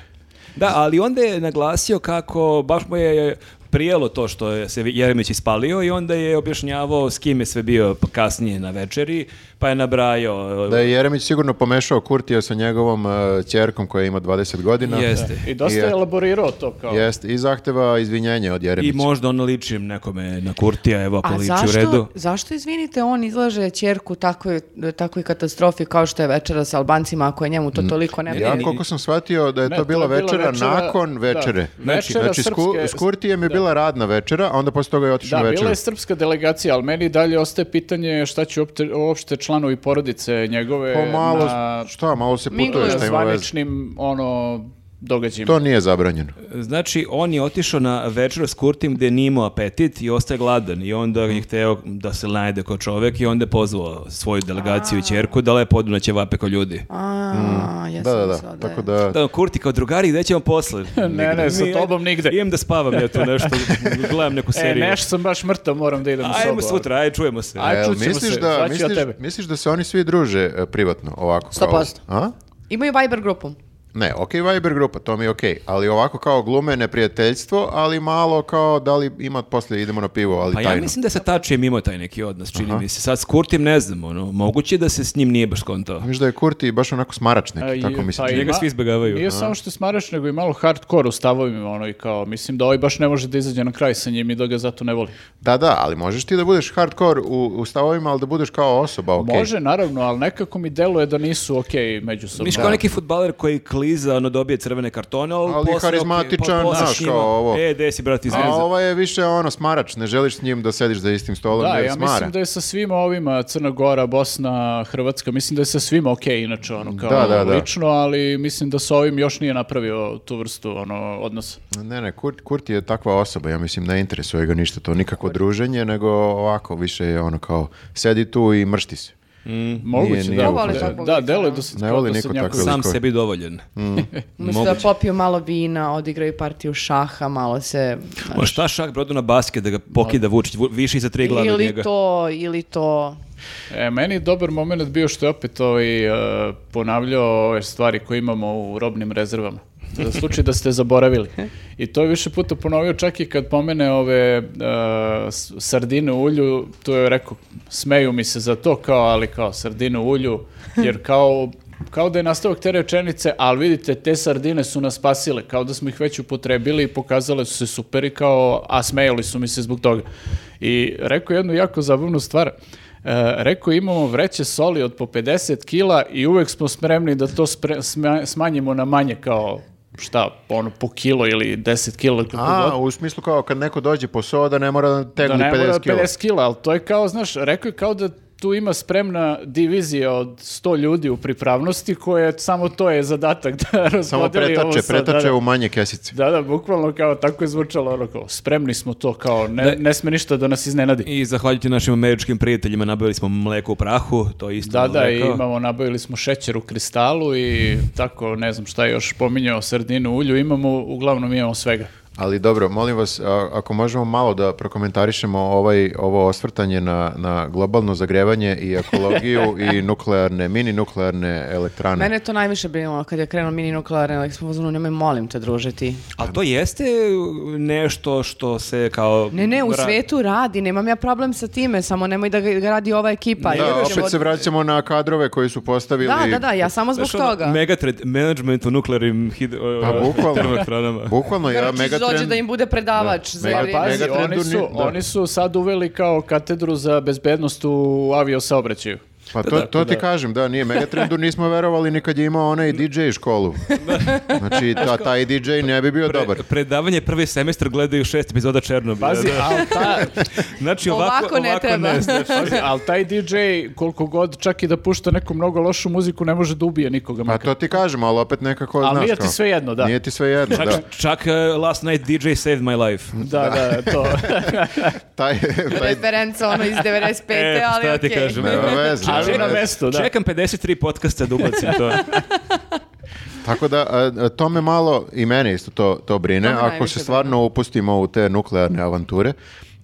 Speaker 3: Da, ali onda je naglasio kako baš mu je prijelo to što je se Jeremić ispalio i onda je objašnjavao s kim je sve bio kasnije na večeri, pa je nabrajao...
Speaker 2: Da je Jeremić sigurno pomešao Kurtija sa njegovom uh, ćerkom koja ima 20 godina.
Speaker 3: Jeste.
Speaker 4: I dosta je
Speaker 2: I-
Speaker 4: elaborirao to kao.
Speaker 2: Jeste, i zahteva izvinjenje od
Speaker 3: I
Speaker 2: Jeremića.
Speaker 3: možda on ličim nekome na Kurtija, evo ako
Speaker 1: A
Speaker 3: liči u redu.
Speaker 1: zašto, zašto, izvinite, on izlaže čerku takvoj, takvoj katastrofi kao što je večera sa Albancima, ako je njemu
Speaker 3: Mm.
Speaker 1: to toliko ne
Speaker 2: Ja
Speaker 1: vidi?
Speaker 2: koliko sam shvatio da je
Speaker 4: Ne,
Speaker 2: to
Speaker 4: to je
Speaker 2: bila
Speaker 4: bila
Speaker 2: večera,
Speaker 4: večera-
Speaker 2: nakon
Speaker 4: da.
Speaker 2: večere. Znači,
Speaker 4: Večera
Speaker 2: znači, sku-
Speaker 4: srpske-
Speaker 2: s Kurtijem je bila radna večera, a onda posle toga je otišao
Speaker 4: Da,
Speaker 2: na
Speaker 4: bila
Speaker 2: večeru.
Speaker 4: je srpska delegacija, ali meni i dalje ostaje pitanje šta će opte- uopšte članovi porodice njegove
Speaker 2: Pomalo,
Speaker 4: na
Speaker 2: Pa šta, malo se putuje,
Speaker 1: Mingluju.
Speaker 2: šta ima veze.
Speaker 4: zvaničnim ono, događajima.
Speaker 2: To nije zabranjeno.
Speaker 3: Znači, on je otišao na večer s Kurtim gdje nije imao apetit i ostaje gladan i onda je hteo da se najde kao čovek i onda je pozvao svoju delegaciju i čerku da lepo odu na ćevape kao ljudi.
Speaker 1: A, ja
Speaker 2: Da, da,
Speaker 1: sam
Speaker 2: da.
Speaker 1: mislila je-
Speaker 2: Tako da,
Speaker 3: Da, Kurti kao drugari, gde ćemo
Speaker 4: (laughs)
Speaker 3: posle?
Speaker 4: ne, sa
Speaker 3: Mi-
Speaker 4: tobom nigde.
Speaker 3: Idem da spavam ja tu nešto, gledam neku
Speaker 4: E,
Speaker 3: seriju.
Speaker 4: nešto sam baš mrtav, moram da idem u sobu.
Speaker 3: Ajmo sutra, aj čujemo se.
Speaker 4: Aj,
Speaker 2: A jel
Speaker 4: čut ćemo
Speaker 2: misliš
Speaker 4: se,
Speaker 2: da,
Speaker 4: sad ću ja
Speaker 2: misliš,
Speaker 4: tebe.
Speaker 2: misliš da se oni svi druže e, privatno ovako? kao-
Speaker 1: 100%.
Speaker 2: A?
Speaker 1: Imaju Viber grupu.
Speaker 2: Ne, ok, Viber grupa, to mi je ok, ali ovako kao glume neprijateljstvo, ali malo kao da li ima poslije idemo na pivo, ali
Speaker 3: Pa ja
Speaker 2: tajno.
Speaker 3: mislim da sa Tačijem imao taj neki odnos, čini mi se. Sad s Kurtim ne znam, ono, moguće je da se s njim nije baš kontao.
Speaker 2: Mislim da je Kurti baš onako smarač
Speaker 4: A,
Speaker 2: neki,
Speaker 4: i-
Speaker 2: tako mi se
Speaker 4: pa
Speaker 2: čini.
Speaker 3: Njega
Speaker 4: ima-
Speaker 3: svi izbegavaju.
Speaker 4: Nije
Speaker 3: A.
Speaker 4: samo što je smarač, nego i malo hardcore u stavovima, ono i kao, mislim da ovaj baš ne može da izađe na kraj sa njim i da ga zato ne voli.
Speaker 2: Da, da, ali možeš ti da budeš hardcore u, u stavovima, ali da budeš kao osoba, ok.
Speaker 4: Može, naravno, ali nekako mi deluje da nisu okej međusobno.
Speaker 3: Miš kao neki futbaler koji kliza, ono dobije crvene kartone, ali,
Speaker 2: Ali
Speaker 3: posle,
Speaker 2: harizmatičan,
Speaker 3: ok, posle
Speaker 2: znaš,
Speaker 3: s njima,
Speaker 2: kao ovo.
Speaker 3: E, gde si, brat,
Speaker 2: A
Speaker 3: izreza?
Speaker 2: ova je više ono smarač, ne želiš s njim da sediš za istim stolom
Speaker 4: Da,
Speaker 2: jer
Speaker 4: ja
Speaker 2: smara.
Speaker 4: mislim da je sa svima ovima, Crna Gora, Bosna, Hrvatska, mislim da je sa svima okej inače, ono, kao
Speaker 2: Da, da, da.
Speaker 4: lično, ali mislim da sa ovim još nije napravio tu vrstu, ono, odnosa.
Speaker 2: Ne, ne, Kurt, Kurti je takva osoba, ja mislim, ne interesuje ga ništa to nikako druženje, nego ovako više je ono kao sedi tu i mršti se.
Speaker 4: Moguće,
Speaker 2: nije
Speaker 4: da.
Speaker 2: Ne voli
Speaker 4: da,
Speaker 1: takvog
Speaker 4: da,
Speaker 1: lika,
Speaker 4: deluje
Speaker 1: da.
Speaker 4: da se...
Speaker 2: Ne voli
Speaker 4: da se
Speaker 2: niko
Speaker 4: njako-
Speaker 2: takve
Speaker 3: Sam
Speaker 2: veliko je.
Speaker 3: sebi dovoljen.
Speaker 2: Mm.
Speaker 1: Mislim da popiju malo vina, odigraju partiju šaha, malo se...
Speaker 3: Ma Ono, šta šak brodu na basket da ga pokida Vučić, Vu- više i za tri glave od
Speaker 1: Ili
Speaker 3: njega.
Speaker 1: to, ili to...
Speaker 4: E, meni je dobar moment bio što je opet ovaj, e, ponavljao ove stvari koje imamo u robnim rezervama. Za slučaj da ste zaboravili. I to je više puta ponovio čak i kad pomene ove e, s- sardine u ulju, tu je rekao, smeju mi se za to kao, ali kao sardine u ulju, jer kao kao da je nastavak te rečenice, ali vidite, te sardine su nas spasile, kao da smo ih već upotrebili i pokazale su se super i kao, a smejali su mi se zbog toga. I rekao je jednu jako zabavnu stvar. E, rekao je, imamo vreće soli od po 50 kila i uvek smo spremni da to spre- sma- smanjimo na manje kao šta, ono, po kilo ili 10 kilo, kako god.
Speaker 2: A, u smislu kao kad neko dođe po so, da ne mora da tegli
Speaker 4: Da ne
Speaker 2: 50
Speaker 4: mora
Speaker 2: kila.
Speaker 4: 50 kila, ali to je kao, znaš, rekao je kao da tu ima spremna divizija od 100 ljudi u pripravnosti koje samo to je zadatak da (laughs) raspodeli
Speaker 2: Samo pretače,
Speaker 4: ovo sad, da,
Speaker 2: pretače
Speaker 4: da.
Speaker 2: u manje kesice.
Speaker 4: Da, da, bukvalno kao tako je zvučalo ono kao, spremni smo to kao, ne, ne sme ništa da nas iznenadi.
Speaker 3: I zahvaljujući našim američkim prijateljima nabavili smo mleko u prahu, to je isto
Speaker 4: Da, da, i
Speaker 3: rekao.
Speaker 4: imamo, nabavili smo šećer u kristalu i tako, ne znam šta je još pominjao, sardinu, ulju, imamo, uglavnom imamo svega.
Speaker 2: Ali dobro, molim vas, a- ako možemo malo da prokomentarišemo ovaj, ovo osvrtanje na, na globalno zagrevanje i
Speaker 1: (laughs)
Speaker 2: ekologiju i nuklearne, mini nuklearne elektrane.
Speaker 1: Mene je to najviše brinulo kad je krenuo mini nuklearni elektron, nemoj molim te druže ti.
Speaker 3: Ali to jeste nešto što se kao...
Speaker 1: Ne, ne, u
Speaker 3: ra-
Speaker 1: svetu radi, nemam ja problem sa time, samo nemoj da ga ga radi ova ekipa.
Speaker 3: Ne,
Speaker 1: jer
Speaker 2: Da,
Speaker 3: Idemo
Speaker 2: opet
Speaker 1: ćemo-
Speaker 2: se vraćamo na kadrove koji su postavili...
Speaker 1: Da, da, da, ja samo zbog
Speaker 3: Znaš, ono,
Speaker 1: toga.
Speaker 3: Megatrend management u nuklearnim hidro...
Speaker 2: Pa bukvalno,
Speaker 3: termoelektranama.
Speaker 2: bukvalno ja
Speaker 1: Grčić dođe
Speaker 2: Megatrend...
Speaker 1: da im bude predavač za
Speaker 2: Mega-
Speaker 4: Pa
Speaker 1: vrijeme-
Speaker 4: pazi,
Speaker 2: Megatrendu
Speaker 4: oni su,
Speaker 2: ni- da.
Speaker 4: oni su sad uveli kao katedru za bezbednost u aviosaobraćaju.
Speaker 2: Pa to, to ti kažem, da, nije Megatrendu, nismo verovali ni kad je imao onaj DJ
Speaker 4: (laughs)
Speaker 2: školu. Znači, ta, taj DJ ne bi bio
Speaker 3: Pre-
Speaker 2: dobar.
Speaker 3: predavanje prvi semestar gledaju šest epizoda Černobila.
Speaker 4: Pazi,
Speaker 3: da.
Speaker 4: ali, ta,
Speaker 3: Znači ovako,
Speaker 1: Ovako ne treba.
Speaker 3: znači.
Speaker 4: pazi, ali taj DJ koliko god čak i da pušta neku mnogo lošu muziku ne može da ubije nikoga.
Speaker 2: Pa
Speaker 4: makar.
Speaker 2: to ti kažem, ali opet nekako,
Speaker 4: Ali
Speaker 2: Pa znaš
Speaker 4: nije ti
Speaker 2: kao,
Speaker 4: sve jedno, da. Znači-
Speaker 2: Nije ti sve jedno,
Speaker 3: Čak,
Speaker 2: da.
Speaker 3: čak uh, last night DJ saved my life.
Speaker 4: Da, da,
Speaker 2: (laughs)
Speaker 4: to. (laughs)
Speaker 2: Taj, taj,
Speaker 1: referenca ono iz 95.
Speaker 3: E,
Speaker 1: ali
Speaker 3: šta ti
Speaker 1: okej.
Speaker 3: kažem?
Speaker 2: nema veze, E,
Speaker 4: Ali
Speaker 2: nema
Speaker 4: na
Speaker 2: veze.
Speaker 4: mesto, da.
Speaker 3: Čekam 53 podcasta da ubacim to.
Speaker 2: Tako da, a, a, to me malo, i mene isto to, to brine,
Speaker 1: To me
Speaker 2: ako
Speaker 1: najviše
Speaker 2: se stvarno upustimo u te nuklearne avanture.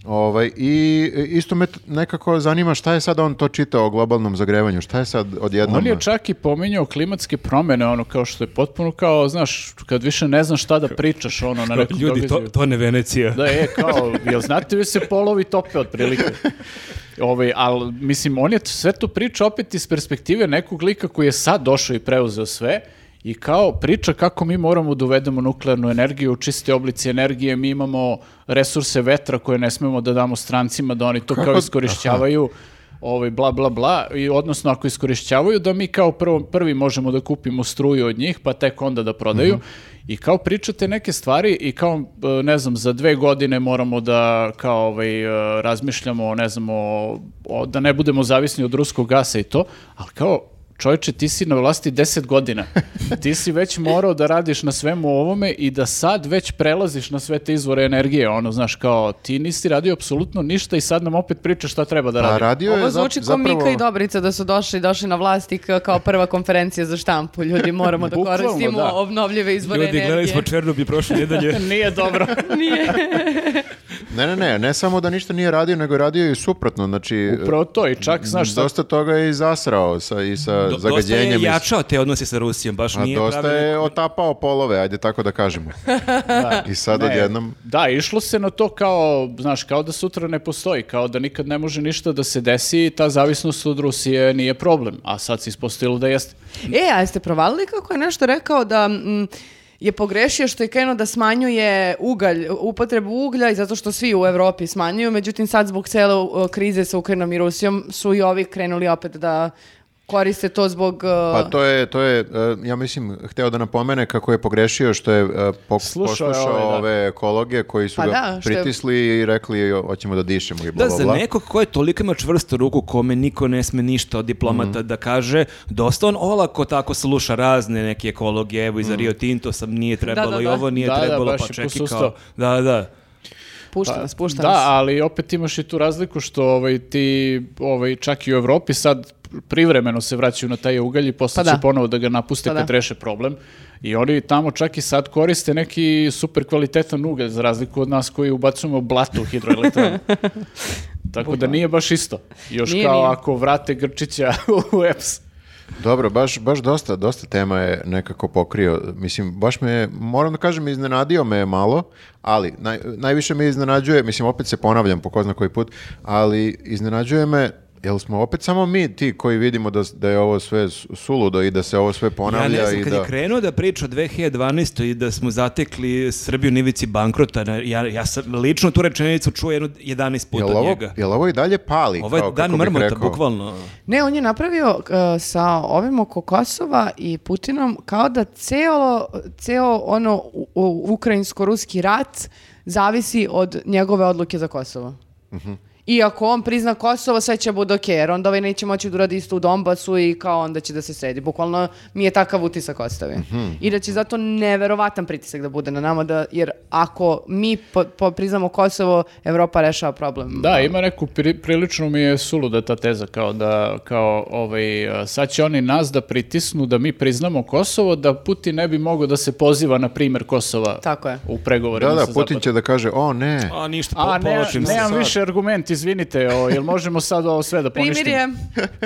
Speaker 2: Ovaj, I e, isto me t- nekako zanima šta je sad on to čitao o globalnom zagrevanju, šta je sad odjednom...
Speaker 4: On je čak i pominjao klimatske promjene, ono kao što je potpuno kao, znaš, kad više ne znaš šta da pričaš, ono, na nekom
Speaker 3: Ljudi, to,
Speaker 4: događaju.
Speaker 3: to ne Venecija.
Speaker 4: Da je, kao, jel znate vi se polovi tope otprilike? Ovaj, ali, mislim, on je sve to priča opet iz perspektive nekog lika koji je sad došao i preuzeo sve i kao priča kako mi moramo da uvedemo nuklearnu energiju u čiste oblici energije, mi imamo resurse vetra koje ne smemo da damo strancima, da oni to kao iskorišćavaju, ovaj, bla, bla, bla, i odnosno ako iskorišćavaju, da mi kao prvo, prvi možemo da kupimo struju od njih, pa tek onda da prodaju. I kao pričate neke stvari i kao, e, ne znam, za dve godine moramo da kao ovaj, e, razmišljamo, ne znam, o- o- da ne budemo zavisni od ruskog gasa i to, ali kao, čovječe, ti si na vlasti 10 godina. Ti si već morao da radiš na svemu ovome i da sad već prelaziš na sve te izvore energije. Ono, znaš, kao, ti nisi radio apsolutno ništa i sad nam opet pričaš šta treba da
Speaker 2: A
Speaker 4: radiš.
Speaker 2: Pa radio je
Speaker 1: Ovo
Speaker 2: za-
Speaker 1: zvuči ko
Speaker 2: zapravo...
Speaker 1: Mika i Dobrica da su došli, došli na vlast i ka- kao prva konferencija za štampu. Ljudi, moramo da
Speaker 4: Bukvalno,
Speaker 1: koristimo
Speaker 4: da.
Speaker 1: obnovljive izvore
Speaker 3: Ljudi, gledali smo
Speaker 1: energije.
Speaker 3: Černobil prošle nedelje.
Speaker 4: (laughs) Nije dobro.
Speaker 2: Ne, ne, ne, ne samo da ništa nije radio, nego je radio i suprotno, znači...
Speaker 4: Upravo to i čak, znaš, sad
Speaker 2: Dosta toga je i zasrao sa, i sa
Speaker 3: Do- dosta
Speaker 2: zagađenjem.
Speaker 3: je
Speaker 2: i s-
Speaker 3: jačao te odnose sa Rusijom, baš
Speaker 2: A
Speaker 3: nije
Speaker 2: dosta
Speaker 3: pravi-
Speaker 2: je otapao polove, ajde tako da
Speaker 4: (laughs)
Speaker 2: kažemo. I sad
Speaker 4: Ne,
Speaker 2: odjednom...
Speaker 4: E, Da, išlo se na to kao, znaš, kao da sutra ne postoji, kao da nikad ne može ništa da se desi i ta zavisnost od Rusije nije problem, a sad se ispostavilo da jeste.
Speaker 1: E, a jeste provalili kako je nešto rekao da... mm, je pogrešio što je krenuo da smanjuje ugalj, upotrebu uglja i zato što svi u Evropi smanjuju, međutim sad zbog cele uh, krize sa Ukrajinom i Rusijom su i ovi krenuli opet da koriste to zbog... uh,
Speaker 2: Pa to je, to je, e, ja mislim, hteo da napomene kako je pogrešio što je e, po-
Speaker 4: Slušao je
Speaker 2: poslušao
Speaker 4: ove, da.
Speaker 2: ove ekologe koji su
Speaker 1: Pa
Speaker 2: ga
Speaker 1: da, što je-
Speaker 2: pritisli i rekli "Jo, hoćemo da dišemo i bla,
Speaker 3: Da,
Speaker 2: bla,
Speaker 3: za
Speaker 2: bla.
Speaker 3: nekog ko je toliko ima čvrstu ruku, kome niko ne sme ništa od diplomata da kaže, dosta on olako tako sluša razne neke ekologe, evo i za Rio Tinto sam nije trebalo
Speaker 1: da,
Speaker 3: i
Speaker 1: da.
Speaker 3: ovo nije
Speaker 4: Da, da,
Speaker 3: trebalo,
Speaker 4: baš
Speaker 3: pa
Speaker 4: je
Speaker 3: čeki
Speaker 4: posustao.
Speaker 3: kao... Da, da.
Speaker 1: Puštam
Speaker 2: pa
Speaker 1: vas, puštam
Speaker 4: Pa, Da,
Speaker 1: vas.
Speaker 4: ali opet imaš i tu razliku što ovaj, ti ovaj, čak i u Evropi sad privremeno se vraćaju na taj ugalj i posle
Speaker 1: Pa
Speaker 4: će
Speaker 1: da.
Speaker 4: ponovo da ga napuste
Speaker 1: Pa
Speaker 4: kad
Speaker 1: da.
Speaker 4: reše problem. I oni tamo čak i sad koriste neki super kvalitetan ugalj za razliku od nas koji ubacujemo blato u
Speaker 1: (laughs)
Speaker 4: hidroelektranu. Tako da nije baš isto. Još
Speaker 1: Nije,
Speaker 4: kao
Speaker 1: nije.
Speaker 4: ako vrate Grčića (laughs) u EPS.
Speaker 2: Dobro, baš, baš dosta, dosta tema je nekako pokrio. Mislim, baš me, je, moram da kažem, iznenadio me je malo, ali naj- najviše me iznenađuje, mislim, opet se ponavljam po ko zna koji put, ali iznenađuje me jel smo opet samo mi ti koji vidimo da, s- da je ovo sve s- suludo i da se ovo sve
Speaker 3: Ja
Speaker 2: ponavlja
Speaker 3: ne znam,
Speaker 2: i
Speaker 3: kad
Speaker 2: da...
Speaker 3: je krenuo da priča o 2012. i da smo zatekli Srbiju nivici bankrota, na- ja, ja sam lično tu rečenicu čuo jedno 11 puta
Speaker 2: Jel
Speaker 3: od
Speaker 2: ovo,
Speaker 3: njega.
Speaker 2: jel ovo i dalje pali?
Speaker 3: Ovo je
Speaker 2: kao,
Speaker 3: dan
Speaker 2: kako bih
Speaker 3: mrmota,
Speaker 2: rekao?
Speaker 3: bukvalno.
Speaker 1: Ne, on je napravio e, sa ovim oko Kosova i Putinom kao da ceo, ceo ono u- u- ukrajinsko-ruski rat zavisi od njegove odluke za Kosovo. I ako on prizna Kosovo, sve će bude okej, jer onda ovaj neće moći da uradi isto u Donbasu i kao onda će da se sredi. Bukvalno mi je takav utisak ostavio. I da će zato neverovatan pritisak da bude na nama, da, jer ako mi po, po- priznamo Kosovo, Evropa rešava problem.
Speaker 4: Da, ima neku pri- prilično mi je suluda ta teza kao da kao ovaj a, sad će oni nas da pritisnu da mi priznamo Kosovo da Putin ne bi mogao da se poziva na primjer Kosova
Speaker 1: Tako je.
Speaker 4: u pregovorima
Speaker 2: Da, da,
Speaker 4: sa
Speaker 2: Putin
Speaker 4: zapadom.
Speaker 2: će da kaže, o ne,
Speaker 3: A ništa,
Speaker 4: A ne,
Speaker 3: povlačim se.
Speaker 4: nemam više argument, izvinite, o, jel možemo sad ovo sve da poništimo? (laughs)
Speaker 1: Primirje.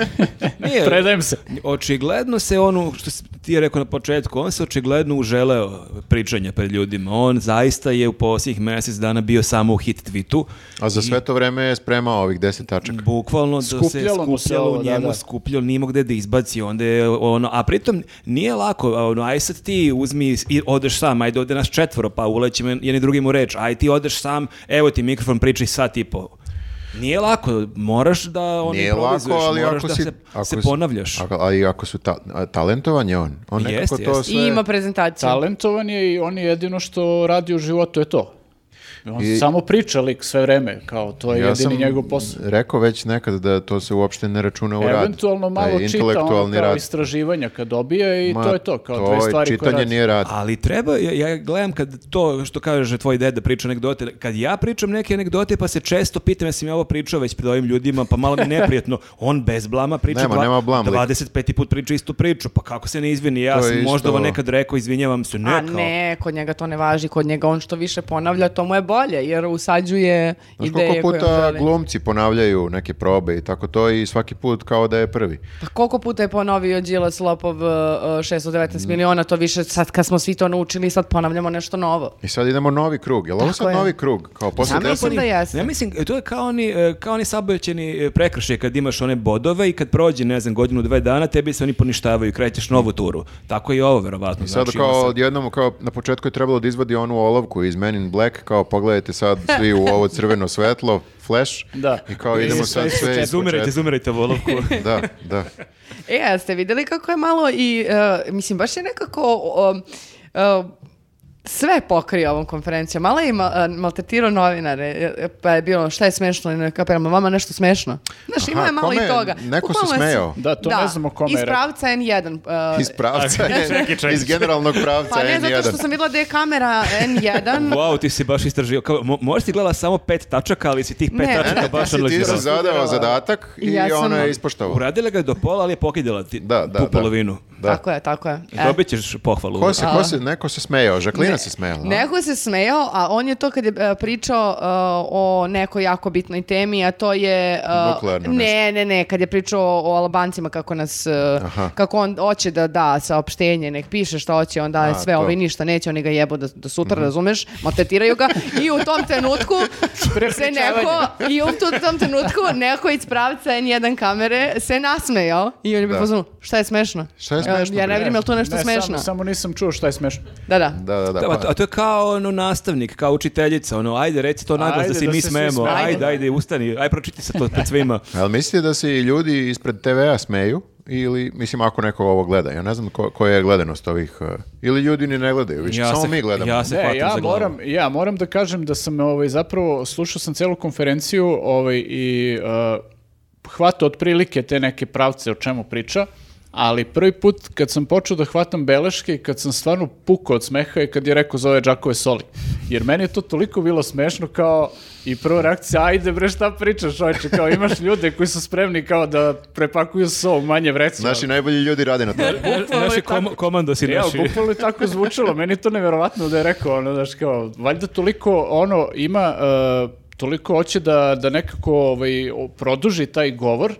Speaker 3: Nije,
Speaker 4: Predajem se.
Speaker 3: Očigledno se ono, što si ti je rekao na početku, on se očigledno uželeo pričanja pred ljudima. On zaista je u posljednjih mjesec dana bio samo u hit tweetu.
Speaker 2: a za sve to vreme je spremao ovih deset
Speaker 3: Mm.
Speaker 2: tačaka.
Speaker 3: Bukvalno da se
Speaker 4: Skupljalo mu se
Speaker 3: skupljalo
Speaker 4: ovo,
Speaker 3: u
Speaker 4: da,
Speaker 3: njemu,
Speaker 4: da.
Speaker 3: skupljalo, nije imao gde da izbaci. Onda je ono, a pritom nije lako, a ono, aj sad ti uzmi i odeš sam, ajde ode nas četvoro, pa ulećemo jedni drugim u reč, aj ti odeš sam, evo ti mikrofon pričaj sat i po. Nije lako, moraš da on
Speaker 2: Nije lako, ali
Speaker 3: moraš
Speaker 2: ako
Speaker 3: da
Speaker 2: si...
Speaker 3: se,
Speaker 2: ako
Speaker 3: se
Speaker 2: si-
Speaker 3: ponavljaš.
Speaker 2: Ako, ali ako su ta, a, talentovan je on. On
Speaker 3: Jest,
Speaker 2: nekako to
Speaker 3: jest.
Speaker 2: sve...
Speaker 1: I ima prezentaciju.
Speaker 4: Talentovan je i on je jedino što radi u životu je to. On
Speaker 2: I-
Speaker 4: samo priča lik sve vreme, kao to je
Speaker 2: Ja sam
Speaker 4: jedini njegov posao.
Speaker 2: rekao već nekad da to se uopšte ne računa u rad.
Speaker 4: Eventualno
Speaker 2: Taj
Speaker 4: malo čita ono
Speaker 2: intelektualni
Speaker 4: kao
Speaker 2: rad.
Speaker 4: istraživanja kad dobije i
Speaker 2: Ma,
Speaker 4: to je to, kao dve
Speaker 2: je
Speaker 4: stvari koje
Speaker 2: čitanje
Speaker 4: radi.
Speaker 2: nije rad.
Speaker 3: Ali treba, ja, ja gledam kad to što kaže tvoj deda priča anegdote, kad ja pričam neke anegdote pa se često pitam ja sam ja ovo pričao već pred ovim ljudima, pa malo mi je
Speaker 2: (laughs)
Speaker 3: neprijatno. On bez blama priča
Speaker 2: Nema,
Speaker 3: dva-
Speaker 2: nema blam, lik.
Speaker 3: 25. put priča istu priču, pa kako se ne izvini, ja
Speaker 2: To je
Speaker 3: sam možda ovo
Speaker 2: isto- ono.
Speaker 3: nekad rekao, izvinjavam se, ne
Speaker 1: A
Speaker 3: kao.
Speaker 1: ne, kod njega to ne važi, kod njega on što više ponavlja, to mu je bolje, jer usađuje
Speaker 2: Znaš
Speaker 1: ideje
Speaker 2: koliko
Speaker 1: koje on
Speaker 2: puta
Speaker 1: želi.
Speaker 2: glumci ponavljaju neke probe i tako to i svaki put kao da je prvi.
Speaker 1: Pa koliko puta je ponovio Đilas Lopov uh, uh, 619
Speaker 2: Mm.
Speaker 1: miliona, to više sad kad smo svi to naučili, sad ponavljamo nešto novo.
Speaker 2: I sad idemo novi krug. Jel ovo
Speaker 1: Tako
Speaker 2: sad
Speaker 1: je.
Speaker 2: novi krug? Kao posle
Speaker 1: Znam ja
Speaker 2: deset...
Speaker 1: sam da jeste.
Speaker 3: Ja mislim, to je kao oni, e, kao oni saobraćajni, e, prekršaj kad imaš one bodove i kad prođe, ne znam, godinu, dve dana, tebi se oni poništavaju i krećeš novu turu. Tako je i ovo, verovatno.
Speaker 2: Sad
Speaker 3: znači, ima
Speaker 2: kao
Speaker 3: sad-
Speaker 2: odjednom, kao na početku je trebalo da izvadi onu olovku iz Men in Black, kao pogledajte sad svi u ovo crveno svetlo, flash,
Speaker 4: Da.
Speaker 2: i kao idemo
Speaker 3: E,
Speaker 2: sad sve iz
Speaker 3: Izumirajte,
Speaker 2: početka.
Speaker 3: izumirajte volovku.
Speaker 2: (laughs) Da, da.
Speaker 1: E, a ste vidjeli kako je malo i, e, mislim, baš je nekako o, e, sve pokrio ovom konferencijom. Malo je i mal, e, maltretirao novinare, e, e, pa je bilo šta je smešno, ne kapiram, vama nešto smešno. Znaš,
Speaker 2: Aha,
Speaker 1: ima je malo
Speaker 2: kome
Speaker 1: i
Speaker 2: je-
Speaker 1: toga.
Speaker 2: neko se
Speaker 1: Bukvalno je s-
Speaker 2: smejao.
Speaker 4: Da, to ne znamo kome je
Speaker 1: iz
Speaker 4: rekao.
Speaker 1: pravca N1. e,
Speaker 2: Iz
Speaker 1: (laughs)
Speaker 2: pravca, je- iz generalnog pravca
Speaker 1: pa ne, zato
Speaker 2: N1.
Speaker 1: što
Speaker 2: (laughs)
Speaker 1: sam vidjela da je kamera N1,
Speaker 3: Wow, ti si baš istražio. Kao, mo- možda ti gledala samo pet tačaka, ali si tih pet
Speaker 1: Ne.
Speaker 3: tačaka
Speaker 2: Znači, Ti
Speaker 3: baš
Speaker 2: si- ti si
Speaker 3: analizirala.
Speaker 2: zadao zadatak i
Speaker 1: Ja sam-
Speaker 2: ono je ispoštovao.
Speaker 3: Uradila ga je do pola, ali je pokidala ti
Speaker 2: Da, da,
Speaker 3: tu
Speaker 2: da.
Speaker 3: polovinu.
Speaker 2: (laughs) Da.
Speaker 1: tako je, tako je. E.
Speaker 3: Dobit ćeš pohvalu.
Speaker 2: Ko se, ko se, neko se smejao, Žaklina se smejala. a?
Speaker 1: Neko se smejao, a on je to kad je e, pričao e, o nekoj jako bitnoj temi, a to je... e,
Speaker 2: Nuklearno
Speaker 1: ne, ne, ne, kad je pričao o Albancima kako nas, e,
Speaker 2: Aha.
Speaker 1: kako on hoće da da saopštenje, nek piše šta hoće, on daje
Speaker 2: A,
Speaker 1: sve,
Speaker 2: to. Mhm.
Speaker 1: ovi ništa neće, oni ga jebu do, do sutra, razumeš, maltretiraju ga i u tom
Speaker 2: (laughs)
Speaker 1: trenutku se neko, i u tu- tom trenutku neko iz pravca N1 kamere se nasmejao i on je bio
Speaker 2: Da.
Speaker 1: pozvano, šta je smešno?
Speaker 2: Šta je
Speaker 1: E,
Speaker 2: smešno,
Speaker 1: Ja ne
Speaker 2: bre?
Speaker 1: vidim, je li tu nešto
Speaker 4: Ne,
Speaker 1: smešno?
Speaker 4: Samo, samo nisam čuo šta je smešno.
Speaker 1: Da, da.
Speaker 2: Da, da, da.
Speaker 3: Da,
Speaker 2: pa-
Speaker 3: a to- a to je kao ono nastavnik, kao učiteljica, ono, ajde reci to naglas
Speaker 4: Ajde
Speaker 3: da se
Speaker 4: da
Speaker 3: mi
Speaker 4: se svi
Speaker 3: smemo,
Speaker 4: smemo.
Speaker 3: ajde, ajde, ustani, ajde pročiti se to pred svima.
Speaker 2: Jel mislite da se i ljudi ispred TV-a smeju? Ili, mislim, ako neko ovo gleda. Ja ne znam ko- koja je gledanost ovih... uh, Ili ljudi ni ne gledaju, više Znači, samo mi gledamo.
Speaker 3: Ja se
Speaker 4: Ne,
Speaker 3: hvatam
Speaker 4: ja
Speaker 3: za glavu.
Speaker 4: moram, ja moram da kažem da sam ovaj, zapravo, slušao sam celu konferenciju ovaj, i uh, hvatao otprilike te neke pravce o čemu priča, ali prvi put kad sam počeo da hvatam beleške i kad sam stvarno pukao od smeha je kad je rekao zove džakove soli. Jer meni je to toliko bilo smešno kao i prva reakcija, ajde bre šta pričaš čovječe, kao imaš ljude koji su spremni kao da prepakuju sol u manje vrećima.
Speaker 2: Naši najbolji ljudi rade na tome.
Speaker 3: Naši kom- komando si
Speaker 4: Ja,
Speaker 3: naši.
Speaker 4: E, bukvalno je tako zvučalo, meni je to nevjerovatno da je rekao, ono, znaš, kao, valjda toliko, ono, ima, e, toliko hoće da, da nekako, ovaj, o- produži taj govor,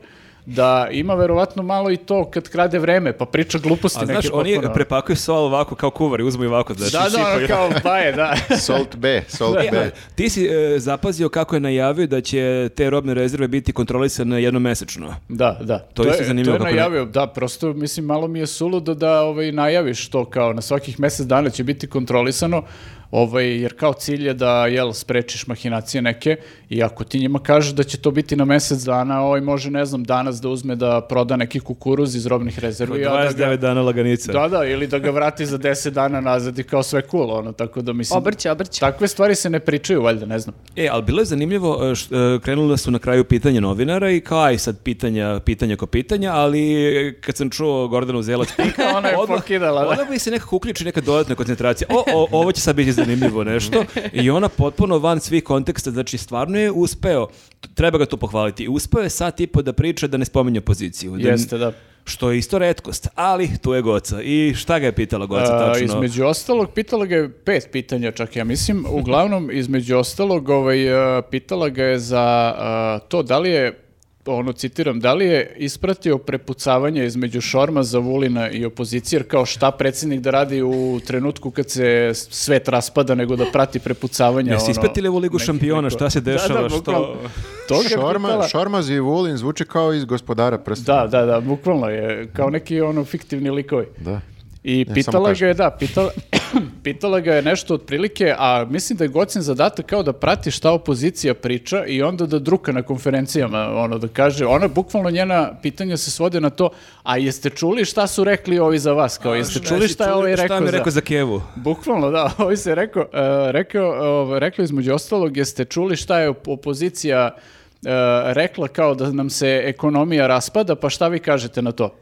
Speaker 4: da ima verovatno malo i to kad krade vreme, pa priča gluposti
Speaker 3: A znači,
Speaker 4: neke
Speaker 3: znaš, oni
Speaker 4: potpuno. ono.
Speaker 3: prepakuju sol ovako kao kuvari, uzmu i ovako. Znači,
Speaker 4: Da, da, ono
Speaker 3: sipaju.
Speaker 4: kao baje, da.
Speaker 3: (laughs)
Speaker 2: Salt B, Salt
Speaker 3: E, a
Speaker 2: B.
Speaker 3: ti si e, zapazio kako je najavio da će te robne rezerve biti kontrolisane jednomesečno.
Speaker 4: Da, da.
Speaker 3: To isto zanimljivo
Speaker 4: To
Speaker 3: kako
Speaker 4: je
Speaker 3: ne-
Speaker 4: najavio, da, prosto mislim malo mi je suludo da ovaj, najaviš to kao na svakih mjesec dana će biti kontrolisano, ovaj, jer kao cilj je da jel, sprečiš mahinacije neke i ako ti njima kažeš da će to biti na mjesec dana, ovaj može ne znam danas da uzme da proda neki kukuruz iz robnih rezervi. a da
Speaker 3: 29
Speaker 4: ga-
Speaker 3: dana laganice.
Speaker 4: Da, da, ili da ga vrati za 10 dana nazad i kao sve cool, ono, tako da mislim...
Speaker 1: Obrće, obrće.
Speaker 4: Takve stvari se ne pričaju, valjda, ne
Speaker 3: (laughs)
Speaker 4: znam.
Speaker 3: E, ali bilo je zanimljivo, e, š- e, krenula su na kraju pitanja novinara i kao aj sad pitanja, pitanja ko pitanja, ali e, kad sam čuo Gordanu
Speaker 4: (laughs)
Speaker 3: Zelac pika,
Speaker 4: Ona je pokidala, da.
Speaker 3: odmah mi se nekako uključi neka dodatna koncentracija. O, o, ovo će sad biti zanimljivo nešto. I ona potpuno van svih konteksta, znači stvarno je uspeo, t- treba ga tu pohvaliti, i uspeo je sat i po da priča da ne spominje opoziciju. Da,
Speaker 4: Jeste, da.
Speaker 3: Što je isto retkost, ali tu je Goca. I šta ga Pa je pitala Goca
Speaker 4: A,
Speaker 3: tačno?
Speaker 4: E, između ostalog, pitala ga je pet pitanja čak, ja mislim. Uglavnom, između ostalog, ovaj, a, pitala ga je za a, to da li je ono, citiram, da li je ispratio prepucavanje između Šorma, Zavulina i opozicije, jer kao šta predsjednik da radi u trenutku kad se svet raspada, nego da prati prepucavanja.
Speaker 3: Jesi
Speaker 4: ono,
Speaker 3: ispratili ovu ligu
Speaker 4: nekih
Speaker 3: šampiona,
Speaker 4: neko-
Speaker 3: šta se
Speaker 4: Da, da,
Speaker 3: dešava,
Speaker 4: bukvalno.
Speaker 3: što...
Speaker 4: To ga je
Speaker 2: Šorma,
Speaker 4: pitala-
Speaker 2: Šormaz i Vulin zvuči kao iz gospodara prsta.
Speaker 4: Da, da, da, bukvalno je, kao neki ono fiktivni likovi.
Speaker 2: Da. (laughs)
Speaker 4: I
Speaker 2: samo
Speaker 4: pitala
Speaker 2: kažem.
Speaker 4: ga je, da, pitala, (clears throat) pitala ga je nešto otprilike, a mislim da je Gocin zadatak kao da prati šta opozicija priča i onda da druka na konferencijama, ono da kaže, ona bukvalno njena pitanja se svode na to, a jeste čuli šta su rekli ovi za vas, kao jeste čuli šta je ovaj
Speaker 3: Šta
Speaker 4: rekao
Speaker 3: mi je
Speaker 4: za...
Speaker 3: rekao za Kevu?
Speaker 4: Bukvalno, da, (laughs) ovi se rekao, e, rekao, ovaj, rekao između ostalog, jeste čuli šta je op- opozicija e, rekla kao da nam se ekonomija raspada, pa šta vi kažete na to?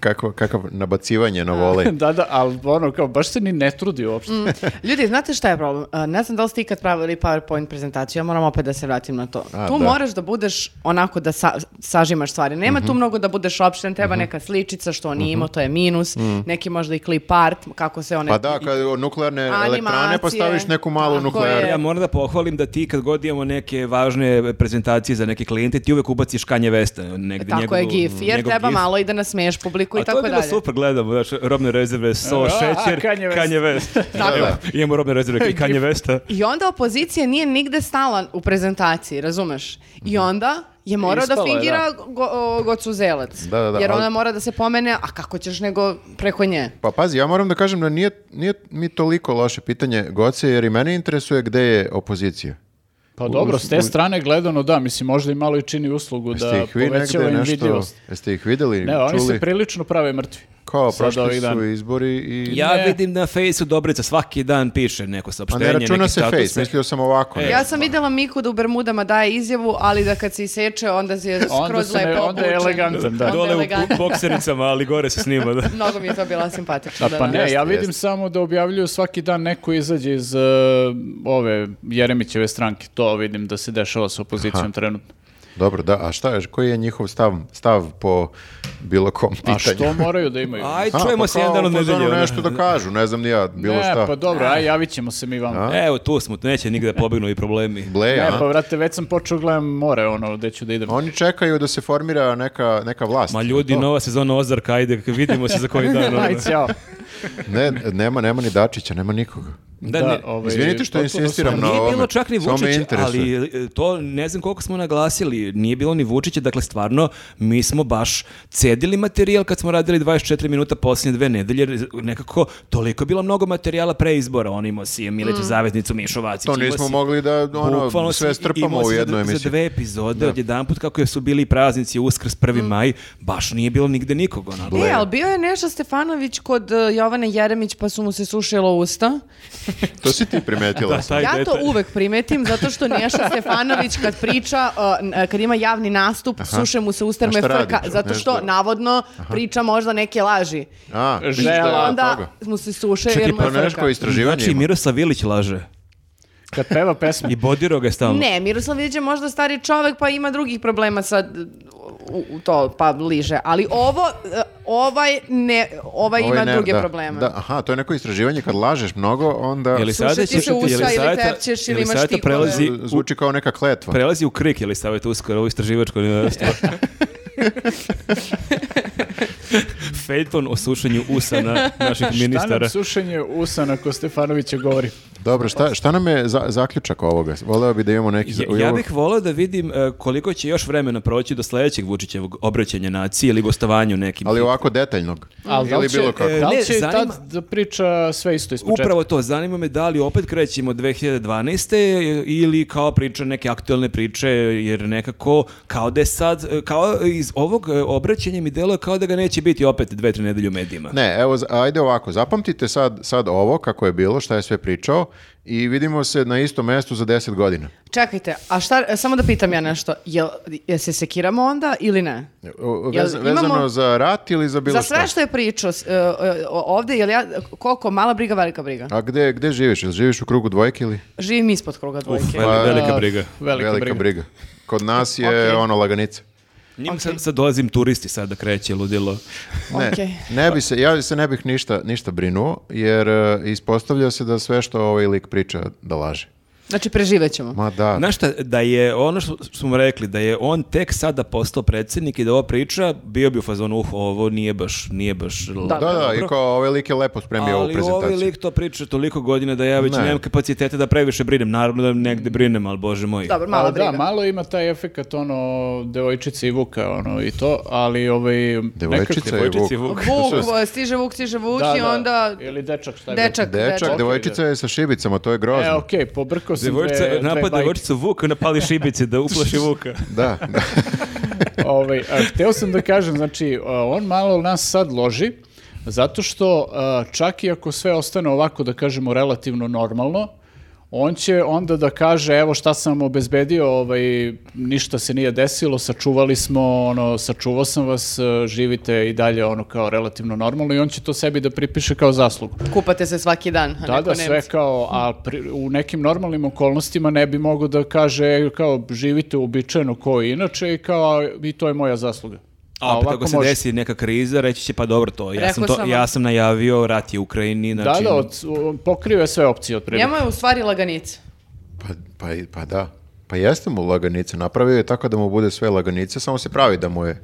Speaker 2: Kako, kakav nabacivanje na volej.
Speaker 4: (laughs) da, da, ali ono, kao, baš se ni ne trudi uopšte.
Speaker 2: Mm.
Speaker 1: (laughs) Ljudi, znate šta je problem? A, Ne znam da li ste ikad pravili PowerPoint prezentaciju, ja moram opet da se vratim na to.
Speaker 2: A,
Speaker 1: tu
Speaker 2: da.
Speaker 1: moraš da budeš onako da sa- sažimaš stvari. Nema tu mnogo da budeš opšten, treba neka sličica što on nije imao, to je minus, neki možda i clip art, kako se one...
Speaker 2: Pa da, kad nuklearne elektrane
Speaker 1: Animacije.
Speaker 2: postaviš neku malu
Speaker 1: Tako
Speaker 2: nuklearnu.
Speaker 4: E.
Speaker 1: je.
Speaker 3: Ja moram da pohvalim da ti kad god imamo neke važne prezentacije za neke klijente, ti uvek ubaciš Kanje Vesta. Negde
Speaker 1: Tako je
Speaker 3: njegovu-
Speaker 1: gif, jer
Speaker 3: njegov
Speaker 1: treba
Speaker 3: gif.
Speaker 1: malo i da nasmeješ publiku
Speaker 3: A
Speaker 1: i tako
Speaker 3: to je bilo
Speaker 1: dalje.
Speaker 3: super, gledamo, znači, robne rezerve, so,
Speaker 4: E, A,
Speaker 3: šećer,
Speaker 4: Kanye West.
Speaker 3: Kanje
Speaker 4: (laughs)
Speaker 3: Vesta. Evo, Imamo robne rezerve i Kanje Vesta.
Speaker 1: I onda opozicija nije nigde stala u prezentaciji, razumeš? I onda je morao da
Speaker 4: Ispalo je,
Speaker 1: fingira go, o, Gocu Zelac.
Speaker 2: Da, da, da,
Speaker 1: jer
Speaker 2: ali-
Speaker 1: ona mora da se pomene, a kako ćeš nego preko nje?
Speaker 2: Pa pazi, ja moram da kažem da nije, nije mi toliko loše pitanje Goce, jer i mene interesuje gde je opozicija.
Speaker 4: Pa dobro, s te strane gledano, da, mislim, možda i malo i čini uslugu
Speaker 2: Jeste
Speaker 4: da
Speaker 2: ih vi
Speaker 4: povećava
Speaker 2: negde nešto,
Speaker 4: invidljivost.
Speaker 2: jeste ih videli,
Speaker 4: Ne, oni
Speaker 2: čuli,
Speaker 4: se prilično prave mrtvi.
Speaker 2: kao
Speaker 4: sad
Speaker 2: prošli
Speaker 4: ovih
Speaker 2: su
Speaker 4: dana.
Speaker 2: izbori i...
Speaker 3: Ja
Speaker 4: Ne.
Speaker 3: vidim na fejsu Dobrica, svaki dan piše neko
Speaker 2: Pa
Speaker 3: saopštenje,
Speaker 2: ne računa
Speaker 3: neki
Speaker 2: se
Speaker 3: status. E.
Speaker 2: face, mislio sam ovako. ne.
Speaker 1: ja sam vidjela Miku da u Bermudama daje izjavu, ali da kad se iseče, onda se je
Speaker 4: Onda
Speaker 1: skroz
Speaker 4: se ne-
Speaker 1: lepo
Speaker 4: onda je
Speaker 1: obučen.
Speaker 4: elegantan, da.
Speaker 1: Onda je
Speaker 3: Dole u
Speaker 1: elegantan.
Speaker 3: bu- boksericama, ali gore se snima. Da.
Speaker 1: Mnogo mi je to bila simpatično.
Speaker 4: A
Speaker 1: da,
Speaker 4: pa
Speaker 1: da.
Speaker 4: ne, ja
Speaker 2: Jeste,
Speaker 4: vidim
Speaker 2: jeste.
Speaker 4: samo da objavljuju svaki dan neko izađe iz e, ove Jeremićeve stranke. To vidim da se dešava sa opozicijom trenutno.
Speaker 2: Dobro, da, a šta je, koji je njihov stav, stav po bilo kom pitanju?
Speaker 4: A
Speaker 2: (laughs)
Speaker 4: što moraju da imaju?
Speaker 3: (laughs) Aj,
Speaker 2: A,
Speaker 3: čujemo
Speaker 2: pa
Speaker 3: se jedan dan
Speaker 2: kao
Speaker 3: od
Speaker 2: u fazonu
Speaker 3: nedelje. ono.
Speaker 2: nešto da kažu, ne znam ni ja, bilo
Speaker 4: ne,
Speaker 2: šta.
Speaker 4: pa dobro, aj, javit ćemo se mi vam.
Speaker 3: Evo, tu smo, neće nigde da pobegnu i problemi.
Speaker 2: Bleja,
Speaker 4: Ne,
Speaker 2: e, a?
Speaker 4: pa vrate, već sam počeo gledam more, ono, gde ću da idem.
Speaker 2: Oni čekaju da se formira neka, neka vlast.
Speaker 3: Ma ljudi,
Speaker 2: To.
Speaker 3: nova sezona Ozarka, ajde, vidimo se za koji dan. (laughs) ono.
Speaker 4: (laughs) Aj, ćao.
Speaker 2: Ne, nema, nema ni Dačića, nema nikoga.
Speaker 3: Da,
Speaker 4: Da,
Speaker 3: ne-
Speaker 4: ovaj,
Speaker 2: Izvinite što
Speaker 4: potpuno
Speaker 2: insistiram
Speaker 4: sam-
Speaker 2: na
Speaker 3: Nije bilo
Speaker 2: ovome.
Speaker 3: čak ni
Speaker 2: Samo me
Speaker 3: Vučić,
Speaker 2: interesuje.
Speaker 3: ali e, to ne znam koliko smo naglasili, nije bilo ni Vučića, dakle stvarno mi smo baš cedili materijal kad smo radili 24 minuta posljednje dve nedelje, jer nekako toliko je bilo mnogo materijala pre izbora, on imao si Miletu Zavetnicu, Mišo Vacić,
Speaker 2: To
Speaker 3: imao
Speaker 2: nismo
Speaker 3: si-
Speaker 2: mogli da ono,
Speaker 3: Bukvalno
Speaker 2: sve
Speaker 3: si- imao
Speaker 2: strpamo u
Speaker 3: si za-
Speaker 2: jednu
Speaker 3: Za
Speaker 2: emisiju.
Speaker 3: dve epizode, odjedanput kako su bili praznici, Uskrs,
Speaker 1: Mm.
Speaker 3: 1. maj, baš nije bilo nigde nikog. ono, Onako.
Speaker 1: E, ali bio je Neša Stefanović kod uh, Jovane Jeremić pa su mu se sušilo usta.
Speaker 2: To si ti primetila.
Speaker 3: (laughs) Da, taj
Speaker 1: Ja to
Speaker 3: detalj.
Speaker 1: uvek primetim zato što Neša Stefanović kad priča, uh, n- uh, kad ima javni nastup, suše mu se usta jer
Speaker 2: A
Speaker 1: mu je
Speaker 2: šta
Speaker 1: frka,
Speaker 2: radiš?
Speaker 1: zato
Speaker 2: Nešto-
Speaker 1: što navodno priča možda neke laži.
Speaker 2: A, misliš da je
Speaker 4: Žela.
Speaker 2: od
Speaker 1: Onda
Speaker 2: toga?
Speaker 1: mu se suše
Speaker 3: Čekaj,
Speaker 1: jer mu
Speaker 2: Pa
Speaker 1: je
Speaker 2: nešto
Speaker 1: frka.
Speaker 2: istraživanje
Speaker 3: Znači,
Speaker 2: ima.
Speaker 3: Miroslav Vilić laže.
Speaker 4: Kad peva pesmu.
Speaker 3: I bodiro ga je stalno.
Speaker 1: Ne, Miroslav Vidić je možda stari čovek pa ima drugih problema sad u, u to pa liže, ali ovo uh, ovaj ne ovaj,
Speaker 2: Ovaj
Speaker 1: ima
Speaker 2: ne-
Speaker 1: druge
Speaker 2: da,
Speaker 1: probleme.
Speaker 2: Da, aha, to je neko istraživanje kad lažeš mnogo, onda
Speaker 3: Jeli
Speaker 1: Suše
Speaker 3: sada
Speaker 1: ti
Speaker 3: će-
Speaker 1: se usta
Speaker 3: jeli
Speaker 1: ili
Speaker 3: sada-
Speaker 1: tepćeš ili
Speaker 3: jeli
Speaker 1: imaš
Speaker 3: sada
Speaker 1: tikove?
Speaker 3: prelazi u-
Speaker 2: zvuči kao neka kletva.
Speaker 1: (laughs)
Speaker 3: Prelazi u krik, je li savjet uskoro, ovo istraživačko novinarstvo. Fejton o sušenju usana naših
Speaker 4: Šta
Speaker 3: ministara.
Speaker 4: nam sušenje usana ko Stefanovića govori?
Speaker 2: Dobro, šta, šta nam je za- zaključak ovoga? Voleo bi da imamo neki... za-
Speaker 3: Ja, ja bih volio da vidim e, koliko će još vremena proći do sledećeg Vučićevog obraćanja naciji ili gostovanju nekim.
Speaker 2: Ali ovako detaljnog.
Speaker 1: Mm.
Speaker 4: Ali da
Speaker 2: Ili
Speaker 4: li će,
Speaker 2: bilo kako.
Speaker 3: e,
Speaker 4: da li
Speaker 3: Ne,
Speaker 4: će i
Speaker 3: zanima-
Speaker 4: tad da priča sve isto iz početka?
Speaker 3: Upravo to, zanima me da li opet krećemo od 2012. ili kao priča neke aktuelne priče, jer nekako kao da je sad, e, kao iz ovog e, obraćanja mi deluje kao da ga neće biti opet dve, tri nedelje u medijima.
Speaker 2: Ne, evo, za- ajde ovako, zapamtite sad, sad ovo, kako je bilo, šta je sve pričao i vidimo se na istom mestu za 10 godina.
Speaker 1: Čekajte, a šta, e, samo da pitam ja nešto, jel, jel se sekiramo onda ili ne?
Speaker 2: O- o-
Speaker 1: Jel
Speaker 2: vez-
Speaker 1: imamo-
Speaker 2: Vezano za rat ili za bilo
Speaker 1: Za
Speaker 2: šta?
Speaker 1: sve što je pričao s- e, e, o- ovde, jel ja, koliko, mala briga, velika briga?
Speaker 2: A gde, gde živiš? Jel živiš u krugu dvojke ili?
Speaker 1: Živim ispod kruga dvojke.
Speaker 3: Uf, veli-
Speaker 2: pa-
Speaker 3: velika briga.
Speaker 4: Velika, briga.
Speaker 2: Kod nas
Speaker 1: (laughs)
Speaker 2: je
Speaker 1: Ok.
Speaker 2: ono laganice.
Speaker 3: Njima sad, sad dolazim turisti sad da kreće ludilo.
Speaker 2: Ne,
Speaker 1: Okej.
Speaker 2: ne bi se, ja se ne bih ništa, ništa brinuo, jer e, ispostavlja se da sve što ovaj lik priča da laže.
Speaker 1: Znači, preživet ćemo.
Speaker 2: Ma da,
Speaker 3: Znaš šta, da je ono što što smo rekli, da je on tek sada postao predsjednik i da ova priča, bio bi u fazonu, uh, ovo nije baš, nije baš...
Speaker 2: da, da, i
Speaker 3: dobro.
Speaker 2: kao ovaj lik je lepo spremio ovu
Speaker 3: Ali
Speaker 2: prezentaciju.
Speaker 3: ovaj lik to priča toliko godina da ja već
Speaker 2: Ne.
Speaker 3: nemam kapacitete da previše brinem. Naravno da negde brinem, ali bože moj.
Speaker 1: Dobro, mala
Speaker 4: A,
Speaker 1: briga.
Speaker 4: Da, malo ima taj efekat ono devojčice i Vuka ono i to, ali ovaj
Speaker 2: Devojčica
Speaker 4: nekako-
Speaker 2: i Vuk.
Speaker 3: Devojčici i
Speaker 2: (laughs)
Speaker 3: Vuk.
Speaker 1: Vuk, o, stiže Vuk, stiže Vuk
Speaker 4: Da,
Speaker 1: i
Speaker 4: da.
Speaker 1: onda
Speaker 4: ili dečak šta je
Speaker 1: dečak,
Speaker 2: Dečak,
Speaker 1: dečak.
Speaker 2: devojčica je sa šibicama, to je grozno.
Speaker 4: bilo? E, okej, pobrkao sam
Speaker 3: Devojčica
Speaker 4: dve, dve
Speaker 3: napada
Speaker 4: bajke.
Speaker 3: devojčicu Vuka, napali šibice da uplaši Vuka.
Speaker 2: Da, da. (laughs)
Speaker 4: (laughs) Ovaj, a, hteo sam da kažem, znači, a, on malo nas sad loži, zato što a, čak i ako sve ostane ovako, da kažemo, relativno normalno, on će onda da kaže, evo šta sam obezbedio, ovaj, ništa se nije desilo, sačuvali smo, ono, sačuvao sam vas, e, živite i dalje, ono, kao relativno normalno i on će to sebi da pripiše kao zaslugu.
Speaker 1: Kupate se svaki dan, a
Speaker 4: Da,
Speaker 1: Pa neko
Speaker 4: da, sve
Speaker 1: Nemci. Hm.
Speaker 4: kao, a pri- u nekim normalnim okolnostima ne bi mogao da kaže e, kao živite uobičajeno kao i inače i kao i to je moja zasluga.
Speaker 3: A opet
Speaker 4: ovako
Speaker 3: ako se
Speaker 4: može.
Speaker 3: desi neka kriza, reći će pa dobro to. Ja sam,
Speaker 1: Rekao
Speaker 3: to,
Speaker 1: sam
Speaker 3: ja
Speaker 1: vam.
Speaker 3: sam najavio rat je u Ukrajini. Znači,
Speaker 4: Da, da, od, u- pokrio je sve opcije otprilike.
Speaker 1: Njemu je u stvari laganica.
Speaker 2: Pa, pa, i- pa da. Pa jeste mu laganice, napravio je tako da mu bude sve laganice, samo se pravi da mu je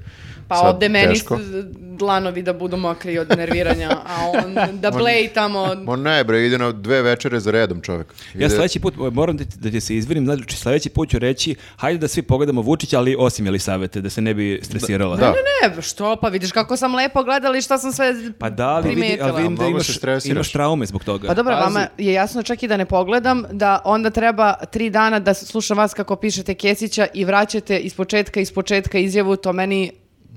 Speaker 1: Pa
Speaker 2: sad
Speaker 1: ovde meni
Speaker 2: teško.
Speaker 1: s- dlanovi da budu mokri od nerviranja, a (laughs) on da blej tamo.
Speaker 2: Ma ne bre, ide na dve večere za redom čovjek.
Speaker 3: Ja
Speaker 2: Ide-
Speaker 3: sledeći put, moram da ti, da ti se izvinim, znači sledeći put ću reći, hajde da svi pogledamo Vučića, ali osim Jelisavete, da se ne bi stresirala.
Speaker 2: Da.
Speaker 1: Ne, ne, što, pa vidiš kako sam lepo gledala i šta sam sve
Speaker 3: Pa da, ali vidi,
Speaker 1: primetila.
Speaker 3: ali vidim da
Speaker 2: Mnogo
Speaker 3: imaš,
Speaker 2: se stresiraš.
Speaker 3: imaš traume zbog toga.
Speaker 1: Pa dobro,
Speaker 4: Pazi.
Speaker 1: vama je jasno čak i da ne pogledam, da onda treba tri dana da slušam vas kako pišete Kesića i vraćate iz početka, iz početka izjavu, to meni,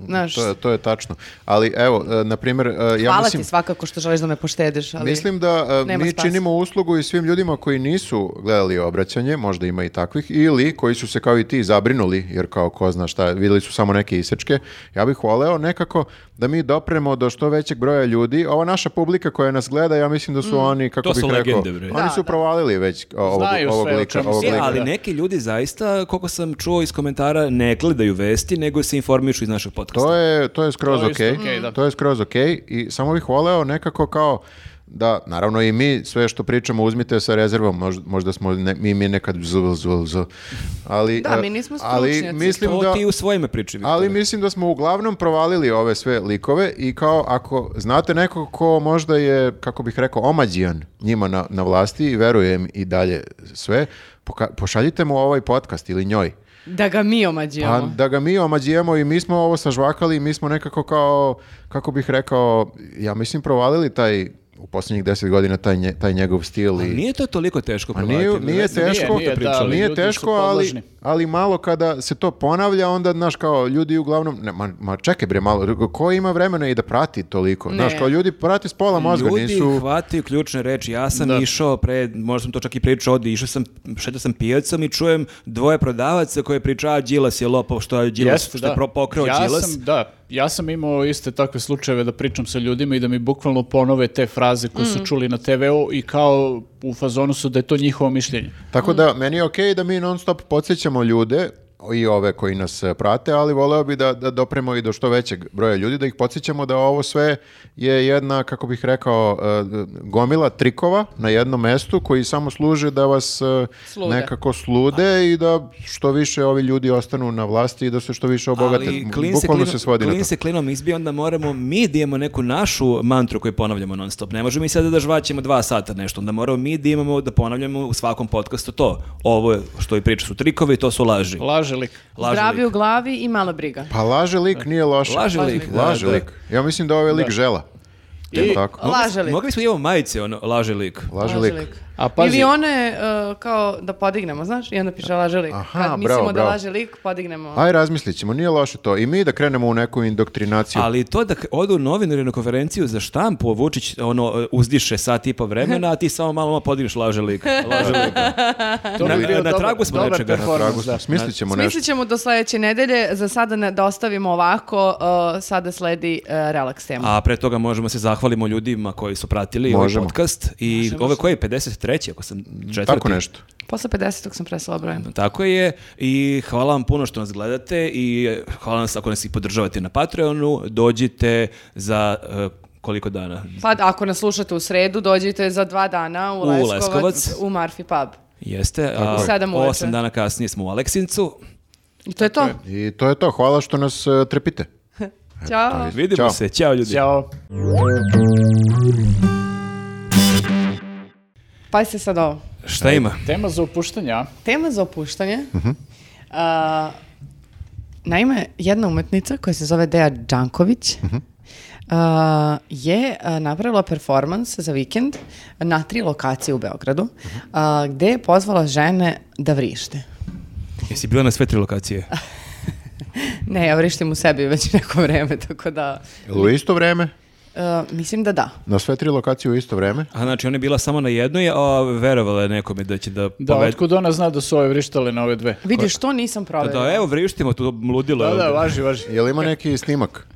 Speaker 1: znaš,
Speaker 2: To, je- to je tačno. Ali evo, e, na primjer, e, ja
Speaker 1: hvala
Speaker 2: mislim...
Speaker 1: ti svakako što želiš da me poštediš, ali
Speaker 2: Mislim da e,
Speaker 1: nema
Speaker 2: mi
Speaker 1: spasa.
Speaker 2: činimo uslugu i svim ljudima koji nisu gledali obraćanje, možda ima i takvih, ili koji su se kao i ti zabrinuli, jer kao ko zna šta, videli su samo neke isečke. Ja bih voleo nekako da mi dopremo do što većeg broja ljudi. Ova naša publika koja nas gleda, ja mislim da su oni, kako
Speaker 3: To
Speaker 2: bih
Speaker 3: su
Speaker 2: rekao,
Speaker 3: legende, bre.
Speaker 2: oni
Speaker 1: Da,
Speaker 2: su
Speaker 1: Mm. da.
Speaker 2: provalili već o- ovog,
Speaker 4: Znaju sve
Speaker 2: ovog
Speaker 4: o
Speaker 2: lika.
Speaker 4: čemu
Speaker 2: ovog
Speaker 4: se
Speaker 3: E,
Speaker 2: lika.
Speaker 3: ali
Speaker 4: da.
Speaker 3: neki ljudi zaista, koliko sam čuo iz komentara, ne gledaju vesti, nego se informišu iz našeg podcasta.
Speaker 2: To je, to je skroz
Speaker 4: To je
Speaker 2: ok.
Speaker 4: isto okej, da.
Speaker 2: To je skroz ok. I samo bih voleo nekako kao da, naravno i mi sve što pričamo uzmite sa rezervom, možda, možda smo ne, mi, mi nekad zul, zul, zul. Ali,
Speaker 1: Da,
Speaker 2: e,
Speaker 1: mi nismo
Speaker 2: ali
Speaker 1: stručnjaci.
Speaker 2: mislim
Speaker 3: To
Speaker 2: da,
Speaker 3: ti u svojime priči, Viktore.
Speaker 2: ali mislim da smo uglavnom provalili ove sve likove i kao ako znate nekog ko možda je, kako bih rekao, omađijan njima na, na vlasti i verujem i dalje sve, poka- pošaljite mu ovaj podcast ili njoj.
Speaker 1: da ga mi
Speaker 2: Pa
Speaker 1: omađujemo.
Speaker 2: da ga mi omađijemo i mi smo ovo sažvakali i mi smo nekako kao, kako bih rekao, ja mislim provalili taj, u posljednjih deset godina taj, nje- taj njegov stil. I,
Speaker 3: Nije to toliko teško
Speaker 2: Pa nije,
Speaker 3: provaditi.
Speaker 2: nije
Speaker 3: Znači,
Speaker 2: teško,
Speaker 4: nije, da, ali
Speaker 2: nije
Speaker 4: ljudi su
Speaker 2: teško, ali,
Speaker 4: podložni.
Speaker 2: ali malo kada se to ponavlja, onda, znaš, kao ljudi uglavnom, ne, ma, ma čekaj bre, malo, ko ima vremena i da prati toliko? Znaš,
Speaker 1: Ne.
Speaker 2: kao ljudi prati s pola mozga,
Speaker 3: Ljudi
Speaker 2: nisu...
Speaker 3: hvataju ključne reči. Ja sam išao pre, možda sam to čak i pričao ovdje, išao sam, šetao sam pijacom i čujem dvoje prodavaca koje pričaju Đilas je lopov, što je Đilas,
Speaker 4: Jeste,
Speaker 3: što je pro- pokrao
Speaker 4: ja
Speaker 3: Đilas.
Speaker 4: Sam, da, ja sam imao iste takve slučajeve da pričam sa ljudima i da mi bukvalno ponove te fraze koje
Speaker 1: Mm.
Speaker 4: su čuli na TV-u i kao u fazonu su da je to njihovo mišljenje.
Speaker 2: Tako da, meni je okej da mi non stop podsjećamo ljude i ove koji nas e, prate, ali voleo bi da, da dopremo i do što većeg broja ljudi, da ih podsjećamo da ovo sve je jedna, kako bih rekao, e, gomila trikova na jednom mestu koji samo služe da vas e,
Speaker 1: Slude.
Speaker 2: nekako slude i da što više ovi ljudi ostanu na vlasti i da se što više obogate.
Speaker 3: Ali klin se,
Speaker 2: Bukvalno
Speaker 3: klinom-
Speaker 2: se svodi na
Speaker 3: klin
Speaker 2: to.
Speaker 3: se klinom izbija, onda moramo mi da imamo neku našu mantru koju ponavljamo non stop. Ne možemo mi sada da žvaćemo dva sata nešto, onda moramo mi da imamo da ponavljamo u svakom podcastu to. Ovo je što i priča su trikovi, to su laži.
Speaker 4: Laže lik.
Speaker 3: Laži
Speaker 1: Zdravi u
Speaker 3: Pa, lik.
Speaker 1: glavi i mala briga.
Speaker 2: Pa laže lik nije loše.
Speaker 3: Laže lik, da,
Speaker 2: Laže
Speaker 3: da.
Speaker 2: lik. Ja mislim da ovaj lik žela. I... Tako.
Speaker 1: Laže lik.
Speaker 3: Mogli smo da imamo majice, ono, laži lik.
Speaker 2: Laže lik.
Speaker 4: A pazi-
Speaker 1: Ili one e, kao da podignemo, znaš? I onda piše laže lik.
Speaker 2: Aha,
Speaker 1: Kad mislimo
Speaker 2: bravo,
Speaker 1: da
Speaker 2: bravo.
Speaker 1: laže lik, podignemo.
Speaker 2: Aj, razmislit ćemo, nije loše to. I mi da krenemo u neku indoktrinaciju.
Speaker 3: Ali to da k- odu novinari na konferenciju za štampu, Vučić ono, uzdiše sat i po vremena, a ti samo malo malo podigneš laže
Speaker 2: (laughs)
Speaker 3: lik. Laže lik.
Speaker 1: Pa,
Speaker 4: To bi
Speaker 3: Na-
Speaker 4: bio
Speaker 3: na
Speaker 4: dobar-
Speaker 3: tragu smo
Speaker 4: dobar
Speaker 3: nečega.
Speaker 2: Na
Speaker 4: performans,
Speaker 2: tragu smo.
Speaker 4: da.
Speaker 2: Smislit ćemo nešto.
Speaker 1: Smislit ćemo do sledeće nedelje, za sada ne, da ostavimo ovako, e, sada sledi e, relaks tema.
Speaker 3: A pre toga možemo se zahvalimo ljudima koji su pratili ovaj
Speaker 2: Možemo.
Speaker 3: podcast i ove koje je 53. ako sam četvrti.
Speaker 2: Tako nešto.
Speaker 1: Posle 50. sam presala brojem.
Speaker 3: Tako je i hvala vam puno što nas gledate i e, hvala nas ako nas i podržavate na Patreonu. Dođite za e, koliko dana?
Speaker 1: Pa ako nas slušate u sredu, dođite za dva dana u,
Speaker 3: U
Speaker 1: Leskovac,
Speaker 3: Leskovac.
Speaker 1: u Marfi Pub.
Speaker 3: Jeste, a
Speaker 1: je. Sedam uveče.
Speaker 3: osam dana kasnije smo u Aleksincu.
Speaker 1: I to je to.
Speaker 2: I to je to. Hvala što nas e, trepite.
Speaker 1: Ćao.
Speaker 3: Vidimo
Speaker 2: Ćao.
Speaker 3: se, ćao ljudi.
Speaker 4: Ćao.
Speaker 1: Pa se sad ovo.
Speaker 3: Šta ima?
Speaker 4: Tema za opuštanje, a?
Speaker 1: Tema za opuštanje.
Speaker 3: Mhm.
Speaker 1: A, naime, jedna umetnica koja se zove Deja Đanković
Speaker 3: Mhm.
Speaker 1: a, je a, napravila performans za vikend na tri lokacije u Beogradu
Speaker 3: Mhm.
Speaker 1: a, gde je pozvala žene da vrište.
Speaker 3: Jesi bila na sve tri lokacije?
Speaker 1: Ne, ja vrištim u sebi već neko vreme, tako da
Speaker 2: Jel u isto vreme?
Speaker 1: a, mislim da da.
Speaker 2: Na sve tri lokacije u isto vreme?
Speaker 3: A znači ona je bila samo na jednoj, a verovala je nekome da će
Speaker 2: Pa
Speaker 3: da
Speaker 4: Da,
Speaker 3: povede-
Speaker 4: otkud ona zna da su ove vrištale na ove dve?
Speaker 1: Vidiš, to nisam
Speaker 3: Da,
Speaker 1: provjerila.
Speaker 3: da, evo vrištimo tu ludilo.
Speaker 4: Da,
Speaker 3: je
Speaker 4: da,
Speaker 3: ovde.
Speaker 4: važi, važi.
Speaker 2: Jel ima neki snimak?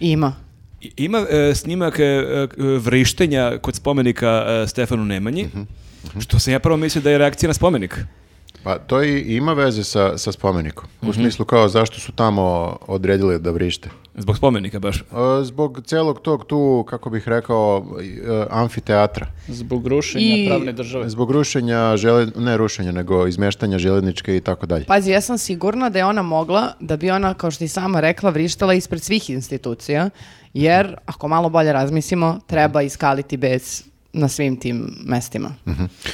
Speaker 1: Ima.
Speaker 3: I- Ima e, snimak e, e, vrištenja kod spomenika e, Stefanu Nemanji, što sam ja prvo mislio da je reakcija na spomenik.
Speaker 2: Pa to i ima veze sa, sa spomenikom.
Speaker 3: Mhm.
Speaker 2: U smislu kao zašto su tamo odredili da vrište.
Speaker 3: Zbog spomenika baš.
Speaker 2: E, Zbog celog tog tu, kako bih rekao, e, amfiteatra.
Speaker 4: Zbog rušenja
Speaker 1: I-
Speaker 4: pravne države.
Speaker 2: Zbog rušenja, žele, ne rušenja, nego izmeštanja železničke i tako dalje.
Speaker 3: Pa,
Speaker 1: Pazi, ja sam sigurna da je ona mogla, da bi ona, kao što i sama rekla, vrištala ispred svih institucija, jer, ako malo bolje razmislimo, treba iskaliti bez na svim tim mestima.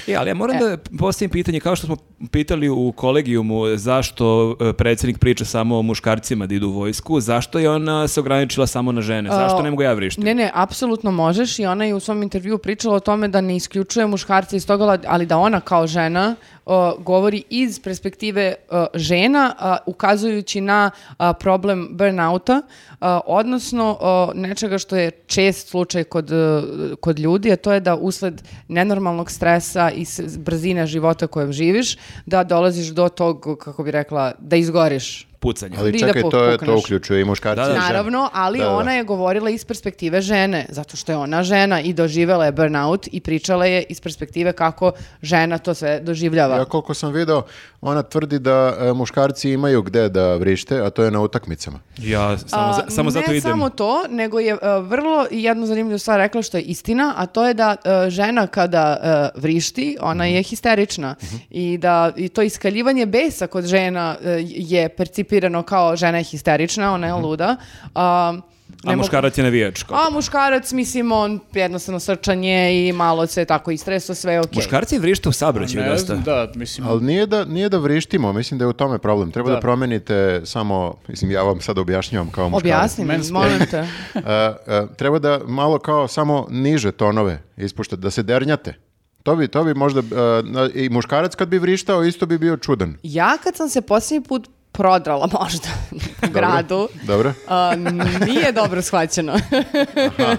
Speaker 3: E, ali ja moram da postavim pitanje, kao što smo pitali u kolegijumu zašto e, predsjednik priča samo o muškarcima da idu u vojsku, zašto je ona se ograničila samo na žene? Zašto ne mogu ja vrištim?
Speaker 1: Ne, ne, apsolutno možeš i ona je u svom intervju pričala o tome da ne isključuje muškarce iz toga, ali da ona kao žena o, govori iz perspektive o, žena, a, ukazujući na a, problem burnouta, a, odnosno o, nečega što je čest slučaj kod, e, kod ljudi, a to je da usled nenormalnog stresa i s- brzine života kojem živiš, da dolaziš do tog, kako bi rekla, da izgoriš.
Speaker 3: Pucanje.
Speaker 1: Di
Speaker 2: Ali
Speaker 1: da
Speaker 2: čekaj, to, je, to
Speaker 1: pukneš.
Speaker 2: uključuje i muškarci
Speaker 3: Da, da.
Speaker 2: i žene.
Speaker 1: Naravno, ali
Speaker 2: Da, da.
Speaker 1: ona je govorila iz perspektive žene, zato što je ona žena i doživjela je burnout i pričala je iz perspektive kako žena to sve doživljava.
Speaker 2: Ja koliko sam video, ona tvrdi da e, muškarci imaju gde da vrište, a to je na utakmicama.
Speaker 3: Ja samo, za-
Speaker 1: A,
Speaker 3: samo zato
Speaker 1: ne
Speaker 3: idem.
Speaker 1: samo to, nego je e, vrlo jednu zanimljivu stvar rekla što je istina, a to je da e, žena kada e, vrišti, ona
Speaker 3: Mhm.
Speaker 1: je histerična i da i to iskaljivanje besa kod žena e, je percipirano kao žena je histerična, ona je luda. a, ne
Speaker 3: Mhm. A
Speaker 1: mogu-
Speaker 3: muškarac je navijač. kao.
Speaker 1: A muškarac, mislim, on jednostavno srčan je i malo se tako istreso, sve je okej.
Speaker 3: Muškarci vrište u saobraćaju
Speaker 4: Ne
Speaker 3: dosta.
Speaker 4: znam, da, mislim,
Speaker 2: Znači, Ali nije da, nije da vrištimo, mislim da je u tome problem. Treba da,
Speaker 4: Da.
Speaker 2: promenite samo, mislim ja vam sad objašnjavam kao muškarac.
Speaker 1: Objasni mi,
Speaker 4: Mansplaining.
Speaker 1: molim te.
Speaker 2: E, e, treba da malo kao samo niže tonove ispuštate, da se dernjate. To bi, to bi možda, e, na- i muškarac kad bi vrištao isto bi bio čudan.
Speaker 1: Ja kad sam se posljednji put prodrala
Speaker 2: (laughs)
Speaker 1: možda po gradu,
Speaker 2: Dobro?
Speaker 1: a, nije dobro shvaćeno. (laughs) (laughs)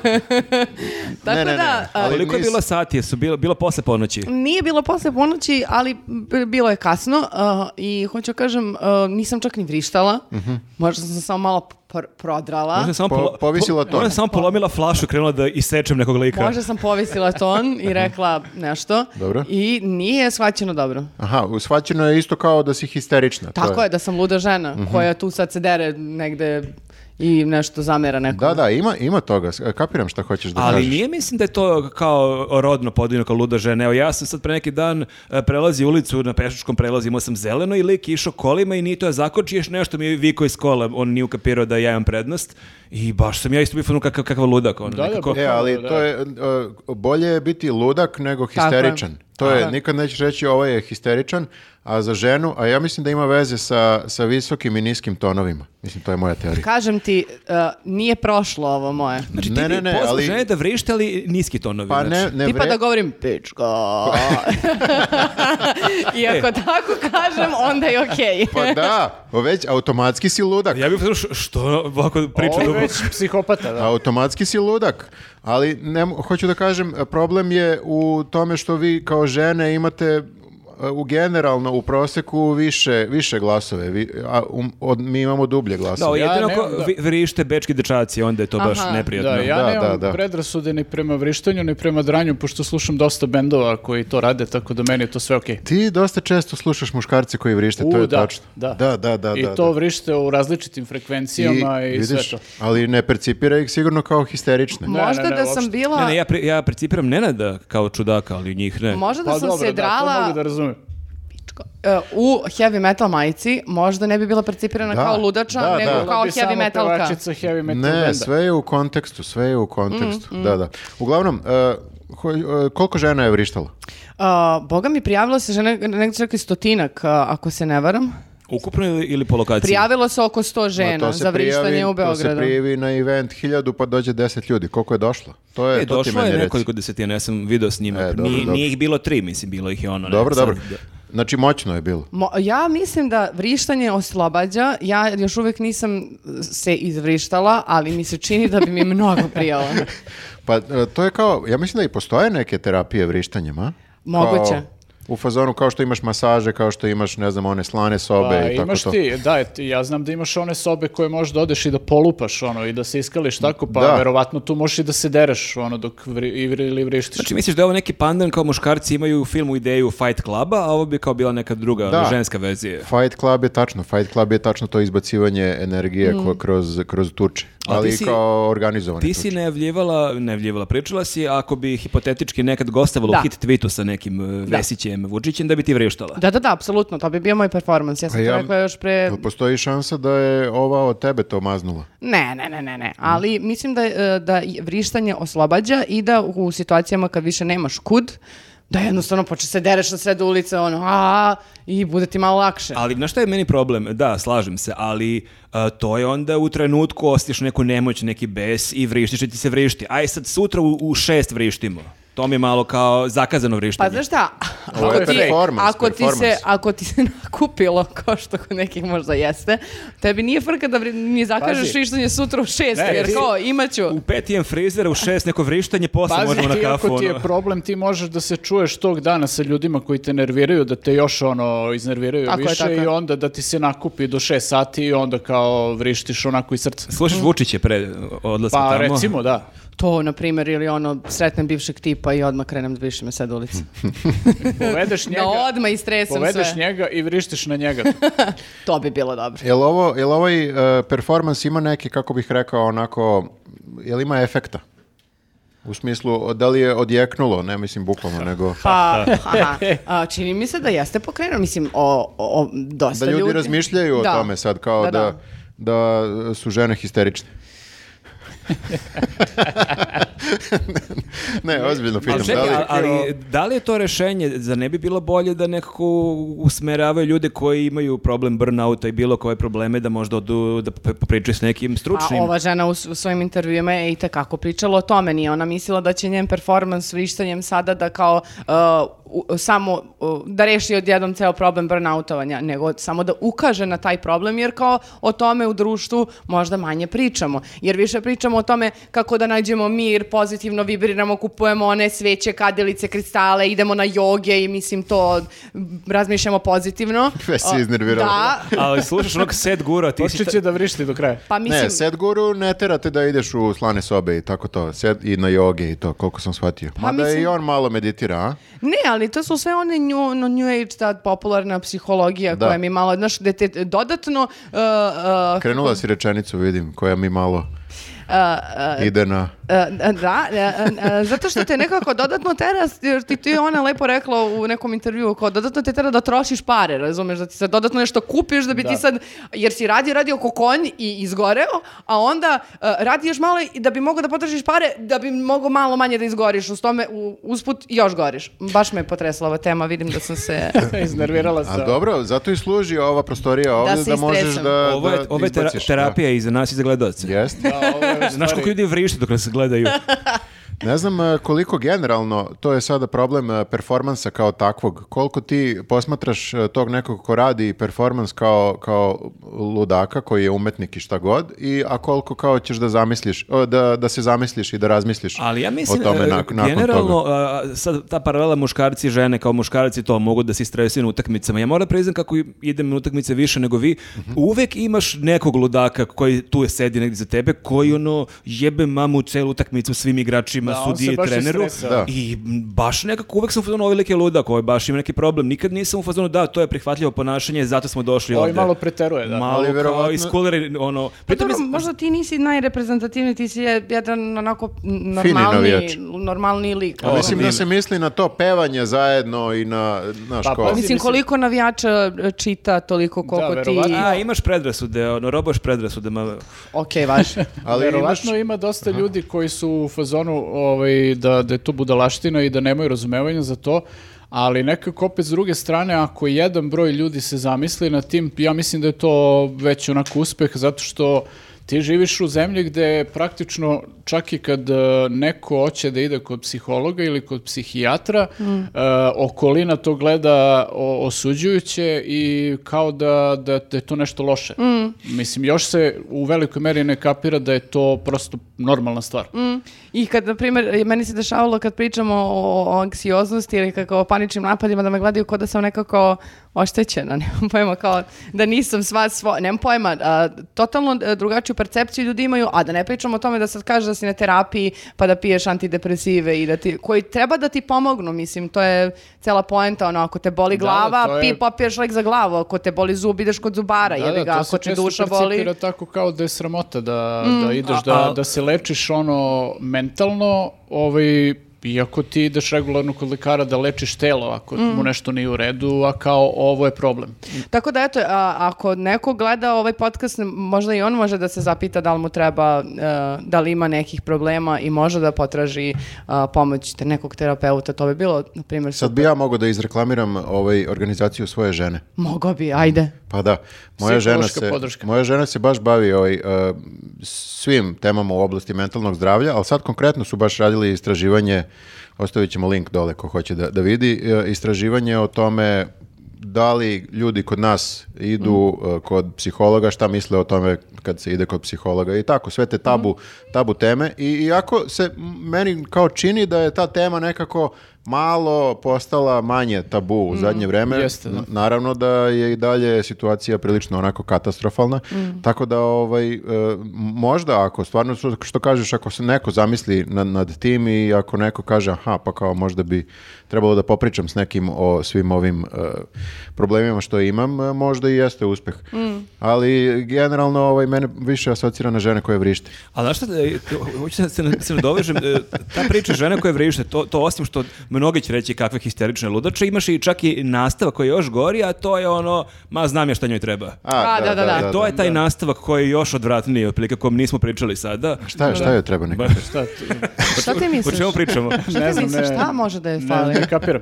Speaker 1: Tako
Speaker 2: Ne, ne, ne.
Speaker 1: da, e, a,
Speaker 2: Ali
Speaker 3: Koliko je
Speaker 2: nis-
Speaker 3: bilo sati? Jesu bilo, bilo posle ponoći?
Speaker 1: Nije bilo posle ponoći, ali b- bilo je
Speaker 2: Mhm.
Speaker 1: kasno uh, i hoću kažem, uh, nisam čak ni vrištala. Možda sam samo malo pr- prodrala.
Speaker 3: Možda je samo,
Speaker 2: Po-
Speaker 3: polo-
Speaker 2: povisila
Speaker 3: po-
Speaker 2: ton.
Speaker 3: Ona je samo polomila flašu, krenula da isečem nekog lika.
Speaker 1: Možda sam povisila ton
Speaker 2: (laughs)
Speaker 1: i rekla nešto.
Speaker 2: Dobro.
Speaker 1: I nije shvaćeno dobro.
Speaker 2: Aha, shvaćeno je isto kao da si histerična. to
Speaker 1: Tako je, da sam luda žena koja tu sad se dere negde i nešto zamera nekom.
Speaker 2: Da, da, ima, ima toga. S- e, Kapiram šta hoćeš da
Speaker 3: Ali
Speaker 2: kažeš.
Speaker 3: nije mislim da je to kao rodno podivno kao luda žena. Evo ja sam sad pre neki dan e, prelazio ulicu na pešačkom prelazu, imao sam zeleno i lik je išao kolima i nije to ja zakoči još nešto mi je vikao iz kola, on nije ukapirao da ja imam prednost i baš sam ja isto bio u fazonu kakav, kakav ludak on.
Speaker 4: Da, da,
Speaker 3: nekako.
Speaker 2: E, ali to je, uh, bolje je biti ludak nego histeričan. To je,
Speaker 1: Tako je.
Speaker 2: nikad nećeš reći ovo je histeričan, a za ženu, a ja mislim da ima veze sa, sa visokim i niskim tonovima. Mislim, to je moja teorija.
Speaker 1: Kažem ti, uh, nije prošlo ovo moje.
Speaker 3: Znači ti
Speaker 2: Ne, ne, ne,
Speaker 3: pozvaš
Speaker 2: ali-
Speaker 3: žene da vrište, ali niski tonovi.
Speaker 2: Pa
Speaker 3: znači.
Speaker 2: ne, ne
Speaker 1: Tipa
Speaker 2: vre-
Speaker 1: da govorim pičko. I ako tako kažem, onda je okej.
Speaker 2: Pa da, već automatski si ludak.
Speaker 3: Ja bih što, što ovako priča
Speaker 2: Ovaj
Speaker 4: Ovo je
Speaker 3: dugo?
Speaker 4: već
Speaker 2: (laughs)
Speaker 4: psihopata, da.
Speaker 2: Automatski si ludak, ali ne, mo- hoću da kažem, problem je u tome što vi kao žene imate e, u generalno u proseku više, više glasove, vi, a um- od, mi imamo dublje
Speaker 3: Da,
Speaker 2: glasove.
Speaker 3: ovo
Speaker 4: Ja
Speaker 3: jedino ako
Speaker 4: nemam, da.
Speaker 3: vi- vrište bečki dečaci, onda je to baš
Speaker 1: Aha.
Speaker 3: neprijatno.
Speaker 4: Da, ja
Speaker 2: Da,
Speaker 4: nemam
Speaker 2: da, da.
Speaker 4: predrasude ni prema vrištanju, ni prema dranju, pošto slušam dosta bendova koji to rade, tako da meni je to sve okej.
Speaker 2: Ti dosta često slušaš muškarce koji vrište,
Speaker 4: U,
Speaker 2: E, to je
Speaker 4: da,
Speaker 2: tačno.
Speaker 4: da.
Speaker 2: da, da, da,
Speaker 4: I
Speaker 2: da,
Speaker 4: to
Speaker 2: da.
Speaker 4: vrište u različitim frekvencijama i, sve
Speaker 2: vidiš,
Speaker 4: to.
Speaker 2: Ali ne percipira ih sigurno kao histerične.
Speaker 4: ne,
Speaker 1: Možda
Speaker 4: ne,
Speaker 1: da
Speaker 4: uopšte.
Speaker 1: sam bila...
Speaker 3: Ne, ne, ja, pre- ja percipiram Nenada kao čudaka, ali njih ne.
Speaker 1: Možda da
Speaker 4: Pa
Speaker 1: sam
Speaker 4: dobro,
Speaker 1: se
Speaker 4: da, to
Speaker 1: drala
Speaker 4: mogu da razumem.
Speaker 1: pičko, e, u heavy metal majici, možda ne bi bila percipirana
Speaker 2: Da.
Speaker 1: kao ludača,
Speaker 2: Da,
Speaker 1: nego
Speaker 2: da.
Speaker 1: kao
Speaker 4: Bi samo
Speaker 1: heavy metalka.
Speaker 4: pevačica heavy metal
Speaker 2: Ne,
Speaker 4: benda.
Speaker 2: sve je u kontekstu, sve je u kontekstu.
Speaker 1: Mm,
Speaker 2: Da, da. Uglavnom, e, ho- e, koliko žena je vrištalo?
Speaker 1: A, Uh, Boga mi prijavilo se žene, negdje čak i stotinak, a, ako se ne varam.
Speaker 3: Ukupno ili, ili po lokaciji?
Speaker 1: Prijavilo se oko 100
Speaker 2: Ma,
Speaker 1: žena
Speaker 2: to se
Speaker 1: za vrištanje
Speaker 2: prijavi-
Speaker 1: u
Speaker 2: To se
Speaker 1: Beogradu.
Speaker 2: prijavi na event 1000 pa dođe 10 ljudi. Koliko je došlo? To je,
Speaker 3: E,
Speaker 2: to ti
Speaker 3: došlo
Speaker 2: meni
Speaker 3: je
Speaker 2: reci.
Speaker 3: nekoliko desetina, ja sam video snima.
Speaker 2: E, dobro,
Speaker 3: nije,
Speaker 2: dobro.
Speaker 3: nije ih bilo tri, mislim, bilo ih je ono. ne,
Speaker 2: Dobro,
Speaker 3: sad-
Speaker 2: dobro. Znači moćno je bilo.
Speaker 1: Mo- ja mislim da vrištanje oslobađa. Ja još uvijek nisam se izvrištala, ali mi se čini da
Speaker 2: (laughs)
Speaker 1: bi mi mnogo prijalo.
Speaker 2: Pa e, to je kao, ja mislim da i postoje neke terapije vrištanjem, a?
Speaker 1: Moguće.
Speaker 2: Kao u fazonu kao što imaš masaže, kao što imaš, ne znam, one slane sobe
Speaker 4: Pa,
Speaker 2: i tako
Speaker 4: imaš
Speaker 2: to.
Speaker 4: ti, da, ti- ja znam da imaš one sobe koje možeš da odeš i da polupaš, ono, i da se iskališ tako, pa
Speaker 2: Da.
Speaker 4: verovatno tu možeš i da se dereš, ono, dok vri, i vri- ili vrištiš.
Speaker 3: Znači, misliš da je ovo neki pandan kao muškarci imaju u filmu ideju Fight Cluba, a ovo bi kao bila neka druga ono,
Speaker 2: Da.
Speaker 3: ženska verzija.
Speaker 2: Fight Club je tačno, Fight Club je tačno to izbacivanje energije
Speaker 4: Mm.
Speaker 2: ko- kroz, kroz tuče,
Speaker 3: A ti
Speaker 2: ali
Speaker 3: si-
Speaker 2: kao organizovane
Speaker 3: Ti
Speaker 2: tuče.
Speaker 3: si najavljivala, najavljivala, pričala si, ako bi hipotetički nekad gostavala
Speaker 1: Da.
Speaker 3: u hit tweetu sa nekim e, Vesićem, Vučićem, da bi ti vrištala.
Speaker 1: Da, da, da, apsolutno. To bi bio moj performans. Ja sam
Speaker 2: A
Speaker 1: to
Speaker 2: ja-
Speaker 1: rekla još pre...
Speaker 2: Jel Postoji šansa da je ova od tebe to maznula.
Speaker 1: Ne, ne, ne, ne, ne. Ali mislim da, e, da i vrištanje oslobađa i da u situacijama kad više nemaš kud, da jednostavno počne se dereš na sred ulice, ono, a, i bude ti malo lakše.
Speaker 3: Ali znaš šta je meni problem? Da, slažem se, ali a, to je onda u trenutku osjetiš neku nemoć, neki bes i vrištiš i ti se vrišti. Aj sad sutra u, u šest vrištimo. To mi je malo kao zakazano vrištanje.
Speaker 1: Pa znaš šta,
Speaker 2: Ovo je performans,
Speaker 1: ako, ti se,
Speaker 2: performans.
Speaker 1: ako ti se (laughs) nakupilo, kao što kod nekih možda jeste, tebi nije frka da vri- ni zakažeš
Speaker 4: Pazi.
Speaker 1: vrištanje sutra u šest,
Speaker 4: Ne,
Speaker 1: jer
Speaker 4: ti-
Speaker 1: kao, imaću.
Speaker 3: U pet imam frizer, u šest neko vrištanje, posle
Speaker 4: Pazi,
Speaker 3: možemo na
Speaker 4: ti
Speaker 3: kafu.
Speaker 4: ako Pa ti je
Speaker 3: ono. (laughs)
Speaker 4: problem, ti možeš da se čuješ tog dana sa ljudima koji te nerviraju, da te još ono iznerviraju
Speaker 1: Tako je,
Speaker 4: više
Speaker 1: tako je.
Speaker 4: i onda da ti se nakupi do 6 sati i onda kao vrištiš onako iz srca.
Speaker 3: Slušaš Vučiće pre odlaska
Speaker 4: Pa
Speaker 3: tamo?
Speaker 4: recimo, da.
Speaker 1: (laughs) To, na primjer, ili ono, sretnem bivšeg tipa i odmah krenem da višim sad ulici.
Speaker 4: Povedeš Hm. njega,
Speaker 1: Da odmah istresam
Speaker 4: povedeš
Speaker 1: sve.
Speaker 4: njega i vrištiš na
Speaker 1: (laughs)
Speaker 4: njega.
Speaker 1: To bi bilo
Speaker 4: (laughs)
Speaker 1: dobro.
Speaker 2: Jel ovo, jel ovaj e, performans ima neki, kako bih rekao, onako, jel ima efekta? U smislu, da li je odjeknulo, ne mislim bukvalno, nego
Speaker 1: Pa, aha. A, čini mi se da jeste pokrenuo, mislim, o, o, o- dosta
Speaker 2: da ljudi,
Speaker 1: ljudi.
Speaker 2: razmišljaju
Speaker 1: Da.
Speaker 2: o tome sad, kao da,
Speaker 1: Da,
Speaker 2: da, su žene histerične. ne, ozbiljno pitam.
Speaker 3: Ali, čekaj,
Speaker 2: da li,
Speaker 3: ali, ali da li je to rešenje? Zar ne bi bilo bolje da nekako usmeravaju ljude koji imaju problem burnouta i bilo koje probleme da možda odu da p- popričaju s nekim stručnim?
Speaker 1: A ovaj ova žena u, s- u svojim intervjuima je i tekako pričala o tome, nije ona mislila da će njen performans vrištanjem sada da kao uh, u- samo u, da reši odjednom ceo problem burnoutovanja, nego samo da ukaže na taj problem, jer kao o tome u društvu možda manje pričamo. Jer više pričamo o tome kako da nađemo mir, pozitivno vibriramo, kupujemo one sveće, kadilice, kristale, idemo na joge i mislim to m, razmišljamo pozitivno.
Speaker 2: Već si
Speaker 1: O,
Speaker 2: iznervirala.
Speaker 1: Da,
Speaker 3: Ali slušaš onog set gura, ti si...
Speaker 4: Počet će da vrišti do kraja.
Speaker 1: pa mislim...
Speaker 2: Ne, Sedguru ne terate da ideš u slane sobe i tako to, sed, i na joge i to, koliko sam shvatio. Mada
Speaker 1: mislim-
Speaker 2: i on malo meditira, a?
Speaker 1: Ne, ali to su sve one new, no, new age, ta popularna psihologija
Speaker 2: Da.
Speaker 1: koja mi malo, znaš, gde te dodatno uh, uh,
Speaker 2: Krenula si rečenicu, vidim, koja mi malo ide na...
Speaker 1: E, uh, da, e, e, zato što te nekako dodatno tera, jer ti, ti je ona lepo rekla u nekom intervjuu, kao dodatno te tera da trošiš pare, razumeš, da ti sad dodatno nešto kupiš, da bi ti sad, jer si radio, radio ko konj i izgoreo, a onda e, radi još malo i da bi mogao da potrošiš pare, da bi mogao malo manje da izgoriš, uz tome u, usput još goriš. Baš me je potresla ova tema, vidim da sam se...
Speaker 4: (laughs) Iznervirala
Speaker 2: A
Speaker 4: se.
Speaker 2: dobro, zato i služi ova prostorija ovdje da,
Speaker 1: se
Speaker 2: možeš
Speaker 1: istresam.
Speaker 2: da,
Speaker 3: Ovo je,
Speaker 2: da
Speaker 3: ovo je tera-
Speaker 2: izbaciš, da.
Speaker 3: terapija i za nas i za gledalce.
Speaker 2: Jeste.
Speaker 4: Da, ovo je
Speaker 3: Znaš
Speaker 4: u stvari-
Speaker 3: koliko ljudi vrišti dok nas gledaju?
Speaker 2: Ne znam e, koliko generalno, to je sada problem e, performansa kao takvog. Koliko ti posmatraš e, tog nekog ko radi performans kao, kao ludaka koji je umetnik i šta god, i, a koliko kao ćeš da zamisliš, o, da, da se zamisliš i da razmisliš
Speaker 3: Ali ja mislim,
Speaker 2: o tome
Speaker 3: e,
Speaker 2: nak- nakon
Speaker 3: generalno,
Speaker 2: toga.
Speaker 3: a, sad ta paralela muškarci i žene, kao muškarci to mogu da se istresuju na utakmicama. Ja moram priznam kako i- idem na utakmice više nego vi.
Speaker 2: Mhm.
Speaker 3: Uvek imaš nekog ludaka koji tu je sedi negdje za tebe,
Speaker 2: Mhm.
Speaker 3: koji ono jebe mamu celu utakmicu svim igračima,
Speaker 4: Da, on se
Speaker 3: sudiji,
Speaker 4: baš
Speaker 3: treneru.
Speaker 4: istresao.
Speaker 2: Da.
Speaker 3: I m, baš nekako uvek sam u fazonu, ovaj lik je ludak, ovaj baš ima neki problem. Nikad nisam u fazonu, da, to je prihvatljivo ponašanje, zato smo došli
Speaker 4: Ovo
Speaker 3: ovdje.
Speaker 4: i malo preteruje, da.
Speaker 3: Malo
Speaker 2: Ali
Speaker 3: kao
Speaker 2: verovatno-
Speaker 3: iz kulere, ono...
Speaker 1: Pa
Speaker 3: Pritom
Speaker 1: dobro,
Speaker 3: je-
Speaker 1: možda ti nisi najreprezentativni, ti si je- jedan onako
Speaker 2: navijač.
Speaker 1: normalni, normalni lik.
Speaker 2: A Pa mislim da
Speaker 3: divno.
Speaker 2: se misli na to pevanje zajedno i na, znaš,
Speaker 4: Pa,
Speaker 2: kao-
Speaker 4: pazi,
Speaker 1: Mislim, koliko navijača e, čita, toliko koliko ti...
Speaker 4: verovatno.
Speaker 3: A, imaš predrasude, ono, robaš predrasude, ma...
Speaker 1: Ok, vaš.
Speaker 2: ali imaš,
Speaker 4: Verovatno ima dosta ljudi koji su u fazonu ovaj, da, da je to budalaština i da nemaju razumevanja za to, ali nekako opet s druge strane, ako jedan broj ljudi se zamisli na tim, ja mislim da je to već onako uspeh, zato što ti živiš u zemlji gde praktično čak i kad e, neko hoće da ide kod psihologa ili kod psihijatra, e,
Speaker 1: Mm.
Speaker 4: okolina to gleda o- osuđujuće i kao da, da, da je to nešto loše.
Speaker 1: Mm.
Speaker 4: Mislim, još se u velikoj meri ne kapira da je to prosto normalna stvar.
Speaker 1: Mm. I kad, na primjer, meni se dešavalo kad pričamo o, o anksioznosti ili kako o paničnim napadima, da me gledaju kao da sam nekako oštećena, (laughs) nemam pojma, kao da nisam sva svo, nemam pojma, a, totalno e, drugačiju percepciju ljudi imaju, a da ne pričamo o tome da sad kažeš da si na terapiji pa da piješ antidepresive i da ti, koji treba da ti pomognu, mislim, to je cela poenta, ono, ako te boli
Speaker 4: Da, da,
Speaker 1: glava,
Speaker 4: to je-
Speaker 1: pi, popiješ lek za glavu, ako te boli zub, ideš kod zubara,
Speaker 4: Da,
Speaker 1: jebi
Speaker 4: da,
Speaker 1: ga,
Speaker 4: to se
Speaker 1: ako te
Speaker 4: često
Speaker 1: duša boli. Mm.
Speaker 4: percipira tako kao da je sramota da, da ideš,
Speaker 3: a-
Speaker 4: da,
Speaker 3: a-
Speaker 4: da se lečiš ono mentalno, ovaj, iako ti ideš regularno kod lekara da lečiš telo ako
Speaker 1: Mm.
Speaker 4: mu nešto nije u redu, a kao ovo je problem.
Speaker 1: Tako da eto, a, ako neko gleda ovaj podcast, ne- možda i on može da se zapita da li mu treba, e, da li ima nekih problema i može da potraži a, pomoć te nekog terapeuta. To bi bilo, na primjer,
Speaker 2: sad bi ja mogao da izreklamiram ovaj, organizaciju svoje žene.
Speaker 1: Mogao bi, ajde.
Speaker 2: Pa da, moja žena,
Speaker 4: Psihološka
Speaker 2: se,
Speaker 4: podrška.
Speaker 2: moja žena se baš bavi ovaj, e, svim temama u oblasti mentalnog zdravlja, ali sad konkretno su baš radili istraživanje, ostavit ćemo link dole ko hoće da, da vidi, e, istraživanje o tome da li ljudi kod nas idu
Speaker 4: Mhm.
Speaker 2: e, kod psihologa, šta misle o tome kad se ide kod psihologa i tako, sve te tabu,
Speaker 4: Mhm.
Speaker 2: tabu teme. I iako se m- meni kao čini da je ta tema nekako malo postala manje tabu
Speaker 1: Mm.
Speaker 2: u zadnje vreme,
Speaker 4: Jeste, da.
Speaker 2: Naravno da je i dalje situacija prilično onako katastrofalna,
Speaker 1: Mm.
Speaker 2: tako da ovaj, e, možda ako, stvarno što- što kažeš, ako se neko zamisli nad, nad tim i ako neko kaže aha, pa kao možda bi trebalo da popričam s nekim o svim ovim e, problemima što imam, e, možda i jeste uspeh.
Speaker 1: Mm.
Speaker 2: Ali generalno ovaj, mene više asocira na žene koje vrište.
Speaker 3: A znaš šta, e, to- hoću da se, na- se nadovežem, e, ta priča žena koja vrište, to, to osim što mnogi će reći kakve histerične ludače, imaš i čak i nastavak koji je još gori, a to je ono, ma znam ja šta njoj treba. E,
Speaker 1: A, da, da, da.
Speaker 3: to je taj nastavak koji je još odvratniji, otprilike o kom nismo pričali sada.
Speaker 2: Šta, je- šta joj treba neka?
Speaker 4: Šta ti-
Speaker 1: (laughs) Šta ti
Speaker 3: O
Speaker 1: misliš?
Speaker 3: čemu pričamo?
Speaker 1: Šta ti misliš, šta može da je fali?
Speaker 4: Ne, ne kapiram.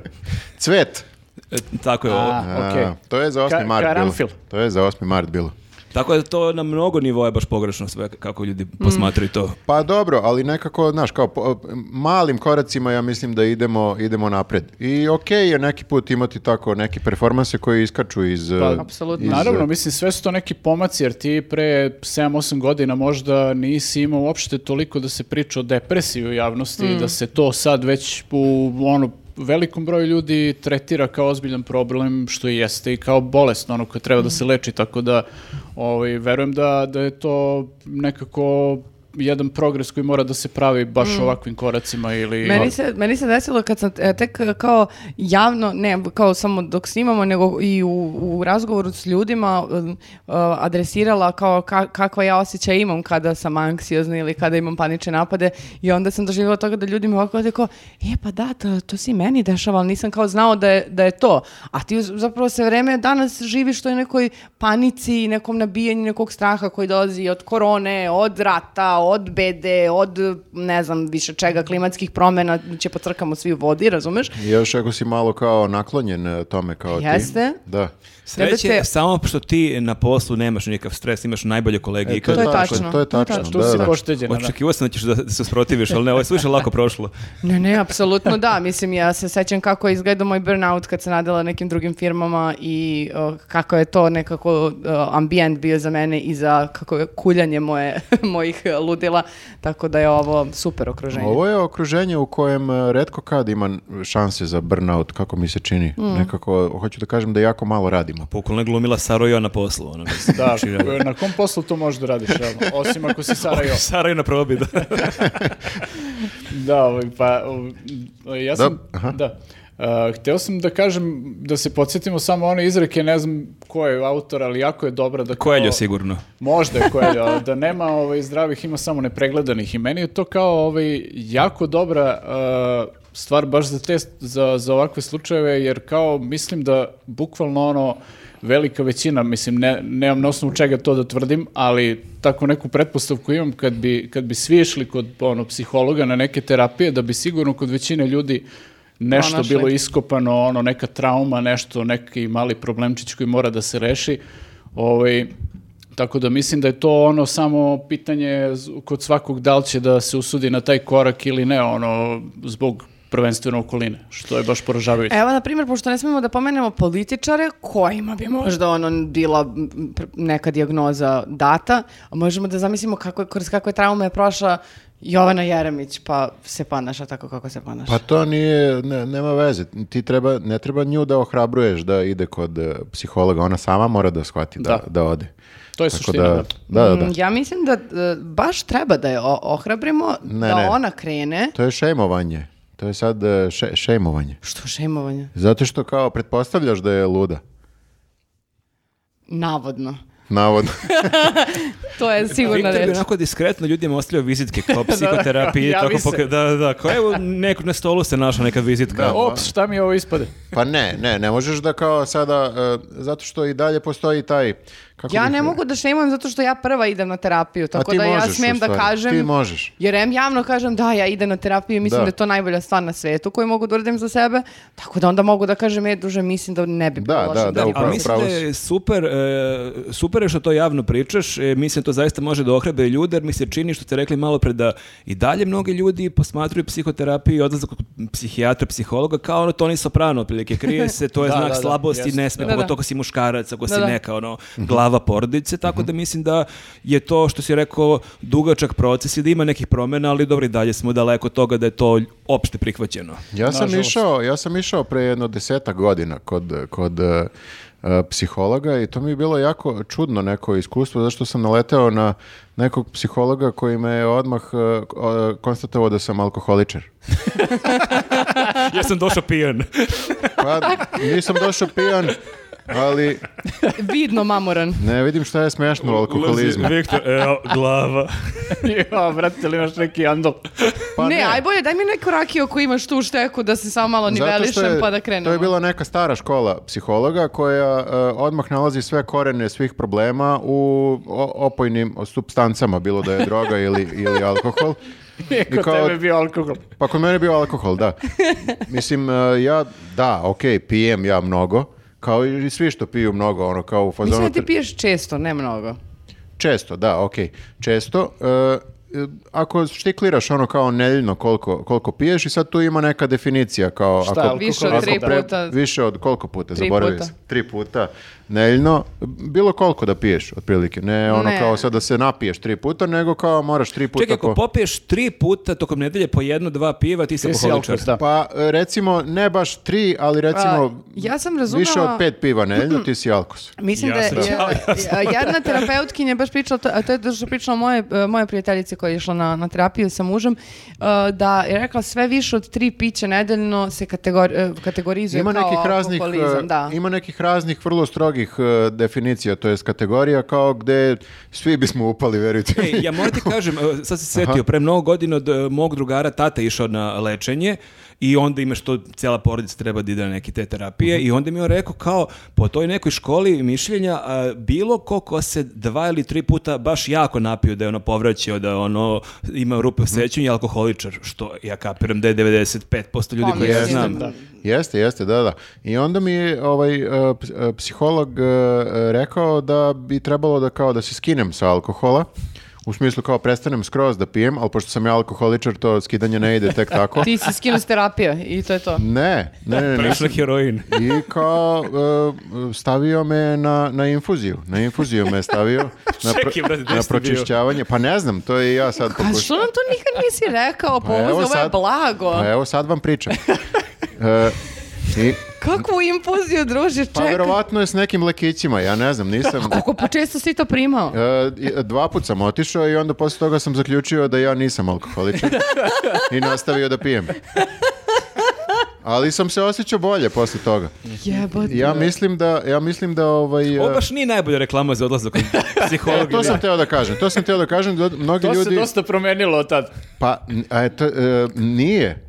Speaker 2: Cvet!
Speaker 3: E, Tako je ovo.
Speaker 4: A, okej.
Speaker 2: A, to je za 8.
Speaker 4: Ka-
Speaker 2: mart bilo.
Speaker 4: karanfil.
Speaker 2: To je za 8. mart bilo.
Speaker 3: Tako da to na mnogo nivoa je baš pogrešno sve kako ljudi
Speaker 1: Mm.
Speaker 3: posmatraju to.
Speaker 2: Pa dobro, ali nekako, znaš, kao po- malim koracima ja mislim da idemo, idemo napred. I okej je neki put imati tako neke performanse koji iskaču iz...
Speaker 4: Pa,
Speaker 2: eh,
Speaker 1: apsolutno.
Speaker 2: iz, eh,
Speaker 4: Naravno, mislim, sve su to neki pomaci, jer ti pre 7-8 godina možda nisi imao uopšte toliko da se priča o depresiji u javnosti
Speaker 1: Mm.
Speaker 4: i da se to sad već u ono, velikom broju ljudi tretira kao ozbiljan problem, što i jeste i kao bolest, ono koje treba da
Speaker 1: Mm.
Speaker 4: se leči, tako da ovaj, verujem da, da je to nekako jedan progres koji mora da se pravi baš ovakvim koracima ili...
Speaker 1: Mm. Meni se, meni se desilo kad sam e, tek e, kao javno, ne kao samo dok snimamo, nego i u, u razgovoru s ljudima e, e, adresirala kao ka- kakva ja osjećaj imam kada sam anksiozna ili kada imam panične napade i onda sam doživjela toga da ljudi mi ovako ovdje kao, e pa da, to, to se i meni dešava, ali nisam kao znao da je, da je to. A ti uz- zapravo sve vreme danas živiš to u nekoj panici i nekom nabijanju nekog straha koji dolazi od korone, od rata, od bede, od ne znam više čega, klimatskih promjena, će pocrkamo svi u vodi, razumeš?
Speaker 2: Još ako si malo kao naklonjen eh, tome kao
Speaker 1: Jeste.
Speaker 2: ti. Da.
Speaker 3: Sreće
Speaker 1: Trebate-
Speaker 3: samo što ti na poslu nemaš nikakav stres, imaš najbolje kolege i
Speaker 2: E, to,
Speaker 1: To
Speaker 2: je
Speaker 1: je
Speaker 3: kad...
Speaker 2: tačno,
Speaker 1: tačno,
Speaker 2: to je
Speaker 1: to je
Speaker 2: tačno.
Speaker 4: Tu
Speaker 2: da,
Speaker 4: si
Speaker 2: da.
Speaker 4: pošteđena, da.
Speaker 3: Očekivao sam da ćeš da da se usprotiviš, ali ne, ovo je suviše lako prošlo.
Speaker 1: Ne, ne, apsolutno da. Mislim, ja se sećam kako je izgledao moj burnout kad sam radila u nekim drugim firmama i o, kako je to nekako o, ambijent bio za mene i za kako je kuljanje moje, (laughs) mojih e, ludila. Tako da je ovo super okruženje.
Speaker 2: Ovo je okruženje u kojem eh, redko kad ima šanse za burnout, kako mi se čini. Nekako, hoću da kažem da jako malo radimo.
Speaker 3: Pokolno je Pa glumila Sarojo na poslu, ono mislim.
Speaker 4: Da, e,
Speaker 3: Znači, ono,
Speaker 4: na kom poslu to možeš da radiš, realno? osim ako si
Speaker 3: (laughs)
Speaker 4: Sarajevo.
Speaker 3: Sarajevo na probi,
Speaker 4: (laughs)
Speaker 3: da.
Speaker 4: Da, ovaj, pa ovaj, ja sam,
Speaker 2: Da, aha.
Speaker 4: da, Uh, hteo sam da kažem, da se podsjetimo samo one izreke, ne znam ko je autor, ali jako je dobra da...
Speaker 3: Koeljo
Speaker 4: kao-
Speaker 3: sigurno.
Speaker 4: Možda je Koeljo, ali da nema ovaj, zdravih, ima samo nepregledanih. I meni je to kao ovaj, jako dobra uh, stvar baš za, te, za, za ovakve slučajeve, jer kao mislim da bukvalno ono, velika većina, mislim, ne, nemam na osnovu čega to da tvrdim, ali tako neku pretpostavku imam kad bi, kad bi svi išli kod ono, psihologa na neke terapije, da bi sigurno kod većine ljudi nešto
Speaker 1: Pronašli.
Speaker 4: bilo iskopano, ono, neka trauma, nešto, neki mali problemčić koji mora da se reši. Ovaj, tako da mislim da je to ono samo pitanje z- kod svakog da li će da se usudi na taj korak ili ne, ono, zbog prvenstveno okoline, što je baš poražavajuće.
Speaker 1: Evo, na primjer, pošto ne smijemo da pomenemo političare kojima bi možda ono bila m, pr- neka dijagnoza data, a možemo da zamislimo kako, je- kroz kakve traume je prošla Jovana Jeremić, pa se ponaša tako kako se ponaša.
Speaker 2: Pa to nije, ne- nema veze. Ti treba, ne treba nju da ohrabruješ da ide kod eh, psihologa. Ona sama mora da shvati da, da.
Speaker 4: Da.
Speaker 2: ode.
Speaker 4: To je
Speaker 2: Tako
Speaker 4: suština, da.
Speaker 2: Da, da, da.
Speaker 1: Mm, Ja mislim da e, baš treba da je o- ohrabrimo,
Speaker 2: Ne,
Speaker 1: da
Speaker 2: ne.
Speaker 1: ona krene.
Speaker 2: To je šejmovanje. To je sad eh, še, šejmovanje.
Speaker 1: Što šemovanje?
Speaker 2: Zato što kao pretpostavljaš da je luda.
Speaker 1: Navodno. (laughs)
Speaker 2: Navodno.
Speaker 1: To je sigurno
Speaker 3: Viktor bi
Speaker 1: reč.
Speaker 3: onako diskretno ljudima ostavljao vizitke,
Speaker 4: (laughs)
Speaker 3: kao psikoterapije,
Speaker 4: javi
Speaker 3: tako
Speaker 4: se.
Speaker 3: poka- da, da, da, kao evo, neko na stolu se našla neka vizitka.
Speaker 2: Da.
Speaker 4: Ops, šta mi ovo ispade? (laughs)
Speaker 2: Pa ne, ne, ne možeš da kao sada, eh, zato što i dalje postoji taj... Kako
Speaker 1: Ja
Speaker 2: bih-
Speaker 1: ne mogu da šemujem zato što ja prva idem na terapiju,
Speaker 2: A
Speaker 1: tako
Speaker 2: ti
Speaker 1: da ja
Speaker 2: možeš, u
Speaker 1: smem da
Speaker 2: stvari.
Speaker 1: kažem...
Speaker 2: Ti možeš.
Speaker 1: Jer em javno kažem da ja idem na terapiju i mislim
Speaker 2: Da.
Speaker 1: da. je to najbolja stvar na svetu koju mogu da uradim za sebe, tako da onda mogu da kažem, e druže, mislim da ne bi bilo
Speaker 2: Da,
Speaker 1: loše
Speaker 2: da, da,
Speaker 1: idem."
Speaker 2: upravo.
Speaker 3: A mislim da
Speaker 2: pravo si.
Speaker 3: je super, e, super je što to javno pričaš, e, mislim da to zaista može da ohrabe ljude, jer mi se čini što ste rekli malo pre da i dalje mnogi ljudi posmatruju psihoterapiju i odlazak kod psihijatra, psihologa kao ono Toni Soprano, otprilike krije se, to je
Speaker 4: Da,
Speaker 3: znak
Speaker 4: da, da,
Speaker 3: slabosti,
Speaker 4: jeste,
Speaker 3: ne sme,
Speaker 1: da. Da,
Speaker 3: pogotovo ako si muškarac, ako
Speaker 1: Da,
Speaker 3: si
Speaker 1: da.
Speaker 3: neka ono, glava porodice, tako da mislim da je to što si rekao dugačak proces i da ima nekih promjena, ali dobro i dalje smo daleko od toga da je to opšte prihvaćeno.
Speaker 2: Ja sam,
Speaker 4: Nažalost.
Speaker 2: išao, ja sam išao pre jedno deseta godina kod, kod e, e, psihologa i to mi je bilo jako čudno neko iskustvo, zašto sam naleteo na nekog psihologa koji me je odmah e, k- o- konstatovao da sam alkoholičar.
Speaker 3: ja sam došao pijan.
Speaker 2: Pa nisam došao pijan, ali
Speaker 1: (laughs) Vidno mamoran.
Speaker 2: ne vidim šta je smešno u alkoholizmu.
Speaker 3: Viktor, evo, glava.
Speaker 4: ja, brate, ili imaš
Speaker 2: (laughs)
Speaker 4: neki andol?
Speaker 2: Pa
Speaker 1: ne,
Speaker 2: ne.
Speaker 1: aj bolje, daj mi neku rakiju ako imaš tu šteku da se samo malo nivelišem pa da krenemo.
Speaker 2: to je bila neka stara škola psihologa koja e, odmah nalazi sve korene svih problema u o- opojnim substancama, bilo da je
Speaker 1: (laughs)
Speaker 2: droga ili, ili alkohol.
Speaker 4: Iako
Speaker 2: I kao-
Speaker 4: tebe je bio alkohol.
Speaker 2: Pa eh, kod mene je bio alkohol, da. Mislim, e, ja, da, ok, pijem ja mnogo, Kao i svi što piju mnogo, ono, kao u fazonu...
Speaker 1: Mislim da ti
Speaker 2: tre-
Speaker 1: piješ često, ne mnogo.
Speaker 2: Često, da, okej. Često. e, e, ako štikliraš ono kao nedeljno koliko, koliko piješ i sad tu ima neka definicija kao...
Speaker 4: Šta,
Speaker 2: ako,
Speaker 4: ali
Speaker 1: Više od
Speaker 4: Koliko
Speaker 1: tri
Speaker 2: ako pre-
Speaker 1: puta.
Speaker 2: Više od koliko puta,
Speaker 1: Tri
Speaker 2: zaboravio
Speaker 1: puta.
Speaker 2: sam. Tri puta nedeljno. Bilo koliko da piješ, otprilike. Ne ono
Speaker 1: Ne.
Speaker 2: kao sad da se napiješ tri puta, nego kao moraš tri puta...
Speaker 3: Čekaj, ako
Speaker 2: po-
Speaker 3: popiješ tri puta tokom nedelje po jedno, dva piva, ti si
Speaker 4: Ti si
Speaker 3: alkoholičar.
Speaker 4: alkos, da.
Speaker 2: Pa e, recimo, ne baš tri, ali recimo
Speaker 1: A, Pa, ja sam razumela-
Speaker 2: više od pet piva nedeljno, ti si alkos.
Speaker 1: Mislim
Speaker 3: Ja
Speaker 1: da je
Speaker 3: sam-
Speaker 1: ja, ja- jedna terapeutkinja baš pričala, to, a to je to što je pričala moje, e, moje prijateljice koja je išla na, na terapiju sa mužem, e, da je rekla sve više od tri pića nedeljno se kategori, e, kategorizuje
Speaker 2: Ima
Speaker 1: kao
Speaker 2: nekih raznih
Speaker 1: alkoholizam,
Speaker 2: e,
Speaker 1: da.
Speaker 2: ima nekih raznih vrlo strogih e, definicija, to jest kategorija kao gde svi bismo upali, verujte.
Speaker 3: Ej, ja
Speaker 2: (laughs)
Speaker 3: moram ti kažem, e, sad se setio, pre mnogo godina od e, mog drugara tata je išao na lečenje i onda imaš to, cijela porodica treba da ide na neke te terapije
Speaker 2: Mhm.
Speaker 3: i onda mi je on rekao kao po toj nekoj školi mišljenja a, bilo ko ko se dva ili tri puta baš jako napio da je ono povraćao, da ono ima rupe u
Speaker 2: Mhm.
Speaker 3: sećanju i alkoholičar, što ja kapiram da je 95% ljudi koji ja
Speaker 1: Pomislim.
Speaker 3: znam.
Speaker 2: Jeste, jeste, jeste, da, da. I onda mi je ovaj, e, ps- e, psiholog e, e, rekao da bi trebalo da kao da se skinem sa alkohola, u smislu kao prestanem skroz da pijem, ali pošto sam ja alkoholičar, to skidanje ne ide tek tako.
Speaker 1: Ti si skinuo s terapije i to je to.
Speaker 2: Ne, ne, ne, ne,
Speaker 3: Prešao na heroin.
Speaker 2: I kao e, stavio me na, na infuziju. Na infuziju me stavio. Na, pro-
Speaker 3: Čekaj, brate, gde
Speaker 2: na
Speaker 3: si bio?
Speaker 2: pročišćavanje. Pa ne znam, to je i ja sad
Speaker 1: A što
Speaker 2: pokušao.
Speaker 1: nam to nikad nisi rekao? Pa,
Speaker 2: Pa evo
Speaker 1: ovo je
Speaker 2: sad-
Speaker 1: blago.
Speaker 2: Pa evo sad vam
Speaker 1: (laughs)
Speaker 2: pričam. E, i,
Speaker 1: Kakvu infuziju, druže,
Speaker 2: pa
Speaker 1: čekaj.
Speaker 2: verovatno je s nekim lekićima, ja ne znam, nisam...
Speaker 1: Kako pa često si to primao?
Speaker 2: E, i- dva put sam otišao i onda posle toga sam zaključio da ja nisam alkoholičar i nastavio da pijem. Ali sam se osjećao bolje posle toga.
Speaker 1: Jebote.
Speaker 2: Ja mislim da, (laughs) ja mislim da ovaj... e,
Speaker 3: Ovo baš nije najbolja reklama za
Speaker 2: (laughs)
Speaker 3: odlazak kod psihologa.
Speaker 2: To sam teo da kažem. To sam teo da kažem da mnogi
Speaker 4: To se
Speaker 2: ljudi
Speaker 4: dosta promenilo od tad.
Speaker 2: pa n- a eto, e,
Speaker 4: (laughs)
Speaker 2: nije.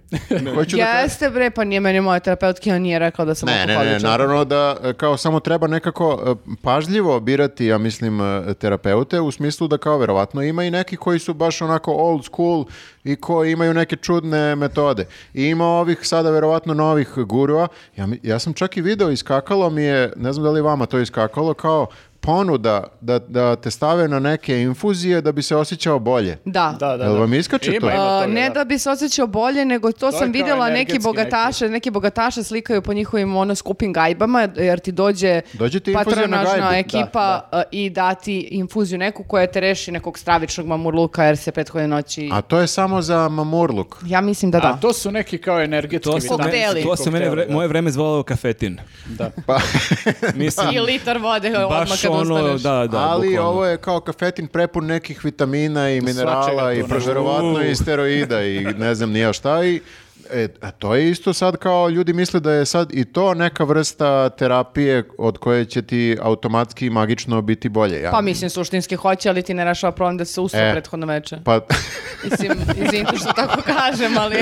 Speaker 2: Hoću da kažem-
Speaker 1: Jeste bre, pa nije meni moja terapeutkinja nije rekla da sam
Speaker 2: Ne, ne, ne,
Speaker 1: alkoholičar.
Speaker 2: naravno da e, kao samo treba nekako e, pažljivo birati, ja mislim, e, terapeute u smislu da kao verovatno ima i neki koji su baš onako old school i koji imaju neke čudne metode. I ima ovih sada verovatno novih gurua. Ja, mi- ja sam čak i video, iskakalo mi je, ne znam da li vama to iskakalo, kao ponuda da, da te stave na neke infuzije da bi se osjećao bolje.
Speaker 1: Da.
Speaker 4: Da, da,
Speaker 2: Jel
Speaker 4: da.
Speaker 2: vam iskače
Speaker 4: Ima,
Speaker 2: to?
Speaker 4: ima
Speaker 1: A,
Speaker 4: toga,
Speaker 1: ne
Speaker 4: da.
Speaker 1: da bi se osjećao bolje, nego to,
Speaker 4: To je
Speaker 1: sam
Speaker 4: kao
Speaker 1: vidjela neki
Speaker 4: energetski
Speaker 1: bogataše, neki. bogataše slikaju po njihovim ono skupim gajbama, jer ti dođe
Speaker 2: Dođe ti infuzija na
Speaker 1: patronažna
Speaker 2: gajbu.
Speaker 1: ekipa a, i dati infuziju neku koja te reši nekog stravičnog mamurluka jer se prethodne noći...
Speaker 2: A to je samo za mamurluk.
Speaker 1: Ja mislim da da.
Speaker 4: A to su neki kao energetski
Speaker 3: To su,
Speaker 1: Kokteli.
Speaker 3: mene, to su mene vre- moje vreme zvalo kafetin.
Speaker 4: Da.
Speaker 2: (laughs) Pa,
Speaker 3: Mislim,
Speaker 1: I litar vode odmah
Speaker 3: baš
Speaker 1: kad
Speaker 3: ono,
Speaker 1: ustaneš.
Speaker 3: da, da,
Speaker 2: ali
Speaker 3: bukvalno.
Speaker 2: ovo je kao kafetin prepun nekih vitamina i minerala
Speaker 4: Svačega
Speaker 2: i
Speaker 4: tu, ne?
Speaker 2: verovatno i steroida i ne znam nija šta i E, a to je isto sad kao ljudi misle da je sad i to neka vrsta terapije od koje će ti automatski i magično biti bolje. Ja,
Speaker 1: Pa mislim, suštinski hoće, ali ti ne rešava problem da se usao
Speaker 2: E.
Speaker 1: prethodno veče.
Speaker 2: pa, (laughs)
Speaker 1: Mislim, izvinite što tako kažem, ali...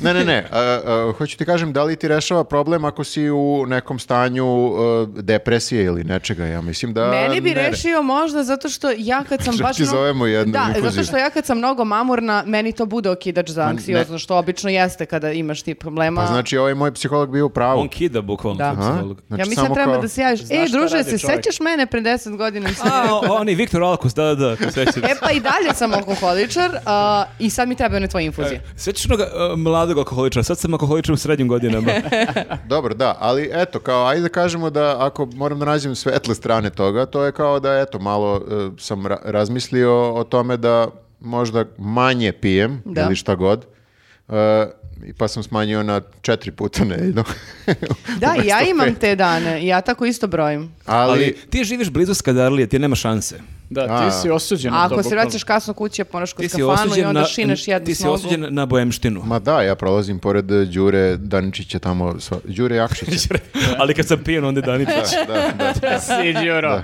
Speaker 2: ne, ne, ne. a, a, hoću ti kažem da li ti rešava problem ako si u nekom stanju a, depresije ili nečega. Ja mislim da...
Speaker 1: Meni bi
Speaker 2: ne re-
Speaker 1: rešio možda zato što ja kad
Speaker 2: (laughs)
Speaker 1: sam
Speaker 2: Čak
Speaker 1: baš...
Speaker 2: ti
Speaker 1: mno-
Speaker 2: zovemo jednu
Speaker 1: Da,
Speaker 2: infuziju.
Speaker 1: zato što ja kad sam mnogo mamurna, meni to bude okidač za anksiozno, što obično jeste kada imaš ti problema.
Speaker 2: Pa znači ovaj moj psiholog bio u pravu.
Speaker 3: On kida bukvalno
Speaker 1: Da.
Speaker 3: da.
Speaker 1: Aha.
Speaker 3: psiholog.
Speaker 2: Znači,
Speaker 1: ja mislim da
Speaker 2: samo
Speaker 1: treba
Speaker 2: kao-
Speaker 1: da se javiš,
Speaker 4: Znaš
Speaker 1: e
Speaker 4: šta
Speaker 1: druže,
Speaker 4: radi
Speaker 1: se
Speaker 4: čovjek."
Speaker 1: sećaš mene pre 10 godina? (laughs) Mislim,
Speaker 3: A, o- on i Viktor Alkos, da, da, da, sećam se.
Speaker 1: E pa i dalje sam alkoholičar a, i sad mi trebaju na tvoje infuzije.
Speaker 3: Sećaš onoga e, mladog alkoholičara, sad sam alkoholičar u srednjim
Speaker 1: (laughs)
Speaker 3: godinama.
Speaker 2: Dobro, da, ali eto, kao, ajde da kažemo da ako moram da nađem svetle strane toga, to je kao da, eto, malo e, sam ra- razmislio o tome da možda manje pijem
Speaker 1: Da.
Speaker 2: ili šta god, E, i pa sam smanjio na četiri puta nedeljno.
Speaker 1: (laughs) Da, i ja
Speaker 2: Umesto
Speaker 1: imam
Speaker 2: pet.
Speaker 1: te dane, i ja tako isto brojim.
Speaker 2: Ali,
Speaker 3: Ali ti živiš blizu Skadarlije, ti nema šanse.
Speaker 4: Da,
Speaker 2: A.
Speaker 4: ti si osuđen
Speaker 1: A
Speaker 4: na to.
Speaker 1: ako se
Speaker 4: bukvalno.
Speaker 1: vraćaš kasno kući, ponaš kod
Speaker 3: Ti si
Speaker 1: kafanu i
Speaker 3: osuđen
Speaker 1: onda
Speaker 3: na,
Speaker 1: šinaš jednu
Speaker 3: ti si
Speaker 1: snogu.
Speaker 3: osuđen na bojemštinu.
Speaker 2: ma da, ja prolazim pored e, Đure Daničića tamo, sva, Đure Jakšića.
Speaker 3: (laughs) Ali kad sam pijen, onda je Danica.
Speaker 2: da, da, da,
Speaker 4: (laughs) Si, Đuro.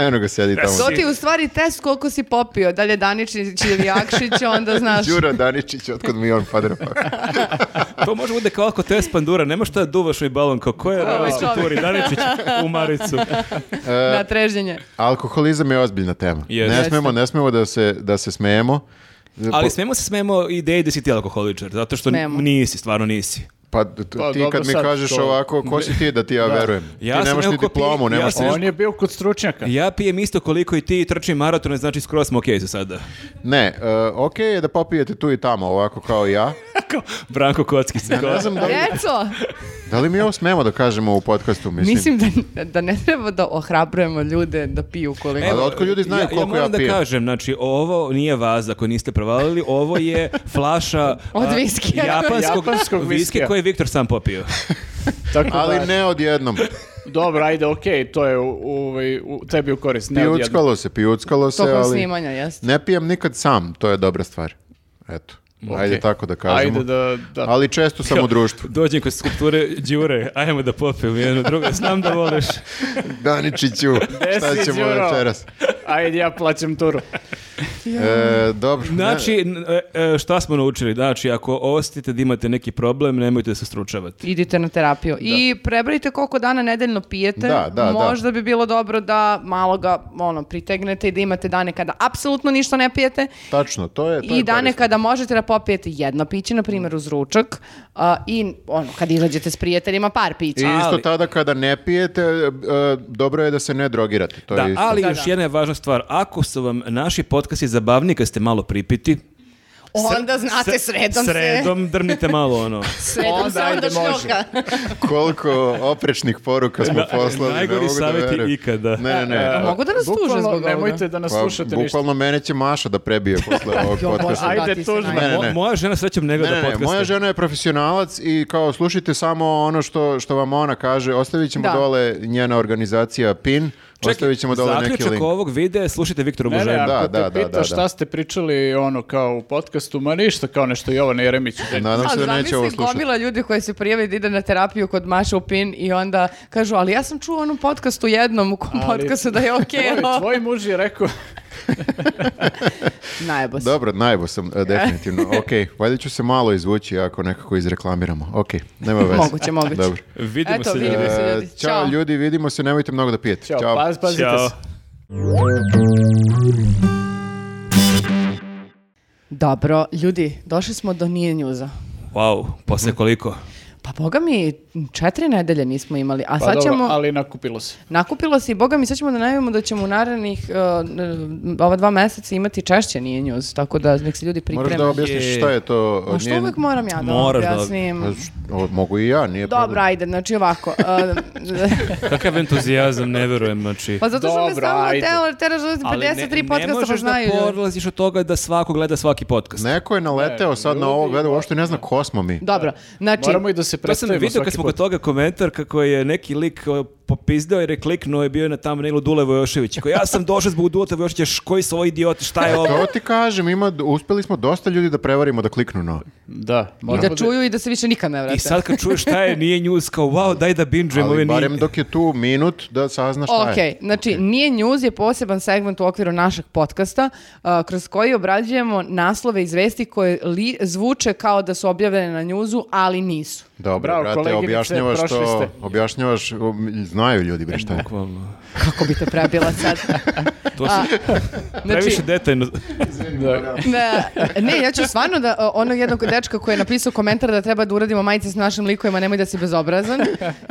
Speaker 2: Eno ga sedi tamo.
Speaker 1: To ti je u stvari test koliko si popio, da li je Daničić ili Jakšić, onda znaš.
Speaker 2: Đura Daničić, otkud mi je on padrpa.
Speaker 3: to može bude kao ako test pandura, nema šta da duvaš i balon, kao ko je
Speaker 1: Ko je ovaj
Speaker 3: ovaj kulturi, Daničić
Speaker 1: (laughs)
Speaker 3: u Maricu.
Speaker 1: na trežnjenje.
Speaker 2: Alkoholizam je ozbiljna tema.
Speaker 3: Jeste.
Speaker 2: Ne smemo, ne smemo da se, da se smejemo.
Speaker 3: Ali smemo se smemo ideji da si ti alkoholičar, zato što n-
Speaker 1: Smemo.
Speaker 3: nisi, stvarno nisi.
Speaker 2: Pa, t- ti
Speaker 4: Pa, dobro,
Speaker 2: kad mi
Speaker 4: sad
Speaker 2: kažeš
Speaker 4: to-
Speaker 2: ovako, ko si ti da ti ja verujem?
Speaker 3: Ja
Speaker 2: ti
Speaker 3: sam
Speaker 2: nemaš ni
Speaker 3: neko ko pi-
Speaker 2: diplomu,
Speaker 3: ja
Speaker 2: nemaš
Speaker 3: sam-
Speaker 2: ništa.
Speaker 4: On je bio kod stručnjaka.
Speaker 3: Ja pijem isto koliko i ti i trčim maratone, znači skroz smo okej za sada. (laughs)
Speaker 2: Ne, uh, okej je da popijete tu i tamo, ovako kao ja.
Speaker 3: Kao Branko Kocki se
Speaker 2: Ne
Speaker 3: kao-
Speaker 2: znam da li,
Speaker 1: Deco,
Speaker 2: da li mi ovo smemo da kažemo u podcastu, mislim.
Speaker 1: mislim da, da ne treba da ohrabrujemo ljude da piju koliko...
Speaker 2: Evo, Ali otkud ljudi znaju koliko ja
Speaker 3: moram da
Speaker 2: pijem?
Speaker 3: kažem, znači, ovo nije vaza koju niste provalili, ovo je flaša
Speaker 1: (laughs) Od
Speaker 3: a,
Speaker 1: viskija.
Speaker 3: japanskog,
Speaker 4: Japanskog
Speaker 3: viskija
Speaker 4: viskija.
Speaker 3: koji je Viktor sam popio.
Speaker 4: Tako da-
Speaker 2: Ali ne odjednom.
Speaker 4: Dobro, ajde, okej, to je u, u, ovaj, u- tebi u korist. Ne odjednom.
Speaker 2: Pijuckalo se, pijuckalo se,
Speaker 1: Tokom
Speaker 2: ali
Speaker 1: snimanja, jeste.
Speaker 2: ne pijem nikad sam, to je dobra stvar. Eto, ajde tako da kažemo.
Speaker 4: Ajde da... da.
Speaker 2: Ali često sam u
Speaker 3: (laughs)
Speaker 2: društvu.
Speaker 3: Dođem kod skulpture Đure, ajmo da popijem jedno drugo, znam da voliš.
Speaker 2: Daničiću,
Speaker 4: E,
Speaker 2: šta
Speaker 4: si,
Speaker 2: ćemo
Speaker 4: Đuro.
Speaker 2: večeras?
Speaker 4: Ajde, ja plaćam turu.
Speaker 2: E, dobro. ne-
Speaker 3: (laughs) Znači, n- e, e, šta smo naučili? Znači, ako osjetite da imate neki problem, nemojte da se stručavate.
Speaker 1: Idite na terapiju. I prebrojite koliko dana nedeljno pijete.
Speaker 2: Da, da, da.
Speaker 1: Možda bi bilo dobro da malo ga ono, pritegnete i da imate dane kada apsolutno ništa ne pijete.
Speaker 2: Tačno, to je... E, to je
Speaker 1: I dane
Speaker 2: korisno.
Speaker 1: kada možete da popijete jedno piće, na primjer uz ručak, a, i ono, kad izađete s prijateljima par pića.
Speaker 2: I isto
Speaker 3: Ali-
Speaker 2: tada kada ne pijete, e, e, dobro je da se ne drogirate. To
Speaker 3: Da,
Speaker 2: je Pa isto.
Speaker 3: ali
Speaker 1: Da,
Speaker 3: još
Speaker 1: da.
Speaker 3: jedna je važna stvar. Ako su vam naši podcasti zabavni, kad ste malo pripiti,
Speaker 1: Onda znate, sredom,
Speaker 3: sredom drmnite malo
Speaker 1: (laughs)
Speaker 3: ono.
Speaker 1: se. Sredom
Speaker 4: Onda
Speaker 1: se onda
Speaker 4: ajde, može.
Speaker 1: šljoka.
Speaker 2: (laughs) Koliko oprečnih poruka smo
Speaker 3: Na-
Speaker 2: poslali. ne
Speaker 3: (laughs) najgori
Speaker 2: mogu da
Speaker 3: savjeti
Speaker 2: verujem.
Speaker 3: ikada. E,
Speaker 2: Ne, ne, ne.
Speaker 1: A mogu da nas tuže
Speaker 4: Bukvalno,
Speaker 1: zbog ovoga?
Speaker 4: Nemojte da nas
Speaker 2: Pa,
Speaker 4: slušate ništa.
Speaker 2: bukvalno mene će Maša da prebije posle ovog
Speaker 1: Jo, Bože,
Speaker 2: podcasta.
Speaker 1: da,
Speaker 4: Ajde,
Speaker 1: ti se
Speaker 4: tužno.
Speaker 1: najbolji.
Speaker 2: Ne, ne, ne.
Speaker 3: Moja žena srećem ne
Speaker 2: Ne,
Speaker 3: gleda
Speaker 2: ne, ne,
Speaker 3: podcaste.
Speaker 2: moja žena je profesionalac i kao slušajte samo ono što, što vam ona kaže. Ostavit ćemo
Speaker 1: Da.
Speaker 2: dole njena organizacija PIN, ostavit ćemo dole neki
Speaker 3: zaključak
Speaker 2: link.
Speaker 3: ovog videa, slušajte Viktorovu
Speaker 4: Ne, ne,
Speaker 3: ženu.
Speaker 4: ako
Speaker 2: Da,
Speaker 4: te
Speaker 2: da, da,
Speaker 4: pitaš
Speaker 2: da, da.
Speaker 4: šta ste pričali ono kao u podcastu, ma ništa kao nešto Jovana Jeremić.
Speaker 2: Nadam se
Speaker 1: A
Speaker 2: da neće ovo
Speaker 1: zamisli
Speaker 2: slušati.
Speaker 1: gomila ljudi koji se prijave da ide na terapiju kod Maša u PIN i onda kažu, ali ja sam čuo u onom podcastu jednom, u kom
Speaker 4: Ali-
Speaker 1: podcastu da je okej.
Speaker 2: (laughs)
Speaker 4: Tvoj, tvoj muž je rekao,
Speaker 1: Najbo se.
Speaker 2: Dobro, najbo sam, e,
Speaker 1: (laughs)
Speaker 2: definitivno. ok, valjda ću se malo izvući ako nekako izreklamiramo. Ok, nema veze.
Speaker 1: Moguće, moguće.
Speaker 2: Dobro.
Speaker 3: Vidimo
Speaker 1: Eto,
Speaker 3: se.
Speaker 1: vidimo
Speaker 3: ljudi.
Speaker 1: se.
Speaker 2: E,
Speaker 1: ljudi.
Speaker 2: Ćao
Speaker 1: Ćao.
Speaker 2: ljudi, vidimo se, nemojte mnogo da pijete.
Speaker 4: ćao, paz, pazite
Speaker 3: Ćao.
Speaker 4: se.
Speaker 1: Dobro, ljudi, došli smo do nije njuza.
Speaker 3: Wow, posle koliko?
Speaker 1: Pa boga mi, četiri nedelje nismo imali, a
Speaker 4: Pa
Speaker 1: sad
Speaker 4: dobro,
Speaker 1: ćemo...
Speaker 4: ali nakupilo se.
Speaker 1: Nakupilo se i boga mi, sad ćemo da najavimo da ćemo u narednih uh, n- ova dva meseca imati češće nije njuz, tako da nek se ljudi pripreme.
Speaker 2: Moraš da objasniš
Speaker 3: Je.
Speaker 2: šta je to.
Speaker 1: A što
Speaker 2: nije-
Speaker 1: uvek moram ja da
Speaker 3: Moraš da-
Speaker 1: objasnim?
Speaker 2: Pa š- o, Mogu i ja, nije
Speaker 1: Dobro,
Speaker 2: problem.
Speaker 1: ajde, znači ovako.
Speaker 2: (laughs)
Speaker 1: uh,
Speaker 3: Kakav entuzijazam, ne verujem, znači...
Speaker 1: pa zato što me
Speaker 4: Dobro,
Speaker 1: stalno
Speaker 4: ajde.
Speaker 1: telo, teraš da
Speaker 3: Ali ne-
Speaker 1: 53 podcasta pa znaju.
Speaker 3: Ne možeš da
Speaker 1: ljudi.
Speaker 3: polaziš od toga da svako gleda svaki podcast.
Speaker 2: Neko je naleteo sad na ovo, gleda, uopšte ne zna ko smo mi.
Speaker 1: Dobro, znači...
Speaker 4: Moramo i da se
Speaker 3: To sam
Speaker 4: predstavimo
Speaker 3: vidio kad
Speaker 4: svaki
Speaker 3: smo kod
Speaker 4: put.
Speaker 3: toga komentar kako je neki lik o, popizdao jer je kliknuo je bio na thumbnailu Dule Vojošević. Kao, ja sam došao zbog Dule Vojoševića, š- koji su ovo idioti, šta je ovo?
Speaker 2: E, To ti kažem, ima, uspeli smo dosta ljudi da prevarimo da kliknu na ovo.
Speaker 4: Da,
Speaker 1: I
Speaker 4: moramo
Speaker 1: da čuju i da se više nikad ne vrate.
Speaker 3: I sad kad čuješ šta je, nije news, kao wow, daj da binđujem ove
Speaker 2: Ali
Speaker 3: nije.
Speaker 2: barem dok je tu minut da sazna šta
Speaker 1: Ok,
Speaker 2: je.
Speaker 1: znači nije news je poseban segment u okviru našeg podcasta a, kroz koji obrađujemo naslove iz vesti koje li, zvuče kao da su objavljene na newsu, ali nisu.
Speaker 2: Dobro,
Speaker 4: Bravo,
Speaker 2: brate,
Speaker 4: koleginice,
Speaker 2: objašnjavaš
Speaker 4: prošli
Speaker 2: to,
Speaker 4: ste.
Speaker 2: objašnjavaš, um, znaju ljudi bre šta je.
Speaker 3: Bukvalno.
Speaker 1: Kako bi te prebila sad?
Speaker 3: (laughs) To su
Speaker 1: Znači,
Speaker 3: previše detaljno.
Speaker 4: Da,
Speaker 1: Ne, ne, ja ću stvarno da o, onog jednog dečka koji je napisao komentar da treba da uradimo majice s našim likovima, nemoj da si bezobrazan.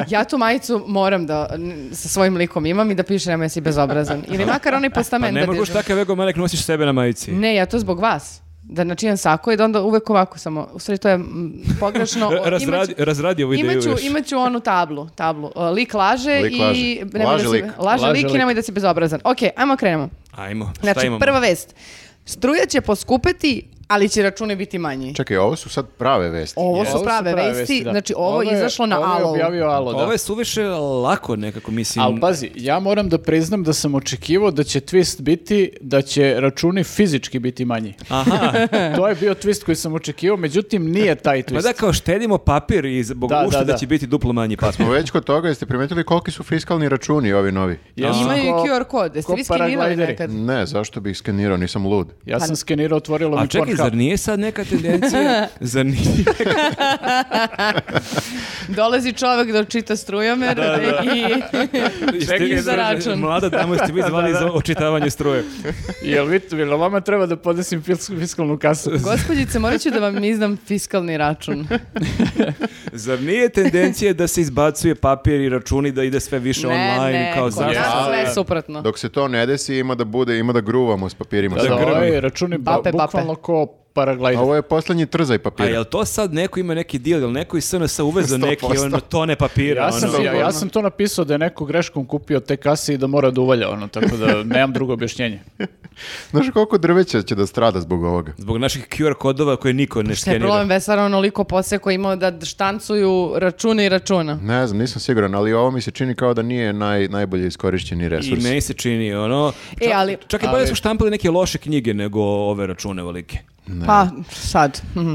Speaker 1: Ja tu majicu moram da n- sa svojim likom imam i da piše nemoj da si bezobrazan. Ili makar onaj
Speaker 3: Pa
Speaker 1: postament
Speaker 3: ne
Speaker 1: da
Speaker 3: mogu
Speaker 1: dižem.
Speaker 3: takav ego manek nosiš sebe na majici.
Speaker 1: Ne, ja to zbog vas. Da načinjam sako i da onda uvek ovako samo, u stvari to je mm, pogrešno.
Speaker 3: Ra- (laughs) Razradi,
Speaker 1: Imaću-
Speaker 3: razradi ovu ideju
Speaker 1: Imaću,
Speaker 3: još.
Speaker 1: imaću onu tablu, tablu. Uh, Lik laže
Speaker 2: Lik
Speaker 1: i...
Speaker 2: laže.
Speaker 1: nemoj
Speaker 2: Laže
Speaker 1: da si-
Speaker 2: lik.
Speaker 1: Laže
Speaker 4: Laže
Speaker 1: lik i
Speaker 4: lik.
Speaker 1: nemoj da si bezobrazan. Ok, ajmo krenemo.
Speaker 3: Ajmo, šta
Speaker 1: Znači,
Speaker 3: imamo?
Speaker 1: prva vest. Struja će poskupeti, ali će računi biti manji.
Speaker 2: Čekaj, ovo su sad prave vesti.
Speaker 1: Ovo
Speaker 4: Ovo
Speaker 1: su prave vesti,
Speaker 4: da.
Speaker 1: znači ovo, je izašlo na
Speaker 4: Ovo je
Speaker 1: Alovu.
Speaker 4: objavio Alo, da. pa-
Speaker 3: Ovo je suviše lako nekako, mislim.
Speaker 4: Ali pazi, ja moram da priznam da sam očekivao da će twist biti, da će računi fizički biti manji.
Speaker 3: Aha,
Speaker 4: (laughs) to je bio twist koji sam očekivao, međutim nije taj
Speaker 3: pa
Speaker 4: twist.
Speaker 3: da kao štedimo papir i zbog
Speaker 4: Da,
Speaker 3: ušte da,
Speaker 4: da, da.
Speaker 3: će biti duplo
Speaker 4: (laughs)
Speaker 3: manji
Speaker 2: Kad
Speaker 3: papir.
Speaker 2: smo već kod toga, jeste primetili koliki su fiskalni računi ovi novi?
Speaker 4: Ja sam
Speaker 1: Imaju i
Speaker 4: ko-
Speaker 1: QR kod. Jeste
Speaker 4: ko
Speaker 1: vi skenirali
Speaker 4: paraglideri.
Speaker 1: nekad?
Speaker 2: Ne, zašto bih skenirao, nisam lud.
Speaker 4: Ja sam skenirao, otvorilo
Speaker 3: A
Speaker 4: mi
Speaker 3: čekaj, Ej, zar nije sad neka
Speaker 4: (laughs)
Speaker 3: tendencija? zar nije?
Speaker 1: Dolazi čovek da čita strujomer i...
Speaker 3: Jeste-
Speaker 1: za račun.
Speaker 3: Mlada dama ste vi zvali za očitavanje struje.
Speaker 4: Jel vi, jel vama treba da podnesim fis- fiskalnu kasu?
Speaker 1: Gospodjice, morat ću da vam izdam fiskalni račun.
Speaker 3: Zar nije tendencija da se izbacuje papir i računi da ide sve više online? kao
Speaker 1: kod nas
Speaker 3: zašto?
Speaker 1: je
Speaker 2: Ali-
Speaker 1: sve suprotno.
Speaker 2: Dok se to ne desi, ima da bude, ima da gruvamo s papirima.
Speaker 4: Da,
Speaker 2: Samo-
Speaker 3: grmi.
Speaker 4: ovaj računi ba-
Speaker 1: Bape, bape.
Speaker 4: bukvalno ko paraglajder.
Speaker 2: Ovo je poslednji trzaj
Speaker 3: A
Speaker 2: papira.
Speaker 3: jel to sad neko ima neki deal, jel neko iz SNS uveza neki
Speaker 2: 100%.
Speaker 3: ono tone papira?
Speaker 4: Ja sam,
Speaker 3: ono.
Speaker 4: ja, ja sam to napisao da je neko greškom kupio te kase i da mora da uvalja, ono, tako da nemam drugo
Speaker 3: (laughs)
Speaker 4: objašnjenje.
Speaker 2: Znaš koliko drveća će da strada zbog ovoga?
Speaker 3: Zbog naših QR kodova koje niko ne
Speaker 1: Pa Šta je problem,
Speaker 3: skenira.
Speaker 1: Vesara onoliko poseko imao da štancuju račune i računa.
Speaker 2: Ne znam, nisam siguran, ali ovo mi se čini kao da nije naj, najbolje iskorišćeni
Speaker 3: I
Speaker 2: resurs.
Speaker 3: meni se čini, ono...
Speaker 1: E, ali-
Speaker 3: Čak i bolje su štampali neke loše knjige nego ove račune velike.
Speaker 1: Pa, sad. mhm.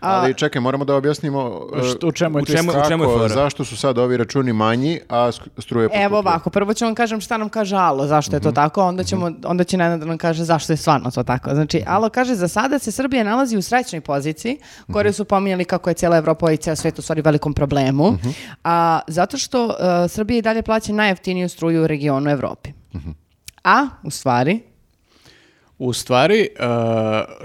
Speaker 1: A,
Speaker 2: Ali čekaj, moramo da objasnimo e,
Speaker 4: Što- u čemu je
Speaker 3: u
Speaker 4: twist?
Speaker 3: čemu-
Speaker 2: kako,
Speaker 3: fora?
Speaker 2: zašto su sad ovi računi manji, a sk- struje poskupljuju.
Speaker 1: Evo ovako, prvo ću vam kažem šta nam kaže Alo, zašto je to tako, onda, ćemo, onda će Nenad da nam kaže zašto je stvarno to tako. Znači, Alo kaže, za sada se Srbija nalazi u srećnoj poziciji, koje su pominjali kako je cijela Evropa i cijel svet u stvari velikom problemu, a, zato što e, Srbija i dalje plaća najjeftiniju struju u regionu Evropi. A, u stvari,
Speaker 4: U stvari, uh,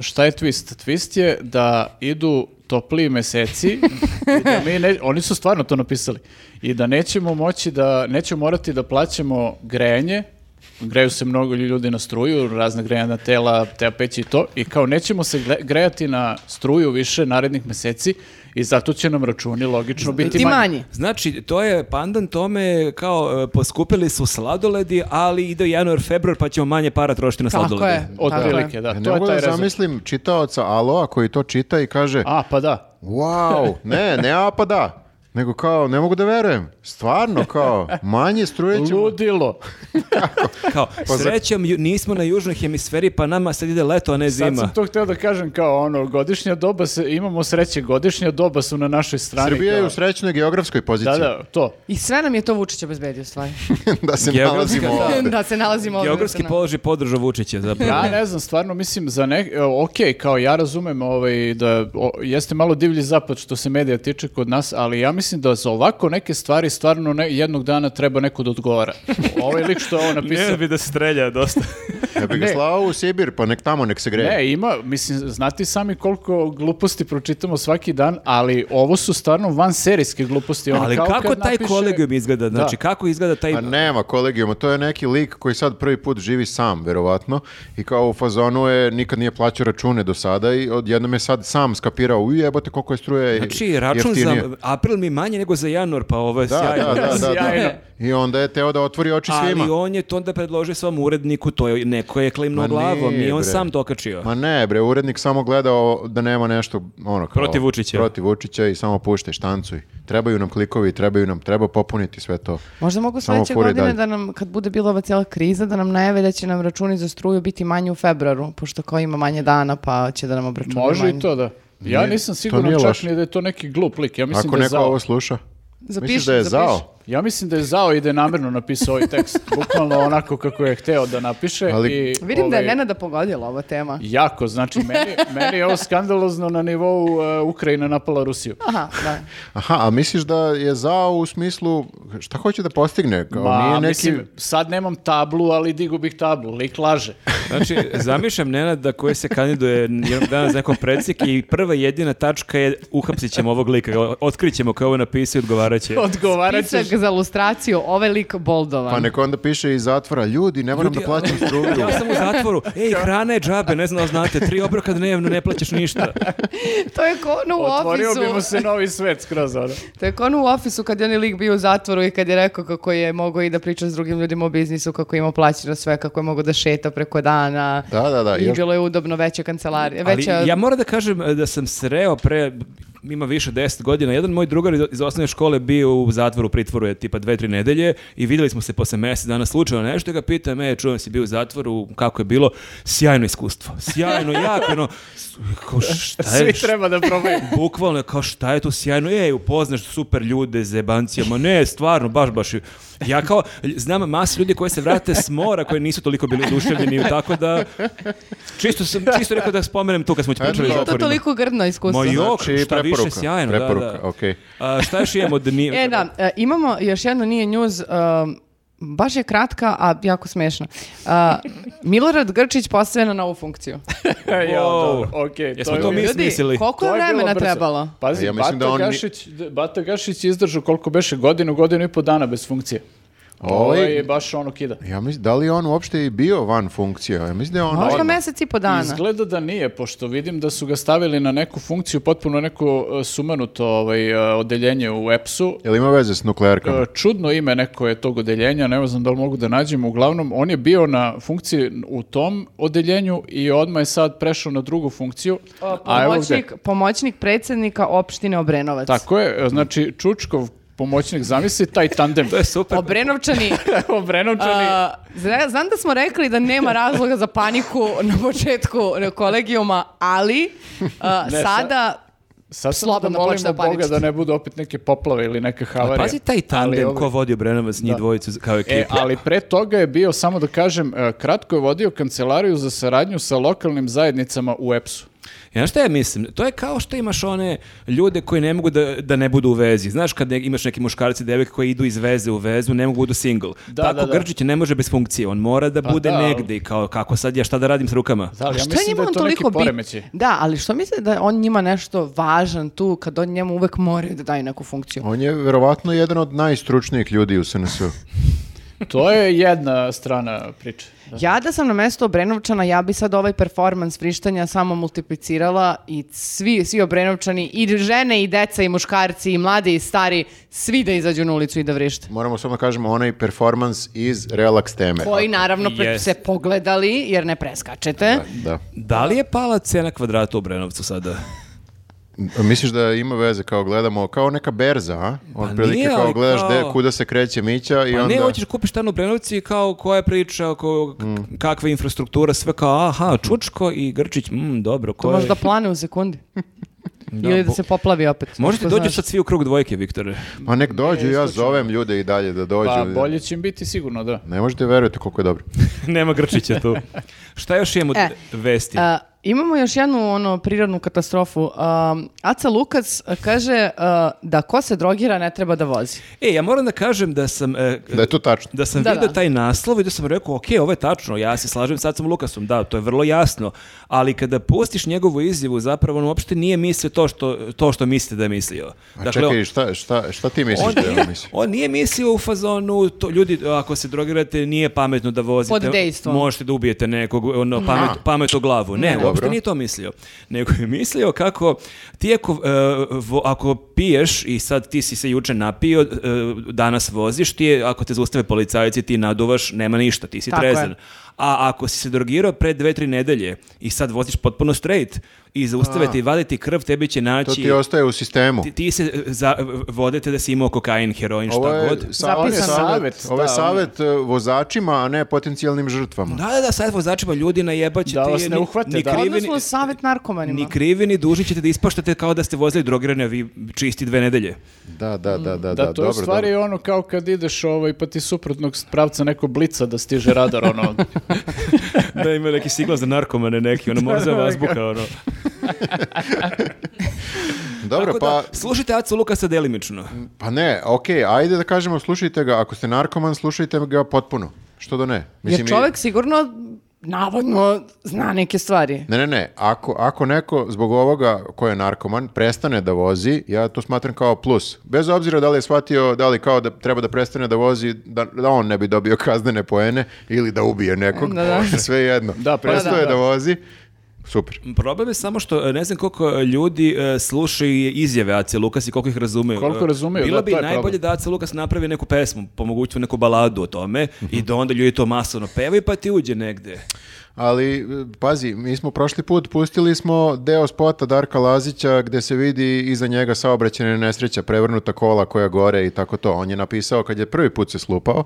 Speaker 4: šta je twist? Twist je da idu topliji meseci i da mi ne, oni su stvarno to napisali i da nećemo moći da nećemo morati da plaćamo grejanje greju se mnogo ljudi na struju razne grejana tela, te peći i to i kao nećemo se gle- grejati na struju više narednih meseci i zato će nam računi logično biti
Speaker 1: ti
Speaker 4: manji.
Speaker 1: manji.
Speaker 3: Znači, to je pandan tome kao e, poskupili su sladoledi, ali ide januar, februar pa ćemo manje para trošiti na
Speaker 1: Tako
Speaker 3: sladoledi.
Speaker 1: je.
Speaker 4: Otprilike, da.
Speaker 2: E, ne
Speaker 4: To je
Speaker 2: mogu
Speaker 4: taj
Speaker 2: da
Speaker 4: razum.
Speaker 2: zamislim čitaoca Aloa koji to čita i kaže
Speaker 4: A, pa da.
Speaker 2: wow, (laughs) ne, ne a pa da. Nego kao, ne mogu da verujem. Stvarno, kao, manje struje ćemo...
Speaker 4: Ludilo.
Speaker 2: (laughs)
Speaker 3: Kao,
Speaker 2: Pa za-
Speaker 3: srećom ju- nismo na južnoj hemisferi, pa nama sad ide leto, a ne zima.
Speaker 4: Sad sam to hteo da kažem kao ono, godišnja doba se, imamo sreće, godišnja doba su na našoj strani.
Speaker 2: Srbija je
Speaker 4: kao-
Speaker 2: u srećnoj geografskoj
Speaker 4: Da,
Speaker 2: poziciji.
Speaker 4: da, to.
Speaker 1: I sve nam je to Vučić obezbedio u stvari.
Speaker 2: (laughs) da se
Speaker 3: Geografska,
Speaker 2: nalazimo
Speaker 3: da.
Speaker 2: ovde.
Speaker 1: da se nalazimo ovdje.
Speaker 3: Geografski položaj podržao Vučića zapravo.
Speaker 4: Ja ne znam, stvarno mislim za ne, e, ok, kao ja razumem ovaj, da o, jeste malo divlji zapad što se medija tiče kod nas, ali ja mislim da za ovako neke stvari stvarno ne- jednog dana treba neko da odgovara. Ovaj lik što je ovo napisao.
Speaker 3: bi da
Speaker 2: (laughs)
Speaker 3: strelja dosta.
Speaker 2: Ja bih ga
Speaker 4: Ne.
Speaker 2: slao u Sibir, pa nek tamo nek se greje.
Speaker 4: Ne, ima, mislim, znate i sami koliko gluposti pročitamo svaki dan, ali ovo su stvarno vanserijske gluposti. ono,
Speaker 3: Ali
Speaker 4: kao
Speaker 3: kako
Speaker 4: kad
Speaker 3: taj
Speaker 4: napiše-
Speaker 3: kolegium izgleda? Znači,
Speaker 4: Da.
Speaker 3: kako izgleda taj...
Speaker 2: Pa nema kolegijuma, to je neki lik koji sad prvi put živi sam, verovatno, i kao u fazonu je, nikad nije plaćao račune do sada i odjednom je sad sam skapirao, uj jebote koliko je struje
Speaker 3: Znači, račun
Speaker 2: jeftinije."
Speaker 3: za april mi je manje nego za januar, pa ovo je
Speaker 2: Da,
Speaker 3: sjajno.
Speaker 2: da, da, da,
Speaker 4: Sjajno.
Speaker 2: da. I onda je teo da otvori oči svima.
Speaker 3: Ali on je to onda predložio svom uredniku, to je neko je klimno
Speaker 2: Ma
Speaker 3: glavom i
Speaker 2: nije,
Speaker 3: on
Speaker 2: bre.
Speaker 3: sam dokačio.
Speaker 2: Ma ne, bre, urednik samo gledao da nema nešto ono kao,
Speaker 3: Protiv Vučića.
Speaker 2: Protiv Vučića i samo pušte štancuj. Trebaju nam klikovi, trebaju nam, treba popuniti sve to.
Speaker 1: Možda mogu
Speaker 2: Samo
Speaker 1: sledeće
Speaker 2: furaj
Speaker 1: godine
Speaker 2: dalje.
Speaker 1: da nam, kad bude bila ova cijela kriza, da nam najave da će nam računi za struju biti manji u februaru, pošto kao ima manje dana, pa će da nam obračunaju
Speaker 4: Može
Speaker 1: manje.
Speaker 4: i to da. Ja
Speaker 2: Nije-
Speaker 4: nisam
Speaker 2: to nije
Speaker 4: siguran čak
Speaker 2: loše.
Speaker 4: ni da je to neki glup lik. Ja mislim
Speaker 2: Ako
Speaker 4: da je
Speaker 2: neko
Speaker 4: zao.
Speaker 2: ovo sluša, misliš
Speaker 1: Zapiši,
Speaker 2: da je
Speaker 1: zapiši.
Speaker 2: zao?
Speaker 4: Ja mislim da je zao i da je namjerno napisao ovaj
Speaker 2: (laughs)
Speaker 4: tekst. Bukvalno onako kako je hteo da napiše.
Speaker 2: Ali-
Speaker 4: i,
Speaker 1: Vidim da je
Speaker 4: ovaj,
Speaker 1: Nenada pogodila ova tema.
Speaker 4: Jako, znači, meni, meni je ovo skandalozno na nivou e, Ukrajina napala Rusiju.
Speaker 1: Aha,
Speaker 4: (laughs)
Speaker 1: da.
Speaker 2: Aha, a misliš da je zao u smislu, šta hoće da postigne? Kao,
Speaker 4: Ma,
Speaker 2: nije neki...
Speaker 4: mislim, sad nemam tablu, ali digu bih tablu. Lik
Speaker 2: (laughs)
Speaker 4: laže.
Speaker 3: Znači, zamišljam Nenada koji se kandiduje jednog dana za nekom predsjek i prva jedina tačka je uhapsit ćemo ovog lika, otkrićemo ko je ovo napisao i odgovarat će.
Speaker 4: Odgovarat ćeš.
Speaker 1: Pisak za lustraciju, ovaj lik boldovan.
Speaker 2: Pa neko onda piše iz zatvora, ljudi, ne moram
Speaker 3: Ljudi,
Speaker 2: da plaćam struju.
Speaker 4: (laughs)
Speaker 3: Ja sam u zatvoru. Ej, hrana je džabe, ne znam, da li znate, tri obroka dnevno, ne plaćaš ništa.
Speaker 1: (laughs) To je ko ono u
Speaker 4: Otvorio bi mu
Speaker 1: ofisu.
Speaker 4: se novi svet skroz ono.
Speaker 1: To je ko ono u ofisu kad je onaj lik bio u zatvoru i kad je rekao kako je mogao i da priča s drugim ljudima o biznisu, kako je imao plaćeno sve, kako je mogao da šeta preko dana.
Speaker 2: Da, da, da.
Speaker 1: I
Speaker 2: Još,
Speaker 1: bilo je udobno veća kancelarija,
Speaker 3: Ali
Speaker 1: veća
Speaker 3: ja moram da kažem e, da sam sreo pre ima više 10 godina, jedan moj drugar iz, iz osnovne škole bio u zatvoru, pritvoru je tipa 2-3 nedelje i vidjeli smo se posle mjesec dana slučajno nešto i ga pitam, e, čujem si bio u zatvoru, kako je bilo, sjajno iskustvo, sjajno, jako, ono, s- kao šta
Speaker 4: Svi
Speaker 3: je, šta-
Speaker 4: treba da probaju.
Speaker 3: Bukvalno, kao šta je to sjajno, ej, upoznaš super ljude, zebancija, ma ne, stvarno, baš, baš. Ja kao, znam mas ljudi koji se vrate s mora, koji nisu toliko bili oduševljeni, tako da, čisto sam, čisto rekao da spomenem to kad smo ti
Speaker 2: Eto,
Speaker 3: pričali o
Speaker 1: Nije to
Speaker 3: zatvorima.
Speaker 1: toliko grdno iskustvo.
Speaker 3: Ma jok,
Speaker 2: Znači,
Speaker 3: šta više,
Speaker 2: preporuka,
Speaker 3: sjajno, da,
Speaker 2: preporuka,
Speaker 3: da.
Speaker 2: okej.
Speaker 3: A, šta još imamo da nije?
Speaker 1: E da, e, imamo još jedno nije njuz, um, baš je kratka, a jako smešna. Uh, Milorad Grčić postavljena na ovu funkciju.
Speaker 4: ja,
Speaker 3: Wow.
Speaker 4: E, dobro, okej.
Speaker 3: Jesmo
Speaker 4: je
Speaker 3: to
Speaker 4: bilo-
Speaker 3: mi
Speaker 1: Ljudi, (laughs)
Speaker 3: smislili.
Speaker 1: koliko
Speaker 4: to
Speaker 1: je
Speaker 4: je bilo
Speaker 1: vremena
Speaker 4: brzo.
Speaker 1: trebalo?
Speaker 2: A
Speaker 4: Pazi,
Speaker 2: ja mislim
Speaker 4: Bata,
Speaker 2: da on ni-
Speaker 4: Gašić, Bata Gašić je izdržao koliko beše godinu, godinu i po dana bez funkcije. Ovo
Speaker 2: Ovaj-
Speaker 4: je baš ono kida.
Speaker 2: Ja mislim, da li je on uopšte i bio van funkcije? Ja mislim da je on...
Speaker 1: Možda
Speaker 2: odmah-
Speaker 1: mjesec i po dana.
Speaker 4: Izgleda da nije, pošto vidim da su ga stavili na neku funkciju, potpuno neko e, sumanuto ovaj, e, odeljenje u EPS-u.
Speaker 2: Jel ima veze s nuklearkama?
Speaker 4: E, Čudno ime neko je tog odeljenja, ne znam da li mogu da nađem. Uglavnom, on je bio na funkciji u tom odeljenju i odmah je sad prešao na drugu funkciju.
Speaker 1: O,
Speaker 4: A evo gde.
Speaker 1: Pomoćnik, pomoćnik predsjednika opštine Obrenovac.
Speaker 4: Tako je, e, znači Čučkov pomoćnik, zamisli taj
Speaker 3: (laughs)
Speaker 4: tandem.
Speaker 3: To je super.
Speaker 1: Obrenovčani,
Speaker 4: Obrenovčani.
Speaker 1: a, e, zna- znam da smo rekli da nema razloga za paniku na početku kolegijuma, ali a, sada
Speaker 4: Sad samo
Speaker 1: slobodno počne
Speaker 4: da molimo
Speaker 1: da paničite.
Speaker 4: Boga da ne budu opet neke poplave ili neke havarije.
Speaker 3: Pazi taj
Speaker 4: Ali
Speaker 3: tandem
Speaker 4: ovaj-
Speaker 3: ko vodi Obrenovac, njih dvojicu kao ekipu.
Speaker 4: E, ali pre toga je bio, samo da kažem, e, kratko je vodio kancelariju za saradnju sa lokalnim zajednicama u EPS-u.
Speaker 3: Ja šta ja mislim? To je kao što imaš one ljude koji ne mogu da, da ne budu u vezi. Znaš kad ne- imaš neki muškarci i devojke koji idu iz veze u vezu, ne mogu budu single.
Speaker 4: Da,
Speaker 3: Tako
Speaker 4: da, da.
Speaker 3: Grčić ne može bez funkcije, on mora da bude
Speaker 4: da, ali-
Speaker 3: negdje i kao kako sad ja šta da radim s rukama.
Speaker 4: Da, ali
Speaker 1: A
Speaker 4: ja
Speaker 1: što je
Speaker 4: mislim da
Speaker 1: njima
Speaker 4: je
Speaker 1: on
Speaker 4: to neki
Speaker 1: toliko
Speaker 4: poremeći.
Speaker 1: bit? Da, ali što mislite da je on njima nešto važan tu kad on njemu uvek moraju da daju neku funkciju?
Speaker 2: On je verovatno jedan od najstručnijih ljudi u SNS-u.
Speaker 4: To je jedna strana priče.
Speaker 1: Ja da sam na mesto Obrenovčana, ja bi sad ovaj performans vrištanja samo multiplicirala i svi, svi Obrenovčani, i žene, i deca, i muškarci, i mladi, i stari, svi da izađu na ulicu i da vrište.
Speaker 2: Moramo samo da kažemo onaj performans iz relax teme.
Speaker 1: Koji naravno pre-
Speaker 3: Jest.
Speaker 1: se pogledali, jer ne preskačete.
Speaker 2: Da.
Speaker 3: Da li je pala cena kvadrata u Obrenovcu sada?
Speaker 2: Misliš da ima veze kao gledamo, kao neka berza, a? On
Speaker 3: Pa nije,
Speaker 2: kao
Speaker 3: ali
Speaker 2: gledaš
Speaker 3: kao-
Speaker 2: gde- kuda se kreće Mića i
Speaker 3: Pa
Speaker 2: onda...
Speaker 3: ne, hoćeš kupiš stan u Obrenovcu i kao koja priča, ko, k- kakva infrastruktura, sve kao aha, Čučko i Grčić, mm, dobro, ko
Speaker 1: To
Speaker 3: je-
Speaker 1: možda plane u sekundi. Ili da
Speaker 3: bo-
Speaker 1: se poplavi opet.
Speaker 3: Možete
Speaker 1: Ko
Speaker 3: dođu
Speaker 1: znaš.
Speaker 3: sad svi u krug dvojke, Viktore. (laughs)
Speaker 2: Ma nek dođu, ja zovem ljude i dalje da dođu.
Speaker 4: Pa bolje će im biti sigurno, da.
Speaker 2: Ne možete verujete koliko je dobro.
Speaker 3: Nema Grčića tu. Šta još imamo od
Speaker 1: E,
Speaker 3: vesti?
Speaker 1: A, imamo još jednu ono prirodnu katastrofu. Um, Aca Lukas kaže uh, da ko se drogira ne treba da vozi.
Speaker 3: E, ja moram da kažem da sam... e,
Speaker 2: Da je to tačno.
Speaker 3: da sam
Speaker 1: Da,
Speaker 3: vidio
Speaker 1: da.
Speaker 3: taj naslov i da sam rekao, ok, ovo je tačno, ja se slažem sad sam Lukasom, da, to je vrlo jasno, ali kada pustiš njegovu izjavu, zapravo on uopšte nije mislio to što, to što mislite da je mislio. Dakle,
Speaker 2: A
Speaker 3: on-
Speaker 2: Pa čekaj, šta, šta, šta ti misliš
Speaker 3: on,
Speaker 2: da je on misli?
Speaker 3: on nije mislio u fazonu, to, ljudi, ako se drogirate, nije pametno da vozite.
Speaker 1: Pod dejstvom.
Speaker 3: Možete da ubijete nekog, ono, pamet, pamet u glavu. Ne,
Speaker 2: Dobro.
Speaker 3: uopšte nije to mislio. Nego je mislio kako ti ako, e, vo- ako piješ i sad ti si se juče napio, e, danas voziš, ti je, ako te zaustave policajci, ti naduvaš, nema ništa, ti si
Speaker 1: Tako je.
Speaker 3: trezan. A ako si se drogirao pre dve, tri nedelje i sad voziš potpuno straight i zaustave ti, vade ti krv, tebi će naći...
Speaker 2: To ti ostaje u sistemu.
Speaker 3: Znači, Ti, ti se e, za, vodete da si imao kokain, heroin, šta
Speaker 2: Ovo je,
Speaker 3: god.
Speaker 2: sa- ovo je
Speaker 1: Zapisan ono-
Speaker 2: savjet,
Speaker 4: savjet,
Speaker 2: ovo je
Speaker 4: da,
Speaker 2: savjet e, vozačima, a ne potencijalnim žrtvama.
Speaker 3: Da, da, da, sad vozačima ljudi najebaće
Speaker 4: Da
Speaker 3: ti,
Speaker 4: vas ne
Speaker 3: ni-
Speaker 4: uhvate,
Speaker 3: ni
Speaker 4: da.
Speaker 3: krivi, ni-
Speaker 1: Odnosno savjet narkomanima.
Speaker 3: Ni krivi, ni dužni ćete da ispaštate kao da ste vozili drogirane, a vi čisti dve nedelje.
Speaker 2: Da, da, da, da,
Speaker 4: Da,
Speaker 2: da,
Speaker 4: to je u
Speaker 2: dobro,
Speaker 4: stvari
Speaker 2: dobro.
Speaker 4: ono kao kad ideš ovaj, pa ti suprotnog pravca neko blica da stiže radar, ono.
Speaker 3: (laughs) Da ima neki signal za narkomane neki, ono morza vazbuka, ono.
Speaker 2: Dobro,
Speaker 3: Tako
Speaker 2: pa,
Speaker 3: da, slušajte Acu Lukasa delimično.
Speaker 4: Mm.
Speaker 2: pa ne, okej, ajde da kažemo, slušajte ga, ako ste narkoman, slušajte ga potpuno. Što da ne?
Speaker 1: Jer
Speaker 2: i-
Speaker 1: čovjek sigurno navodno zna neke stvari.
Speaker 2: Ne, ne, ne, ako, ako neko zbog ovoga ko je narkoman prestane da vozi, ja to smatram kao plus. Bez obzira da li je shvatio, da li kao da treba da prestane da vozi, da, da on ne bi dobio kaznene poene ili da ubije nekog,
Speaker 1: Da, da.
Speaker 2: (laughs) sve jedno.
Speaker 4: Da, prestao
Speaker 2: Prestao je
Speaker 4: da.
Speaker 2: da vozi, super.
Speaker 3: Problem je samo što e, ne znam koliko e, ljudi e, slušaju izjave Ace Lukas i koliko ih razumeju.
Speaker 4: Koliko
Speaker 3: E,
Speaker 4: razumeju,
Speaker 3: Bilo
Speaker 4: da,
Speaker 3: bi
Speaker 4: to je
Speaker 3: najbolje
Speaker 4: problem.
Speaker 3: da Ace Lukas napravi neku Mhm. pesmu, po mogućstvu neku baladu o tome i da onda ljudi to masovno pevaju pa ti uđe negde.
Speaker 2: ali e, pazi, mi smo prošli put, pustili smo deo spota Darka Lazića gde se vidi iza njega saobraćene nesreća, prevrnuta kola koja gore i tako to. On je napisao, kad je prvi put se slupao,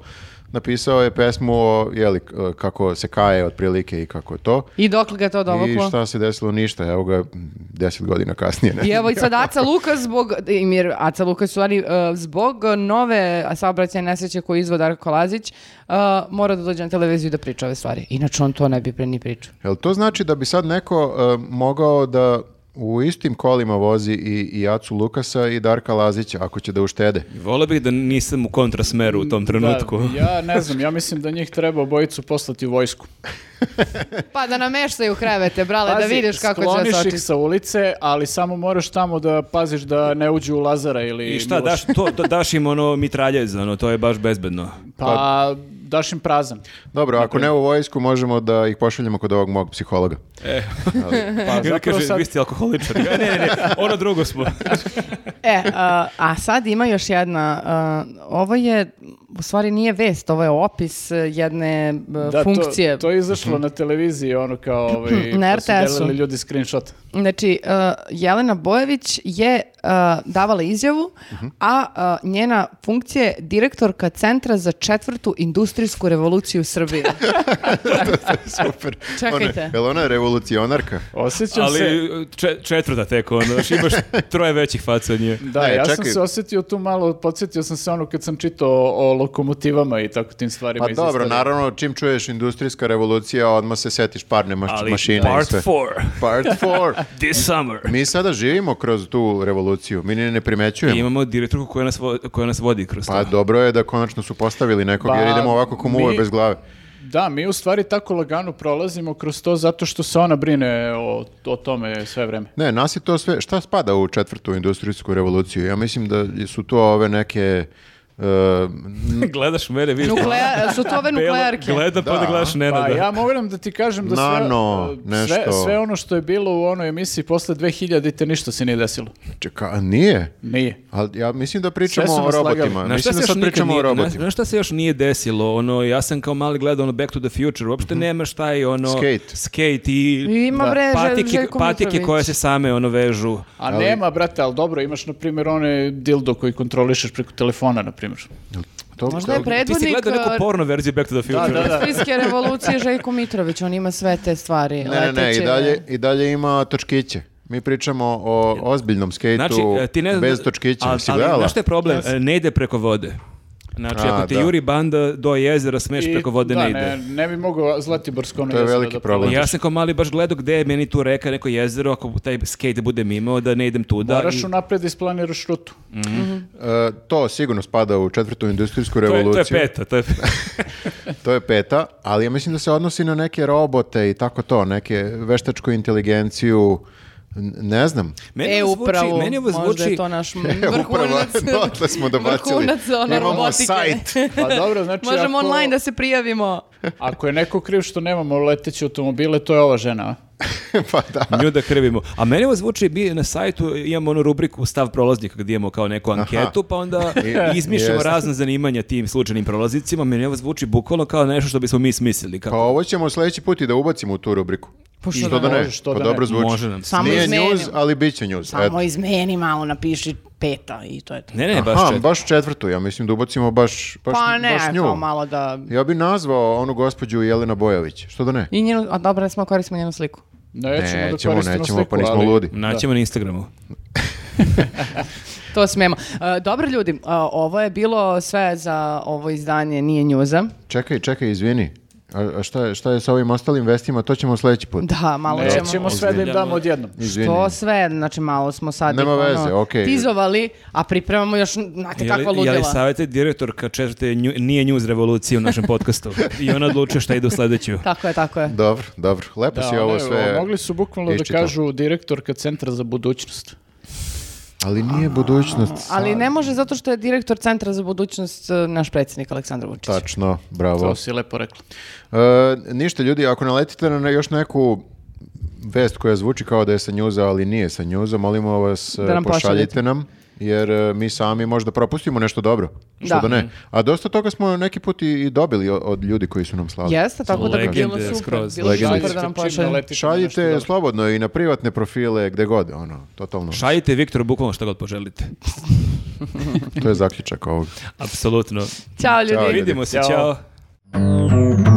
Speaker 2: napisao je pesmu o, jeli, k- kako se kaje otprilike i kako je to.
Speaker 1: I dokle ga je to
Speaker 2: I
Speaker 1: dovuklo?
Speaker 2: šta se desilo? Ništa. Evo ga mm, deset godina kasnije. Ne?
Speaker 1: I evo i sad Aca Luka zbog, im jer Aca Luka su stvari, uh, zbog uh, nove saobraćajne nesreće koju izvod Darko Lazić, uh, mora da dođe na televiziju i da priča ove stvari. Inače on to ne bi pre ni pričao.
Speaker 2: Jel to znači da bi sad neko e, mogao da u istim kolima vozi i, i Acu Lukasa i Darka Lazića, ako će da uštede?
Speaker 3: Vole bih da nisam u kontrasmeru u tom trenutku.
Speaker 4: Da, ja ne znam, ja mislim da njih treba obojicu poslati u vojsku.
Speaker 1: Pa da nameštaju krevete, brale, da vidiš kako će da se
Speaker 4: skloniš
Speaker 1: očisti.
Speaker 4: ih sa ulice, ali samo moraš tamo da paziš da ne uđu u Lazara ili
Speaker 3: I šta,
Speaker 4: Miloša.
Speaker 3: daš, to, to- daš im ono mitraljez, ono, to je baš bezbedno.
Speaker 4: Pa daš im prazan.
Speaker 2: Dobro, ako
Speaker 4: Dakle-
Speaker 2: ne u vojsku, možemo da ih pošaljemo kod ovog mog
Speaker 4: (laughs)
Speaker 2: psihologa.
Speaker 3: Pa,
Speaker 4: zapravo
Speaker 3: kaže,
Speaker 4: sad-
Speaker 3: vi ste alkoholičar. Ja, ne, ne, ne, ono drugo
Speaker 4: (laughs)
Speaker 3: smo.
Speaker 1: E, a, a sad ima još jedna, a, ovo je, u stvari nije vest, ovo je opis e, jedne e,
Speaker 4: Da,
Speaker 1: funkcije.
Speaker 4: To, to je izašlo na televiziji, ono
Speaker 1: (clears throat)
Speaker 4: kao ovaj,
Speaker 1: Na
Speaker 4: pa su
Speaker 1: RTS-u.
Speaker 4: delili ljudi screenshot.
Speaker 1: Znači, e, Jelena Bojević je e, davala izjavu, a e, njena funkcija je direktorka Centra za četvrtu industrijsku revoluciju Srbije.
Speaker 2: Super.
Speaker 1: Čekajte.
Speaker 2: Ona, jel ona je revolucionarka?
Speaker 4: Osjećam se...
Speaker 3: Ali če, četvrta tek, ono, znaš, imaš troje većih faca od nje.
Speaker 4: Da,
Speaker 2: Ne,
Speaker 4: ja sam
Speaker 2: čekaj.
Speaker 4: se osjetio tu malo, podsjetio sam se ono kad sam čitao o, o lokomotivama i tako tim stvarima.
Speaker 2: Pa
Speaker 4: iz
Speaker 2: dobro,
Speaker 4: istorije.
Speaker 2: naravno, čim čuješ industrijska revolucija, odmah se setiš parne maš-
Speaker 3: Ali
Speaker 2: mašine i
Speaker 3: part
Speaker 2: sve.
Speaker 3: 4,
Speaker 4: (laughs)
Speaker 2: Part 4.
Speaker 3: this summer.
Speaker 2: Mi sada živimo kroz tu revoluciju, mi ni ne
Speaker 3: I
Speaker 2: primećujemo.
Speaker 3: imamo direktorku koja nas, vo- koja nas vodi kroz
Speaker 2: Pa
Speaker 3: to.
Speaker 2: dobro je da konačno su postavili nekog,
Speaker 4: Pa,
Speaker 2: jer idemo ovako ko
Speaker 4: mi-
Speaker 2: muve bez glave.
Speaker 4: Da, mi u stvari tako lagano prolazimo kroz to zato što se ona brine o, o tome sve vreme.
Speaker 2: Ne, nas je to sve, šta spada u četvrtu industrijsku revoluciju? Ja mislim da su to ove neke... e,
Speaker 3: (laughs) Gledaš mene, vidiš.
Speaker 1: Nuklea- su to ove
Speaker 3: Belo-
Speaker 1: nuklearke.
Speaker 3: Gleda pa da,
Speaker 2: Da.
Speaker 3: gledaš Nenada.
Speaker 4: Pa ja moram da ti kažem da sve-
Speaker 2: Nano,
Speaker 4: sve, sve,
Speaker 2: nešto.
Speaker 4: ono što je bilo u onoj emisiji posle 2000 te ništa se nije desilo.
Speaker 2: čeka, a nije?
Speaker 4: Nije.
Speaker 2: Ali ja mislim da pričamo
Speaker 4: Sve su
Speaker 2: o
Speaker 4: nas
Speaker 2: robotima.
Speaker 4: lagali.
Speaker 3: Znaš šta
Speaker 2: Pa Mislim
Speaker 3: se
Speaker 2: da
Speaker 3: još
Speaker 2: sad
Speaker 3: nikad
Speaker 2: pričamo
Speaker 3: nije,
Speaker 2: o
Speaker 3: znaš-
Speaker 2: robotima.
Speaker 3: znaš šta se još nije desilo? Ono, ja sam kao mali gledao ono Back to the Future, uopšte nema šta i ono...
Speaker 2: Mhm. Skate.
Speaker 3: Skate i...
Speaker 1: I ima
Speaker 3: da,
Speaker 1: bre, Žel-
Speaker 3: patike,
Speaker 1: Željko
Speaker 3: patike
Speaker 1: Mitrović.
Speaker 3: koje se same ono vežu.
Speaker 4: A nema, brate, ali dobro, imaš, na primjer, one dildo koji kontrolišeš preko telefona, na primjer.
Speaker 2: To-
Speaker 1: Možda je
Speaker 2: to-
Speaker 3: Ti si
Speaker 1: predvodnik
Speaker 3: gledao neku
Speaker 1: e,
Speaker 3: porno verziju Back to the Future.
Speaker 4: da, da.
Speaker 1: industrijske revolucije Željko Mitrović, on ima sve te stvari.
Speaker 2: Ne, ne, ne, i
Speaker 3: e,
Speaker 1: leteće. E,
Speaker 2: dalje, i dalje ima točkiće. Mi pričamo o ozbiljnom skejtu
Speaker 3: Znači, e, ti ne znam...
Speaker 2: bez točkića.
Speaker 3: ali-
Speaker 2: Si
Speaker 3: ali
Speaker 2: gledala?
Speaker 3: znaš šta je problem? E, Ne ide preko vode. Znači,
Speaker 2: A,
Speaker 3: ako te
Speaker 2: da.
Speaker 3: juri banda do jezera, smeš
Speaker 4: I-
Speaker 3: preko vode
Speaker 4: da,
Speaker 3: ne ide.
Speaker 4: Ne, ne bi mogao Zlatiborsko ono
Speaker 2: To je
Speaker 4: jezero
Speaker 2: veliki
Speaker 4: da
Speaker 2: problem.
Speaker 4: prolazi.
Speaker 3: Ja sam kao mali baš gledao gde je meni tu reka, neko jezero, ako taj skate bude mimo, da ne idem tuda.
Speaker 4: Moraš
Speaker 3: i-
Speaker 4: unapred da isplaniraš
Speaker 2: (laughs)
Speaker 4: rutu.
Speaker 2: E, to sigurno spada u četvrtu industrijsku
Speaker 3: Mhm. to, je,
Speaker 2: revoluciju.
Speaker 3: to je peta, to je
Speaker 2: To je peta, ali ja mislim da se odnosi na neke robote i tako to, neke veštačku inteligenciju, n- ne znam. (laughs)
Speaker 3: Meni
Speaker 1: e,
Speaker 3: ovo zvuči-
Speaker 1: upravo,
Speaker 3: meni ovo
Speaker 1: možda je
Speaker 3: zvuči-
Speaker 1: to naš
Speaker 2: Upravo,
Speaker 1: vrhunac.
Speaker 2: dotle smo dobacili.
Speaker 1: Vrhunac ono,
Speaker 2: Imamo
Speaker 1: robotike. (laughs)
Speaker 2: sajt.
Speaker 4: Pa dobro, znači
Speaker 1: Možemo
Speaker 4: ako,
Speaker 1: online da se prijavimo.
Speaker 4: ako je neko kriv što nemamo leteće automobile, to je ova žena, a?
Speaker 2: pa da.
Speaker 3: Nju da krivimo. A meni ovo zvuči, mi na sajtu imamo onu rubriku stav prolaznika gdje imamo kao neku anketu, pa onda
Speaker 2: (laughs) I-
Speaker 3: izmišljamo
Speaker 2: jeste.
Speaker 3: razne zanimanja tim slučajnim prolaznicima. Meni ovo zvuči bukvalno kao nešto što bismo mi smislili.
Speaker 2: Pa
Speaker 3: Kako?
Speaker 2: ovo ćemo sljedeći put i da ubacimo u tu rubriku.
Speaker 1: Pa što
Speaker 2: Što da
Speaker 1: da
Speaker 2: ne?
Speaker 4: može, što
Speaker 2: pa
Speaker 4: da ne.
Speaker 2: dobro zvuči.
Speaker 3: Može nam se.
Speaker 1: Samo
Speaker 2: Nije
Speaker 1: izmenimo.
Speaker 2: news, ali bit će news.
Speaker 1: Samo
Speaker 2: eto.
Speaker 1: izmeni malo, napiši peta i to je to.
Speaker 3: Ne, ne, E, baš
Speaker 2: Aha,
Speaker 3: čet-
Speaker 2: baš četvrtu, ja mislim da ubacimo baš, baš,
Speaker 1: Pa ne,
Speaker 2: baš nju.
Speaker 1: kao malo da...
Speaker 2: Ja bi nazvao onu gospođu Jelena Bojović, što da ne?
Speaker 1: I njenu, a dobro, smo koristimo njenu sliku.
Speaker 4: Nećemo,
Speaker 2: nećemo,
Speaker 4: da koristimo
Speaker 2: nećemo,
Speaker 4: sliku,
Speaker 2: pa nismo
Speaker 4: ali-
Speaker 2: ludi.
Speaker 3: Naćemo na Instagramu.
Speaker 1: To smemo. E, dobro ljudi, e, ovo je bilo sve za ovo izdanje Nije njuza. (laughs)
Speaker 2: Čekaj, čekaj, izvini. A, a šta, je, šta je sa ovim ostalim vestima, to ćemo sljedeći put.
Speaker 1: Da, malo ćemo...
Speaker 4: Nećemo sve da im damo odjednom.
Speaker 2: Izvini.
Speaker 1: To sve, znači malo smo sad...
Speaker 2: Nema
Speaker 1: ih, ono,
Speaker 2: veze, okej.
Speaker 1: Tizovali, a pripremamo još, znate
Speaker 3: Je li-
Speaker 1: kakva
Speaker 3: Je li
Speaker 1: ludila.
Speaker 3: savjeti direktorka četvrte nju- nije njuz revolucije u našem podcastu? I ona odlučuje šta ide u sledeću.
Speaker 1: Tako je, tako je.
Speaker 2: Dobro, dobro. Lepo si
Speaker 4: Da,
Speaker 2: ovo
Speaker 4: one,
Speaker 2: sve
Speaker 4: mogli su bukvalno da
Speaker 2: iščitao.
Speaker 4: kažu direktorka Centra za budućnost.
Speaker 2: Ali nije budućnost.
Speaker 1: Ali
Speaker 2: sad.
Speaker 1: ne može zato što je direktor Centra za budućnost e, naš predsjednik Aleksandar Vučić.
Speaker 2: Tačno, bravo.
Speaker 4: To si lepo rekla.
Speaker 2: E, ništa ljudi, ako naletite na još neku vest koja zvuči kao da je sa njuza, ali nije sa njuza, molimo vas,
Speaker 1: Da nam
Speaker 2: eh, pošaljite
Speaker 1: pošaljete.
Speaker 2: nam, jer eh, mi sami možda propustimo nešto dobro. Što da.
Speaker 1: Da. Mm.
Speaker 2: ne. A dosta toga smo neki put i, i dobili o- od ljudi koji su nam slali.
Speaker 1: Jeste, tako da bi bilo
Speaker 3: Legende
Speaker 1: super.
Speaker 3: skroz.
Speaker 1: Bilo bi
Speaker 2: pa- Legende.
Speaker 1: super da nam pošalje.
Speaker 4: Šaljite.
Speaker 2: Šaljite slobodno i na privatne profile, gde god, ono, totalno.
Speaker 3: Šaljite Viktoru bukvalno što god poželite.
Speaker 2: To je zaključak ovog.
Speaker 3: Apsolutno.
Speaker 1: Ćao ljudi.
Speaker 2: Ćao.
Speaker 3: Vidimo se,
Speaker 4: Ćao.
Speaker 3: čao.